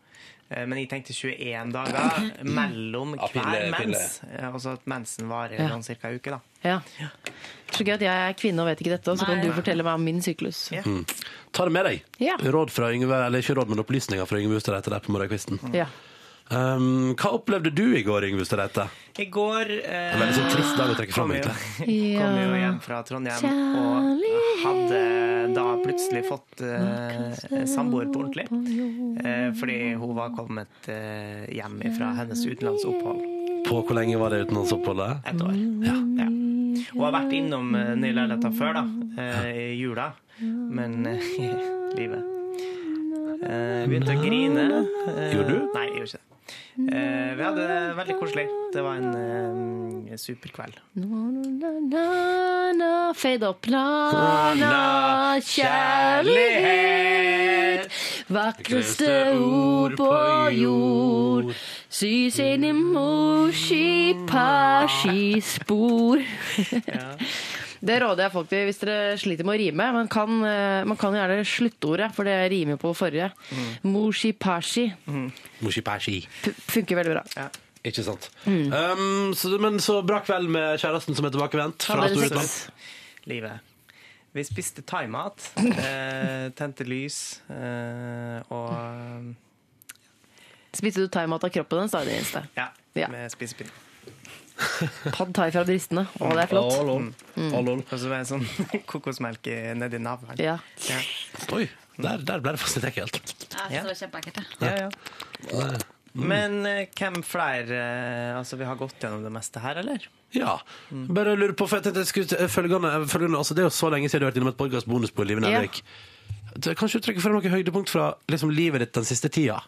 Speaker 3: Eh, Men jeg tenkte 21 dager
Speaker 4: (clears throat)
Speaker 3: mellom
Speaker 2: Ja,
Speaker 3: hver
Speaker 2: pille, pille.
Speaker 3: mens. Eh, Altså at mensen varer
Speaker 4: Ja.
Speaker 3: ja. ca. ei uke, da.
Speaker 4: Ja. Så gøy at jeg er kvinne og vet ikke dette, og så kan
Speaker 3: Nei.
Speaker 4: du fortelle meg om min syklus.
Speaker 2: Mm. Ta det med deg.
Speaker 4: Ja.
Speaker 2: Råd fra Yngve, eller ikke råd, men opplysninger fra Yngve Hustad Reite der på morgenkvisten.
Speaker 4: Ja.
Speaker 2: Um, hva opplevde du i går, Yngve Hustad Reite?
Speaker 3: I går eh,
Speaker 2: En veldig sånn trist dag å trekke fram,
Speaker 3: kom jo-
Speaker 2: egentlig.
Speaker 3: Kom jo hjem fra Trondheim og hadde da plutselig fått eh, samboer på ordentlig. Eh, fordi hun var kommet eh, hjem fra hennes utenlandsopphold.
Speaker 2: På hvor lenge var det utenlandsoppholdet?
Speaker 3: Et år. Ja. Hun har vært innom eh, nye leiligheter før, da, eh, i jula, men eh, (laughs) livet eh, Begynte å grine. Eh,
Speaker 2: Gjorde du?
Speaker 3: Nei, jeg gjorde ikke det. Eh, vi hadde det veldig koselig. Det var en eh, super kveld.
Speaker 4: Na-na-na, fade opp,
Speaker 3: Na,
Speaker 4: la-la, kjærlighet. Vakreste ord på jord. Sy sine morsi (laughs) parsi-spor. Det råder jeg folk til hvis dere sliter med å rime. Man kan, eh, man kan gjerne sluttordet, for det rimer på forrige. Morsi parsi
Speaker 2: Moshipashi.
Speaker 4: P- funker veldig bra.
Speaker 2: Ikke sant. Ehm, Um, så, men så bra kveld med kjæresten som er tilbakevendt
Speaker 4: Ja,
Speaker 2: fra
Speaker 4: dere sex.
Speaker 2: Storbritannia.
Speaker 3: Livet.
Speaker 5: Vi spiste
Speaker 4: (laughs)
Speaker 5: thaimat, eh, tente lys eh, og
Speaker 4: Spiste du thaimat av kroppen din, sa du i sted?
Speaker 5: ja, med spisepinn.
Speaker 4: Pad thai fra Dristene. Å, det er flott.
Speaker 5: Å, lol.
Speaker 4: Mm.
Speaker 5: Å, lol. Og så var det sånn (laughs) kokosmelk i- nedi navlen.
Speaker 4: Ja.
Speaker 2: Oi, der, der ble det faktisk litt ekkelt.
Speaker 5: Ja.
Speaker 21: Det var kjempeekkelt. det.
Speaker 5: Ja, ja.
Speaker 4: Mm.
Speaker 5: Men eh, hvem flere eh, Altså, vi har gått gjennom det meste her, eller?
Speaker 2: Ja. Bare lurer på, for jeg tenkte jeg skulle eh, følgende, eh, følgende altså Det er jo så lenge siden du har vært innom et podcast bonusbord, Live Nelvik. Du- Kanskje du trekker frem noe høydepunkt fra liksom, livet ditt den siste tida?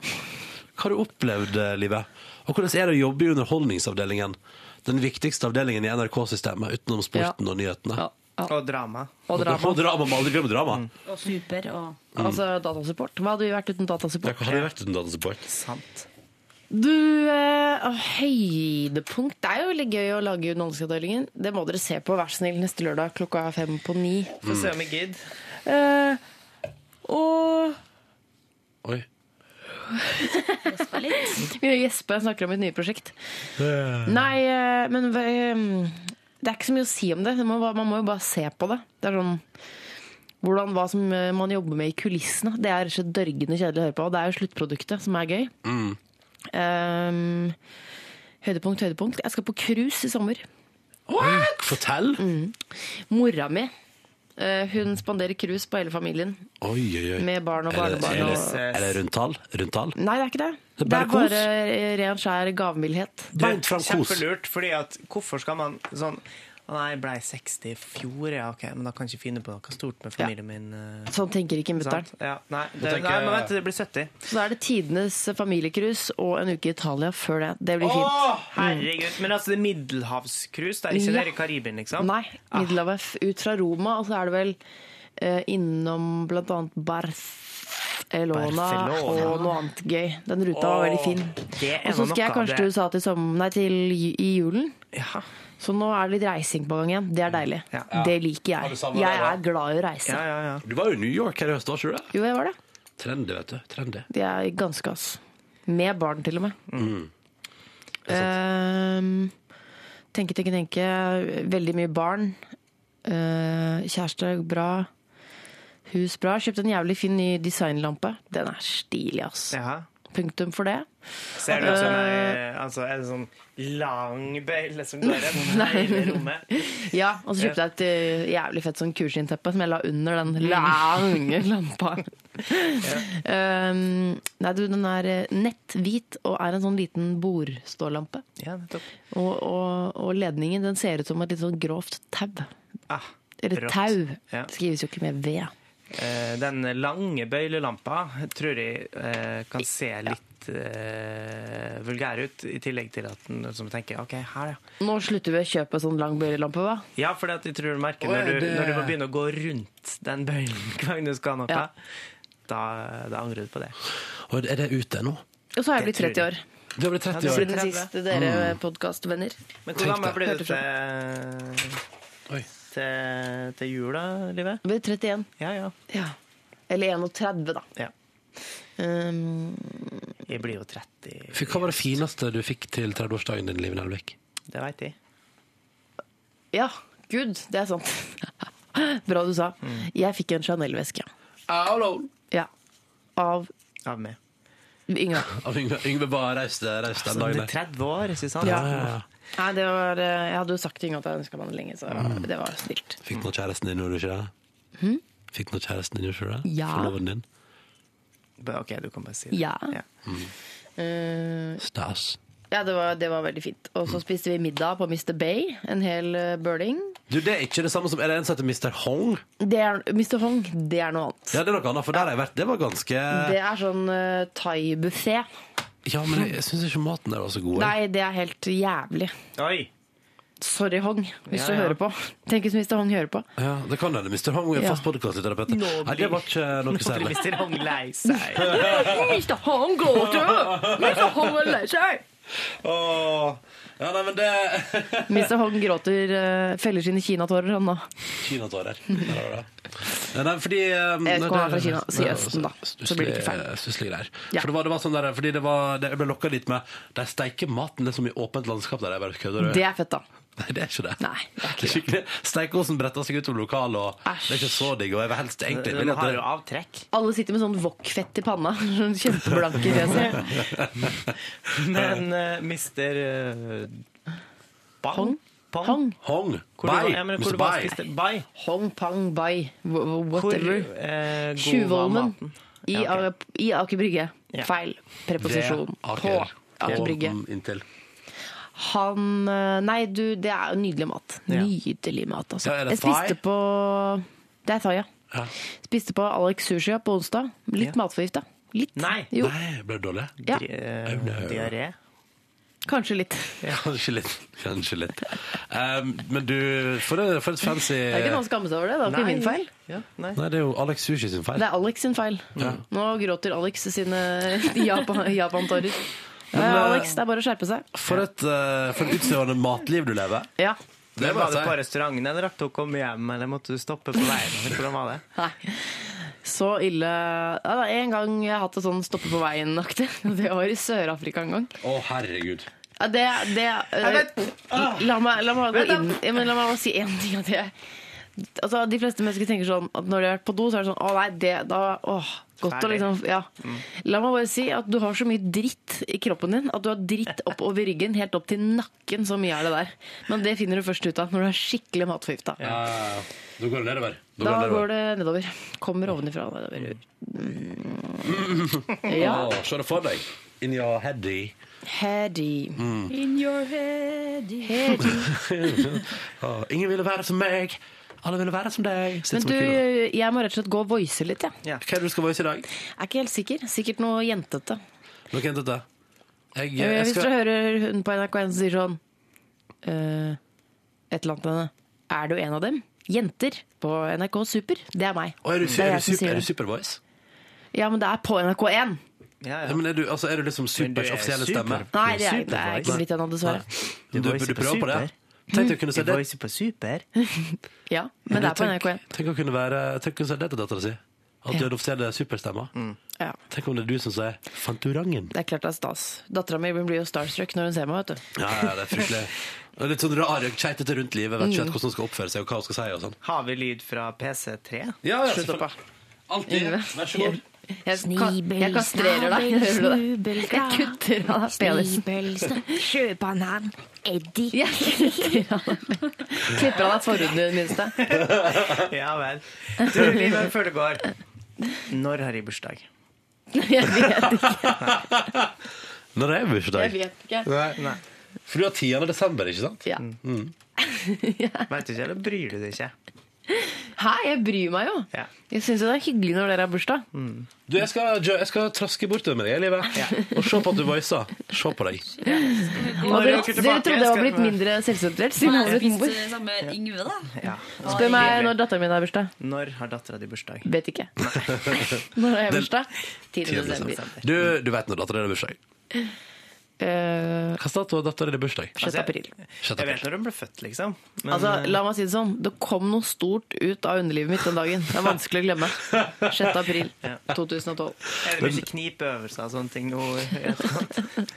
Speaker 2: Hva har du opplevd, eh, Live? Og hvordan er det å jobbe i Underholdningsavdelingen? Den viktigste avdelingen i NRK-systemet, utenom sporten og nyhetene.
Speaker 5: Og drama.
Speaker 4: Og drama.
Speaker 2: Og drama, Mm. må aldri glemme drama.
Speaker 21: Og super og
Speaker 2: Mm.
Speaker 4: Altså datasupport. Hva hadde vi vært uten
Speaker 2: Ja,
Speaker 4: datasupport?
Speaker 2: hva har det vært uten datasupport?
Speaker 5: Sant.
Speaker 4: Du, eh, å, høydepunkt Det er jo veldig gøy å lage Underholdningsavdelingen. Det må dere se på, vær så snill, neste lørdag klokka fem på ni.
Speaker 3: Mm.
Speaker 5: Få se om jeg gidder.
Speaker 4: Eh, og
Speaker 2: Oi.
Speaker 4: Gjespe snakker om et nye prosjekt. Nei, eh, men eh, det er ikke så mye å si om det. Det må bare- Man må jo bare se på det. Det er sånn hvordan, Hva som eh, man jobber med i kulissene. Det er så dørgende kjedelig å høre på. Og det er jo sluttproduktet som er gøy.
Speaker 2: Mm.
Speaker 4: Ehm, høydepunkt, høydepunkt. Jeg skal på cruise i sommer.
Speaker 2: Fortell!
Speaker 4: Mora mi eh, hun spanderer cruise på hele familien.
Speaker 2: Oi, oi, oi.
Speaker 4: Med barn og
Speaker 2: Er det-
Speaker 4: barnebarn
Speaker 2: Er det,
Speaker 4: og-
Speaker 2: er det rundtall? Rundtall?
Speaker 4: Nei, det er ikke det.
Speaker 2: Det er
Speaker 4: Det
Speaker 2: bare
Speaker 4: er bare eh, ren, skjær gavmildhet.
Speaker 2: Beint fram kos.
Speaker 5: Kjempelurt, fordi at hvorfor skal man sånn «Å Nei, jeg blei 60 i fjor, ja, ok, men da kan jeg ikke finne på noe stort med familien min. eh,
Speaker 4: Sånn tenker ikke mutter'n.
Speaker 5: sant? Ja, nei, det,
Speaker 4: tenker-
Speaker 5: nei, men vent til det blir 70.
Speaker 4: Så da er det tidenes familiecruise og en uke i Italia før det. Det blir fint.
Speaker 5: Å,
Speaker 4: Mm.
Speaker 5: herregud! Men altså, det er middelhavscruise, det er ikke
Speaker 4: Ja.
Speaker 5: dere i Karibien, liksom?
Speaker 4: Nei, Ah. Middelhavet f- ut fra Roma, og så er det vel eh, innom blant annet Barcelona
Speaker 5: Barcelona.
Speaker 4: og noe annet gøy. Den ruta var veldig fin.
Speaker 5: det er
Speaker 4: Og så
Speaker 5: noe
Speaker 4: skal jeg
Speaker 5: av
Speaker 4: kanskje
Speaker 5: det.
Speaker 4: til USA til, som, nei, til ju- i julen. Så nå er det litt reising på gang igjen. Det er deilig.
Speaker 2: Ja.
Speaker 4: Det liker
Speaker 2: Har du
Speaker 4: jeg.
Speaker 2: savnet
Speaker 4: Jeg
Speaker 2: det, da?
Speaker 4: er glad i å reise.
Speaker 2: Du var jo i New York her i høst, var ikke du det?
Speaker 4: Jo, jeg var det.
Speaker 2: Trendy, vet du. Trendy.
Speaker 4: Jeg er ganske ass. Med barn, til og med.
Speaker 2: Mm.
Speaker 4: Ehm, tenke, tenke, tenke. Veldig mye barn. Eh, kjæreste bra. Hus bra. Kjøpte en jævlig fin ny designlampe. Den er stilig, ass. Punktum for det.
Speaker 5: Ser det ut som
Speaker 4: Eh,
Speaker 5: ei altså, en sånn lang bøyle som går
Speaker 3: (laughs)
Speaker 5: gjennom hele rommet?
Speaker 4: ja, og så kjøpte jeg et eh, jævlig fett sånn kurskinnteppe som jeg la under den lange lampa. Ehm, nei, du, den er eh, netthvit og er en sånn liten bordstålampe.
Speaker 5: Ja, nettopp.
Speaker 4: Og, og, og ledningen den ser ut som et litt sånn grovt tau. Eller
Speaker 3: Ah.
Speaker 5: rått.
Speaker 4: tau.
Speaker 5: Ja.
Speaker 4: Det skrives jo ikke med ved.
Speaker 5: Eh, Den lange bøylelampa tror jeg eh, kan se litt eh, vulgær ut, i tillegg til at den som tenker OK, her, ja.
Speaker 4: Nå slutter vi å kjøpe sånn lang bøylelampe, hva?
Speaker 5: Ja, for jeg tror du merker
Speaker 4: Å, ja,
Speaker 5: når, du,
Speaker 4: det-
Speaker 5: når du må begynne å gå rundt den bøylen (laughs) hver gang du skal ha noe,
Speaker 4: Ja.
Speaker 5: da, da angrer du på det.
Speaker 2: Og er det ute nå?
Speaker 4: Og så har
Speaker 5: Det
Speaker 4: jeg blitt 30
Speaker 5: tror jeg.
Speaker 4: år.
Speaker 2: Du har blitt 30 år.
Speaker 4: Siden sist dere mm. podkastvenner.
Speaker 5: Men hvor gammel ble du
Speaker 4: Hørte fra.
Speaker 5: til, til, til jul, da, Live?
Speaker 4: Jeg ble 31.
Speaker 5: Ja, ja.
Speaker 4: Eller 31, da.
Speaker 5: Ja.
Speaker 4: Um,
Speaker 5: Jeg blir jo 30,
Speaker 2: Fy, Hva var det fineste du fikk til 30-årsdagen din, Liv Nelvik?
Speaker 5: det veit jeg.
Speaker 4: ja, gud, det er sant. (laughs) Bra du sa.
Speaker 5: Mm.
Speaker 4: Jeg fikk en Chanel-veske. Ja. Av
Speaker 5: Av meg.
Speaker 4: Yngve.
Speaker 2: (laughs) Av Yngve, Yngve bare reiste, reiste den
Speaker 5: Altså,
Speaker 2: dagen.
Speaker 5: det er 30 år, ikke sant?
Speaker 4: Ja. Nei, det var, eh, jeg hadde jo sagt til Yngve at jeg ønska meg den lenge, så
Speaker 2: Mm.
Speaker 4: det var snilt.
Speaker 2: Fikk du noe kjæresten din, gjorde du ikke det?
Speaker 4: Hm?
Speaker 2: Fikk du noe kjæresten din, gjorde du ikke det?
Speaker 4: Ja.
Speaker 2: Forloveden din?
Speaker 5: OK, du kan bare si
Speaker 4: Ja.
Speaker 2: Mm.
Speaker 4: Eh,
Speaker 2: Stas.
Speaker 4: Ja, det var, det var veldig fint. Og så spiste vi middag på Mr. Bay. En hel eh, burling.
Speaker 2: Du, det er ikke det samme som Er det en som heter Mr. Hong?
Speaker 4: Det er, Mr. Hong, det er noe annet.
Speaker 2: Ja, det er noe annet, for der har jeg vært. Det var ganske
Speaker 4: Det er sånn uh, thaibuffé.
Speaker 2: Ja, men jeg, jeg syns ikke maten der var så god. jeg.
Speaker 4: Nei, det er helt jævlig.
Speaker 5: Oi!
Speaker 4: Sorry, Hong, hvis
Speaker 2: Ja,
Speaker 4: du
Speaker 2: ja.
Speaker 4: hører på. Tenk hvis Mr. Hong hører på.
Speaker 2: Ja, det kan hende. Mr. Hong er
Speaker 4: Ja.
Speaker 2: fast podkastterapeut. Nei, det var ikke noe særlig.
Speaker 5: Mr. Hong lei seg.
Speaker 4: Mr. Hong gråter! Mr. Hong er lei seg!
Speaker 2: Åh. Ja, nei, men det
Speaker 4: Mr. Hong gråter, eh, feller sine kinatårer han nå.
Speaker 2: Kinatårer. Der har du det. Ja, Nei, fordi Jeg
Speaker 4: vet ikke om han er fra Kina. Si Østen, da. Så blir det ikke feil.
Speaker 2: Stusslige greier.
Speaker 4: Ja.
Speaker 2: For det var, det var sånn der, fordi det var, det, jeg ble lokka dit med De steiker maten det er som i åpent landskap der. Jeg bare kødder. du?
Speaker 4: Det er fett, da.
Speaker 2: Nei, det er ikke det. det er skikkelig. Steikosen bretter seg ut om lokalet, og det er ikke så digg. Og jeg vil helst egentlig
Speaker 5: Den Eh, har jo
Speaker 2: avtrekk.
Speaker 4: Alle sitter med sånn wok-fett i panna. (laughs) Sånn Kjempeblanke i fjeset.
Speaker 5: Men uh, mister eh, Bang? Hong? Pong? Hong?
Speaker 2: Hong.
Speaker 5: Hvor du-
Speaker 4: Bai.
Speaker 5: ja, men hvor
Speaker 4: Mr.
Speaker 5: du bare
Speaker 4: Bai.
Speaker 5: spiste Bai.
Speaker 4: Hong pang bai, wh- whatever.
Speaker 5: Hvor, eh, god var
Speaker 4: Tjuvholmen
Speaker 5: maten?
Speaker 4: i,
Speaker 5: Ja, ok.
Speaker 4: A- i Aker Brygge.
Speaker 5: Ja.
Speaker 4: Feil preposisjon.
Speaker 2: Det er
Speaker 4: På
Speaker 2: Aker.
Speaker 4: Aker
Speaker 2: På,
Speaker 4: Brygge.
Speaker 2: mm, Inntil.
Speaker 4: Han eh, Nei, du, det er jo nydelig mat. Nydelig mat, altså.
Speaker 2: Ja, er det
Speaker 4: Jeg spiste
Speaker 2: thai?
Speaker 4: på Det er thai, ja.
Speaker 2: Ja.
Speaker 4: Spiste på Alex Sushi på onsdag. Litt matforgifta. Litt.
Speaker 5: Nei. Eh,
Speaker 4: Jo,
Speaker 2: Nei, ble det dårlig?
Speaker 4: Ja.
Speaker 2: Au, nei.
Speaker 4: kanskje litt.
Speaker 2: (laughs) Kanskje litt. Kanskje litt. Um, men du, for, et- for et fancy
Speaker 4: Det er ikke noe å skamme seg over det. Det var ikke
Speaker 2: Eh, Nei.
Speaker 4: min feil.
Speaker 2: Nei, det er jo Alex Sushi sin feil.
Speaker 4: Det er Alex sin feil.
Speaker 2: Ja.
Speaker 4: Nå gråter Alex sine (laughs) Japan- Japan-tårer.
Speaker 2: Men,
Speaker 4: Eh,
Speaker 2: eh,
Speaker 4: Alex, det er bare å skjerpe seg.
Speaker 2: For et, eh, for et utstøvende matliv du lever.
Speaker 4: Ja.
Speaker 2: Det
Speaker 5: Men
Speaker 2: må jeg
Speaker 5: var det
Speaker 2: si.
Speaker 5: på restauranten, eller rakk du å komme hjem, eller måtte du stoppe på veien? Hvordan var det?
Speaker 4: Nei. Så ille ja, det er En gang jeg har hatt det sånn stoppe på veien-aktig. (laughs) Det var i Sør-Afrika en gang.
Speaker 2: Å, herregud.
Speaker 4: Ja, det, det
Speaker 2: Jeg vet.
Speaker 4: eh, la, meg, la meg gå inn ja, men La meg bare si én ting. At jeg, altså, de fleste mennesker tenker sånn at når de har vært på do, så er det sånn Å nei, det da, åh, godt å
Speaker 1: Ferdig.
Speaker 4: liksom Ja. La meg bare si at du har så mye dritt i kroppen din at du har dritt oppover ryggen, helt opp til nakken. Så mye er det der. Men det finner du først ut av når du er skikkelig matforgifta.
Speaker 2: Ja, da går det nedover.
Speaker 4: Da går det nedover. Kommer ovenifra og nedover.
Speaker 2: nedover.
Speaker 4: (laughs) Ja.
Speaker 2: Å, Se det for deg. In your heady.
Speaker 4: Heady.
Speaker 2: Mm.
Speaker 21: In your head,
Speaker 2: Å, ingen ville være som meg. Alle ville være som deg. Sitt
Speaker 4: Men
Speaker 2: som
Speaker 4: du,
Speaker 2: en kule.
Speaker 4: jeg må rett og slett gå og voice litt, jeg.
Speaker 2: Hva er det du skal voice i dag?
Speaker 4: Jeg er ikke helt sikker. Sikkert noe jentete.
Speaker 2: Nå kan jeg hente det. Jeg,
Speaker 4: Eh,
Speaker 2: jeg
Speaker 4: Hvis dere
Speaker 2: skal
Speaker 4: hører hun på NRK1 som sier sånn eh, Et eller annet til henne. Er du en av dem? Jenter på NRK Super. Det er meg.
Speaker 2: Å, er du,
Speaker 4: Det
Speaker 2: er
Speaker 4: jeg
Speaker 2: du,
Speaker 4: som
Speaker 2: super,
Speaker 4: sier
Speaker 2: er du
Speaker 4: det.
Speaker 2: supervoice?
Speaker 4: Ja, men det er på NRK1.
Speaker 2: Ja, men er du, altså, er du liksom supers offisielle stemme?
Speaker 4: Nei, det er, det er ikke blitt ennå, dessverre.
Speaker 2: Du, du,
Speaker 5: voicer
Speaker 2: du
Speaker 5: på
Speaker 2: prøver på det?
Speaker 5: super.
Speaker 2: Tenk deg å kunne si
Speaker 5: Du
Speaker 2: det.
Speaker 5: voicer på super?
Speaker 4: Ja, men det er på
Speaker 2: tenk-
Speaker 4: NRK1.
Speaker 2: Tenk å kunne være Tenk å kunne si det til dattera si. At du er den offisielle superstemma.
Speaker 4: Ja.
Speaker 2: Tenk om det er du som sier 'Fantorangen'.
Speaker 4: Det er klart det er stas. Dattera mi blir jo starstruck når hun ser meg, vet du.
Speaker 2: Ja, ja, det er fryktelig. Og Litt sånn rar, keitete rundt livet. Vet ikke
Speaker 4: Mm.
Speaker 2: helt hvordan hun skal oppføre seg og hva hun skal si. og sånn.
Speaker 5: Har vi lyd fra PC3?
Speaker 2: Ja, ja,
Speaker 5: Slutt opp,
Speaker 2: selvfølgelig. Alltid. Vær så god.
Speaker 4: Jeg,
Speaker 14: Snibel,
Speaker 4: jeg kastrerer deg.
Speaker 14: snabel,
Speaker 4: Hører du det?
Speaker 14: snubel,
Speaker 4: Jeg
Speaker 14: kra.
Speaker 4: kutter av deg penisen.
Speaker 14: Snibel,
Speaker 21: (laughs)
Speaker 14: snabel, sjøbanan, Eddie.
Speaker 4: Klipper av deg forhuden i det minste.
Speaker 5: ja vel. Du, livet før det går. Når har jeg bursdag?
Speaker 4: Jeg vet ikke.
Speaker 2: Når er bursdag?
Speaker 4: Jeg vet ikke.
Speaker 2: Nei. For du har 10. desember, ikke sant?
Speaker 4: Ja.
Speaker 2: Mm.
Speaker 5: Vet du ikke, eller bryr du deg ikke?
Speaker 4: Hæ, jeg bryr meg jo. Jeg syns jo det er hyggelig når dere har bursdag.
Speaker 2: Du, jeg skal, jeg skal traske bortover med deg i livet og se på at du voicer. Se på deg.
Speaker 4: Og dere,
Speaker 2: dere
Speaker 4: dere
Speaker 2: tilbake,
Speaker 4: trodde jeg var
Speaker 2: skal
Speaker 4: blitt
Speaker 2: vi-
Speaker 4: mindre selvsentrert
Speaker 21: Nå
Speaker 4: siden jeg
Speaker 21: har
Speaker 4: var
Speaker 21: jeg spist
Speaker 4: blitt mor.
Speaker 21: eh, sammen med Yngve, da.
Speaker 5: Ja.
Speaker 4: Spør meg når datteren min har bursdag.
Speaker 5: Når har dattera di bursdag?
Speaker 4: Vet ikke. (laughs) Når har jeg bursdag? 10. desember.
Speaker 2: Du, du vet når datteren din har bursdag.
Speaker 4: Eh,
Speaker 2: Hva dato har datteren din bursdag?
Speaker 4: Sjette april.
Speaker 5: Jeg vet når hun ble født, liksom. Men,
Speaker 4: altså,
Speaker 5: eh,
Speaker 4: la meg si det sånn, det kom noe stort ut av underlivet mitt den dagen. Det er vanskelig å glemme. 6. april 2012.
Speaker 5: er det mye knipeøvelser og sånne ting nå? i etterkant?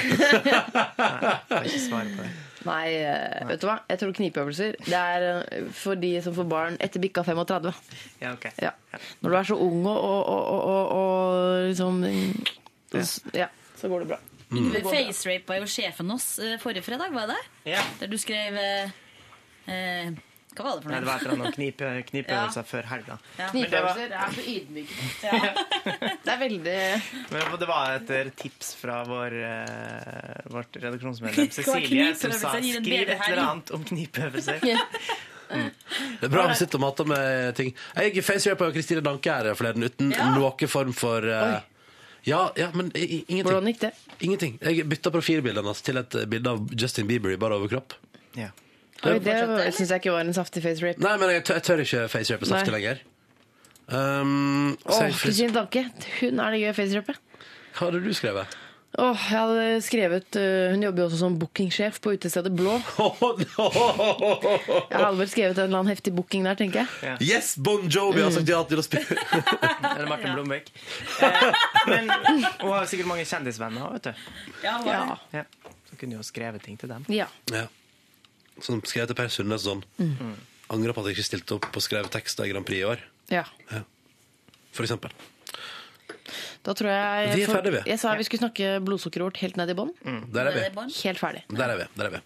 Speaker 5: Nei, jeg kan ikke svare på det.
Speaker 4: Nei, eh, vet du hva? Jeg tror knipeøvelser Det er eh, for de som får barn etter bikka 35.
Speaker 5: Ja,
Speaker 21: (laughs)
Speaker 5: ok.
Speaker 4: Ja. Når du er så ung og, og, og, og, og, og liksom ja, så går det bra.
Speaker 5: Mm.
Speaker 21: Yngve facerapa jo sjefen oss eh, forrige fredag, var det?
Speaker 5: Ja.
Speaker 21: Der du skrev eh, eh, Hva var det for
Speaker 5: Nei, det var et eller annet knipe, knipeøvelser før helga. Men det var-
Speaker 4: Knipeøvelser er så ydmykende. (laughs) Det er veldig
Speaker 5: Men det var et eh, tips fra vår, eh, vårt
Speaker 21: (laughs)
Speaker 5: redaksjonsmedlem
Speaker 21: Hva
Speaker 5: Cecilie, som sa
Speaker 21: knipeøvelser gir en
Speaker 5: 'skriv et
Speaker 21: bedre helg».
Speaker 5: eller annet om
Speaker 21: (laughs)
Speaker 5: knipeøvelser'.
Speaker 2: Det er bra vi sitter og mater med ting. Jeg gikk i facerapa av Kristine Danke her forleden uten noen form for eh, ja, ja, men i- i- ingenting.
Speaker 4: Hvordan gikk det?
Speaker 2: Ingenting. Jeg bytta profilbildet hennes til et eh, bilde av Justin Bieber i bar overkropp.
Speaker 5: Ja.
Speaker 4: Oi, det syns jeg ikke var en saftig face rape.
Speaker 2: Nei, men jeg tør, jeg tør ikke facerape saftig
Speaker 4: Nei.
Speaker 2: lenger. Um, så
Speaker 4: Åh,
Speaker 2: jeg frys-
Speaker 4: Kristine Danke. Hun er det gøy å facerape.
Speaker 2: Hva hadde du (laughs) skrevet?
Speaker 4: Åh, jeg hadde skrevet eh, Hun jobber jo også som bookingsjef på utestedet Blå. Jeg hadde vel skrevet en eller annen heftig booking der, tenker jeg.
Speaker 2: Yes, Bon Jovi altså, har sagt ja til å spille!
Speaker 5: Eller
Speaker 21: (laughs)
Speaker 5: Martin Blomvik. Eh, men hun har sikkert mange kjendisvenner òg, vet du.
Speaker 21: Ja,
Speaker 5: Ja. Så
Speaker 3: kunne jo skrevet ting til dem.
Speaker 4: Ja.
Speaker 2: (laughs) Ja. Som skrev til Per Sundnes sånn.
Speaker 4: Mm.
Speaker 2: Angrer på at jeg ikke stilte opp og skrev tekster i Grand Prix i år,
Speaker 4: Ja.
Speaker 2: for eksempel.
Speaker 4: Da tror jeg
Speaker 2: Vi er
Speaker 4: for-
Speaker 2: ferdige, vi.
Speaker 4: Jeg sa vi skulle snakke blodsukkerort helt ned i bånn.
Speaker 2: Mm, der er vi. Ned i bånn.
Speaker 4: Helt ferdig.
Speaker 2: Der er vi. der er vi.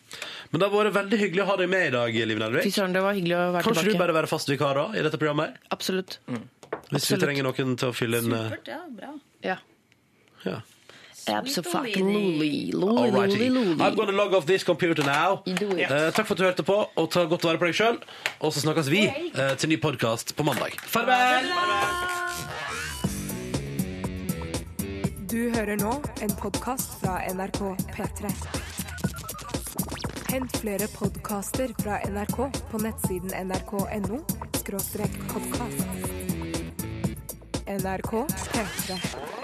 Speaker 2: Men det har vært veldig hyggelig å ha deg med i dag, Liv
Speaker 4: Fy
Speaker 2: Nelvik.
Speaker 4: søren, det var hyggelig å være
Speaker 2: Kanskje du
Speaker 4: tilbake.
Speaker 2: bare Mm. være fast vikar da, i dette programmet? her?
Speaker 4: Absolutt.
Speaker 2: Hvis vi
Speaker 4: Absolutt.
Speaker 2: trenger noen til å fylle inn eh,
Speaker 21: Ja, bra.
Speaker 4: Ja.
Speaker 2: Ja.
Speaker 4: Absolutely.
Speaker 2: All
Speaker 4: Loli, loli,
Speaker 2: righty. I'm
Speaker 4: loli.
Speaker 2: gonna log off this computer now.
Speaker 4: do it.
Speaker 2: Eh, takk for at du hørte på, og ta godt vare på deg sjøl. Og så snakkes vi eh, til ny podkast på mandag. Farvel!
Speaker 1: Du hører nå en podkast fra NRK P3. Hent flere podkaster fra NRK på nettsiden nrk.no podkast. NRK P3.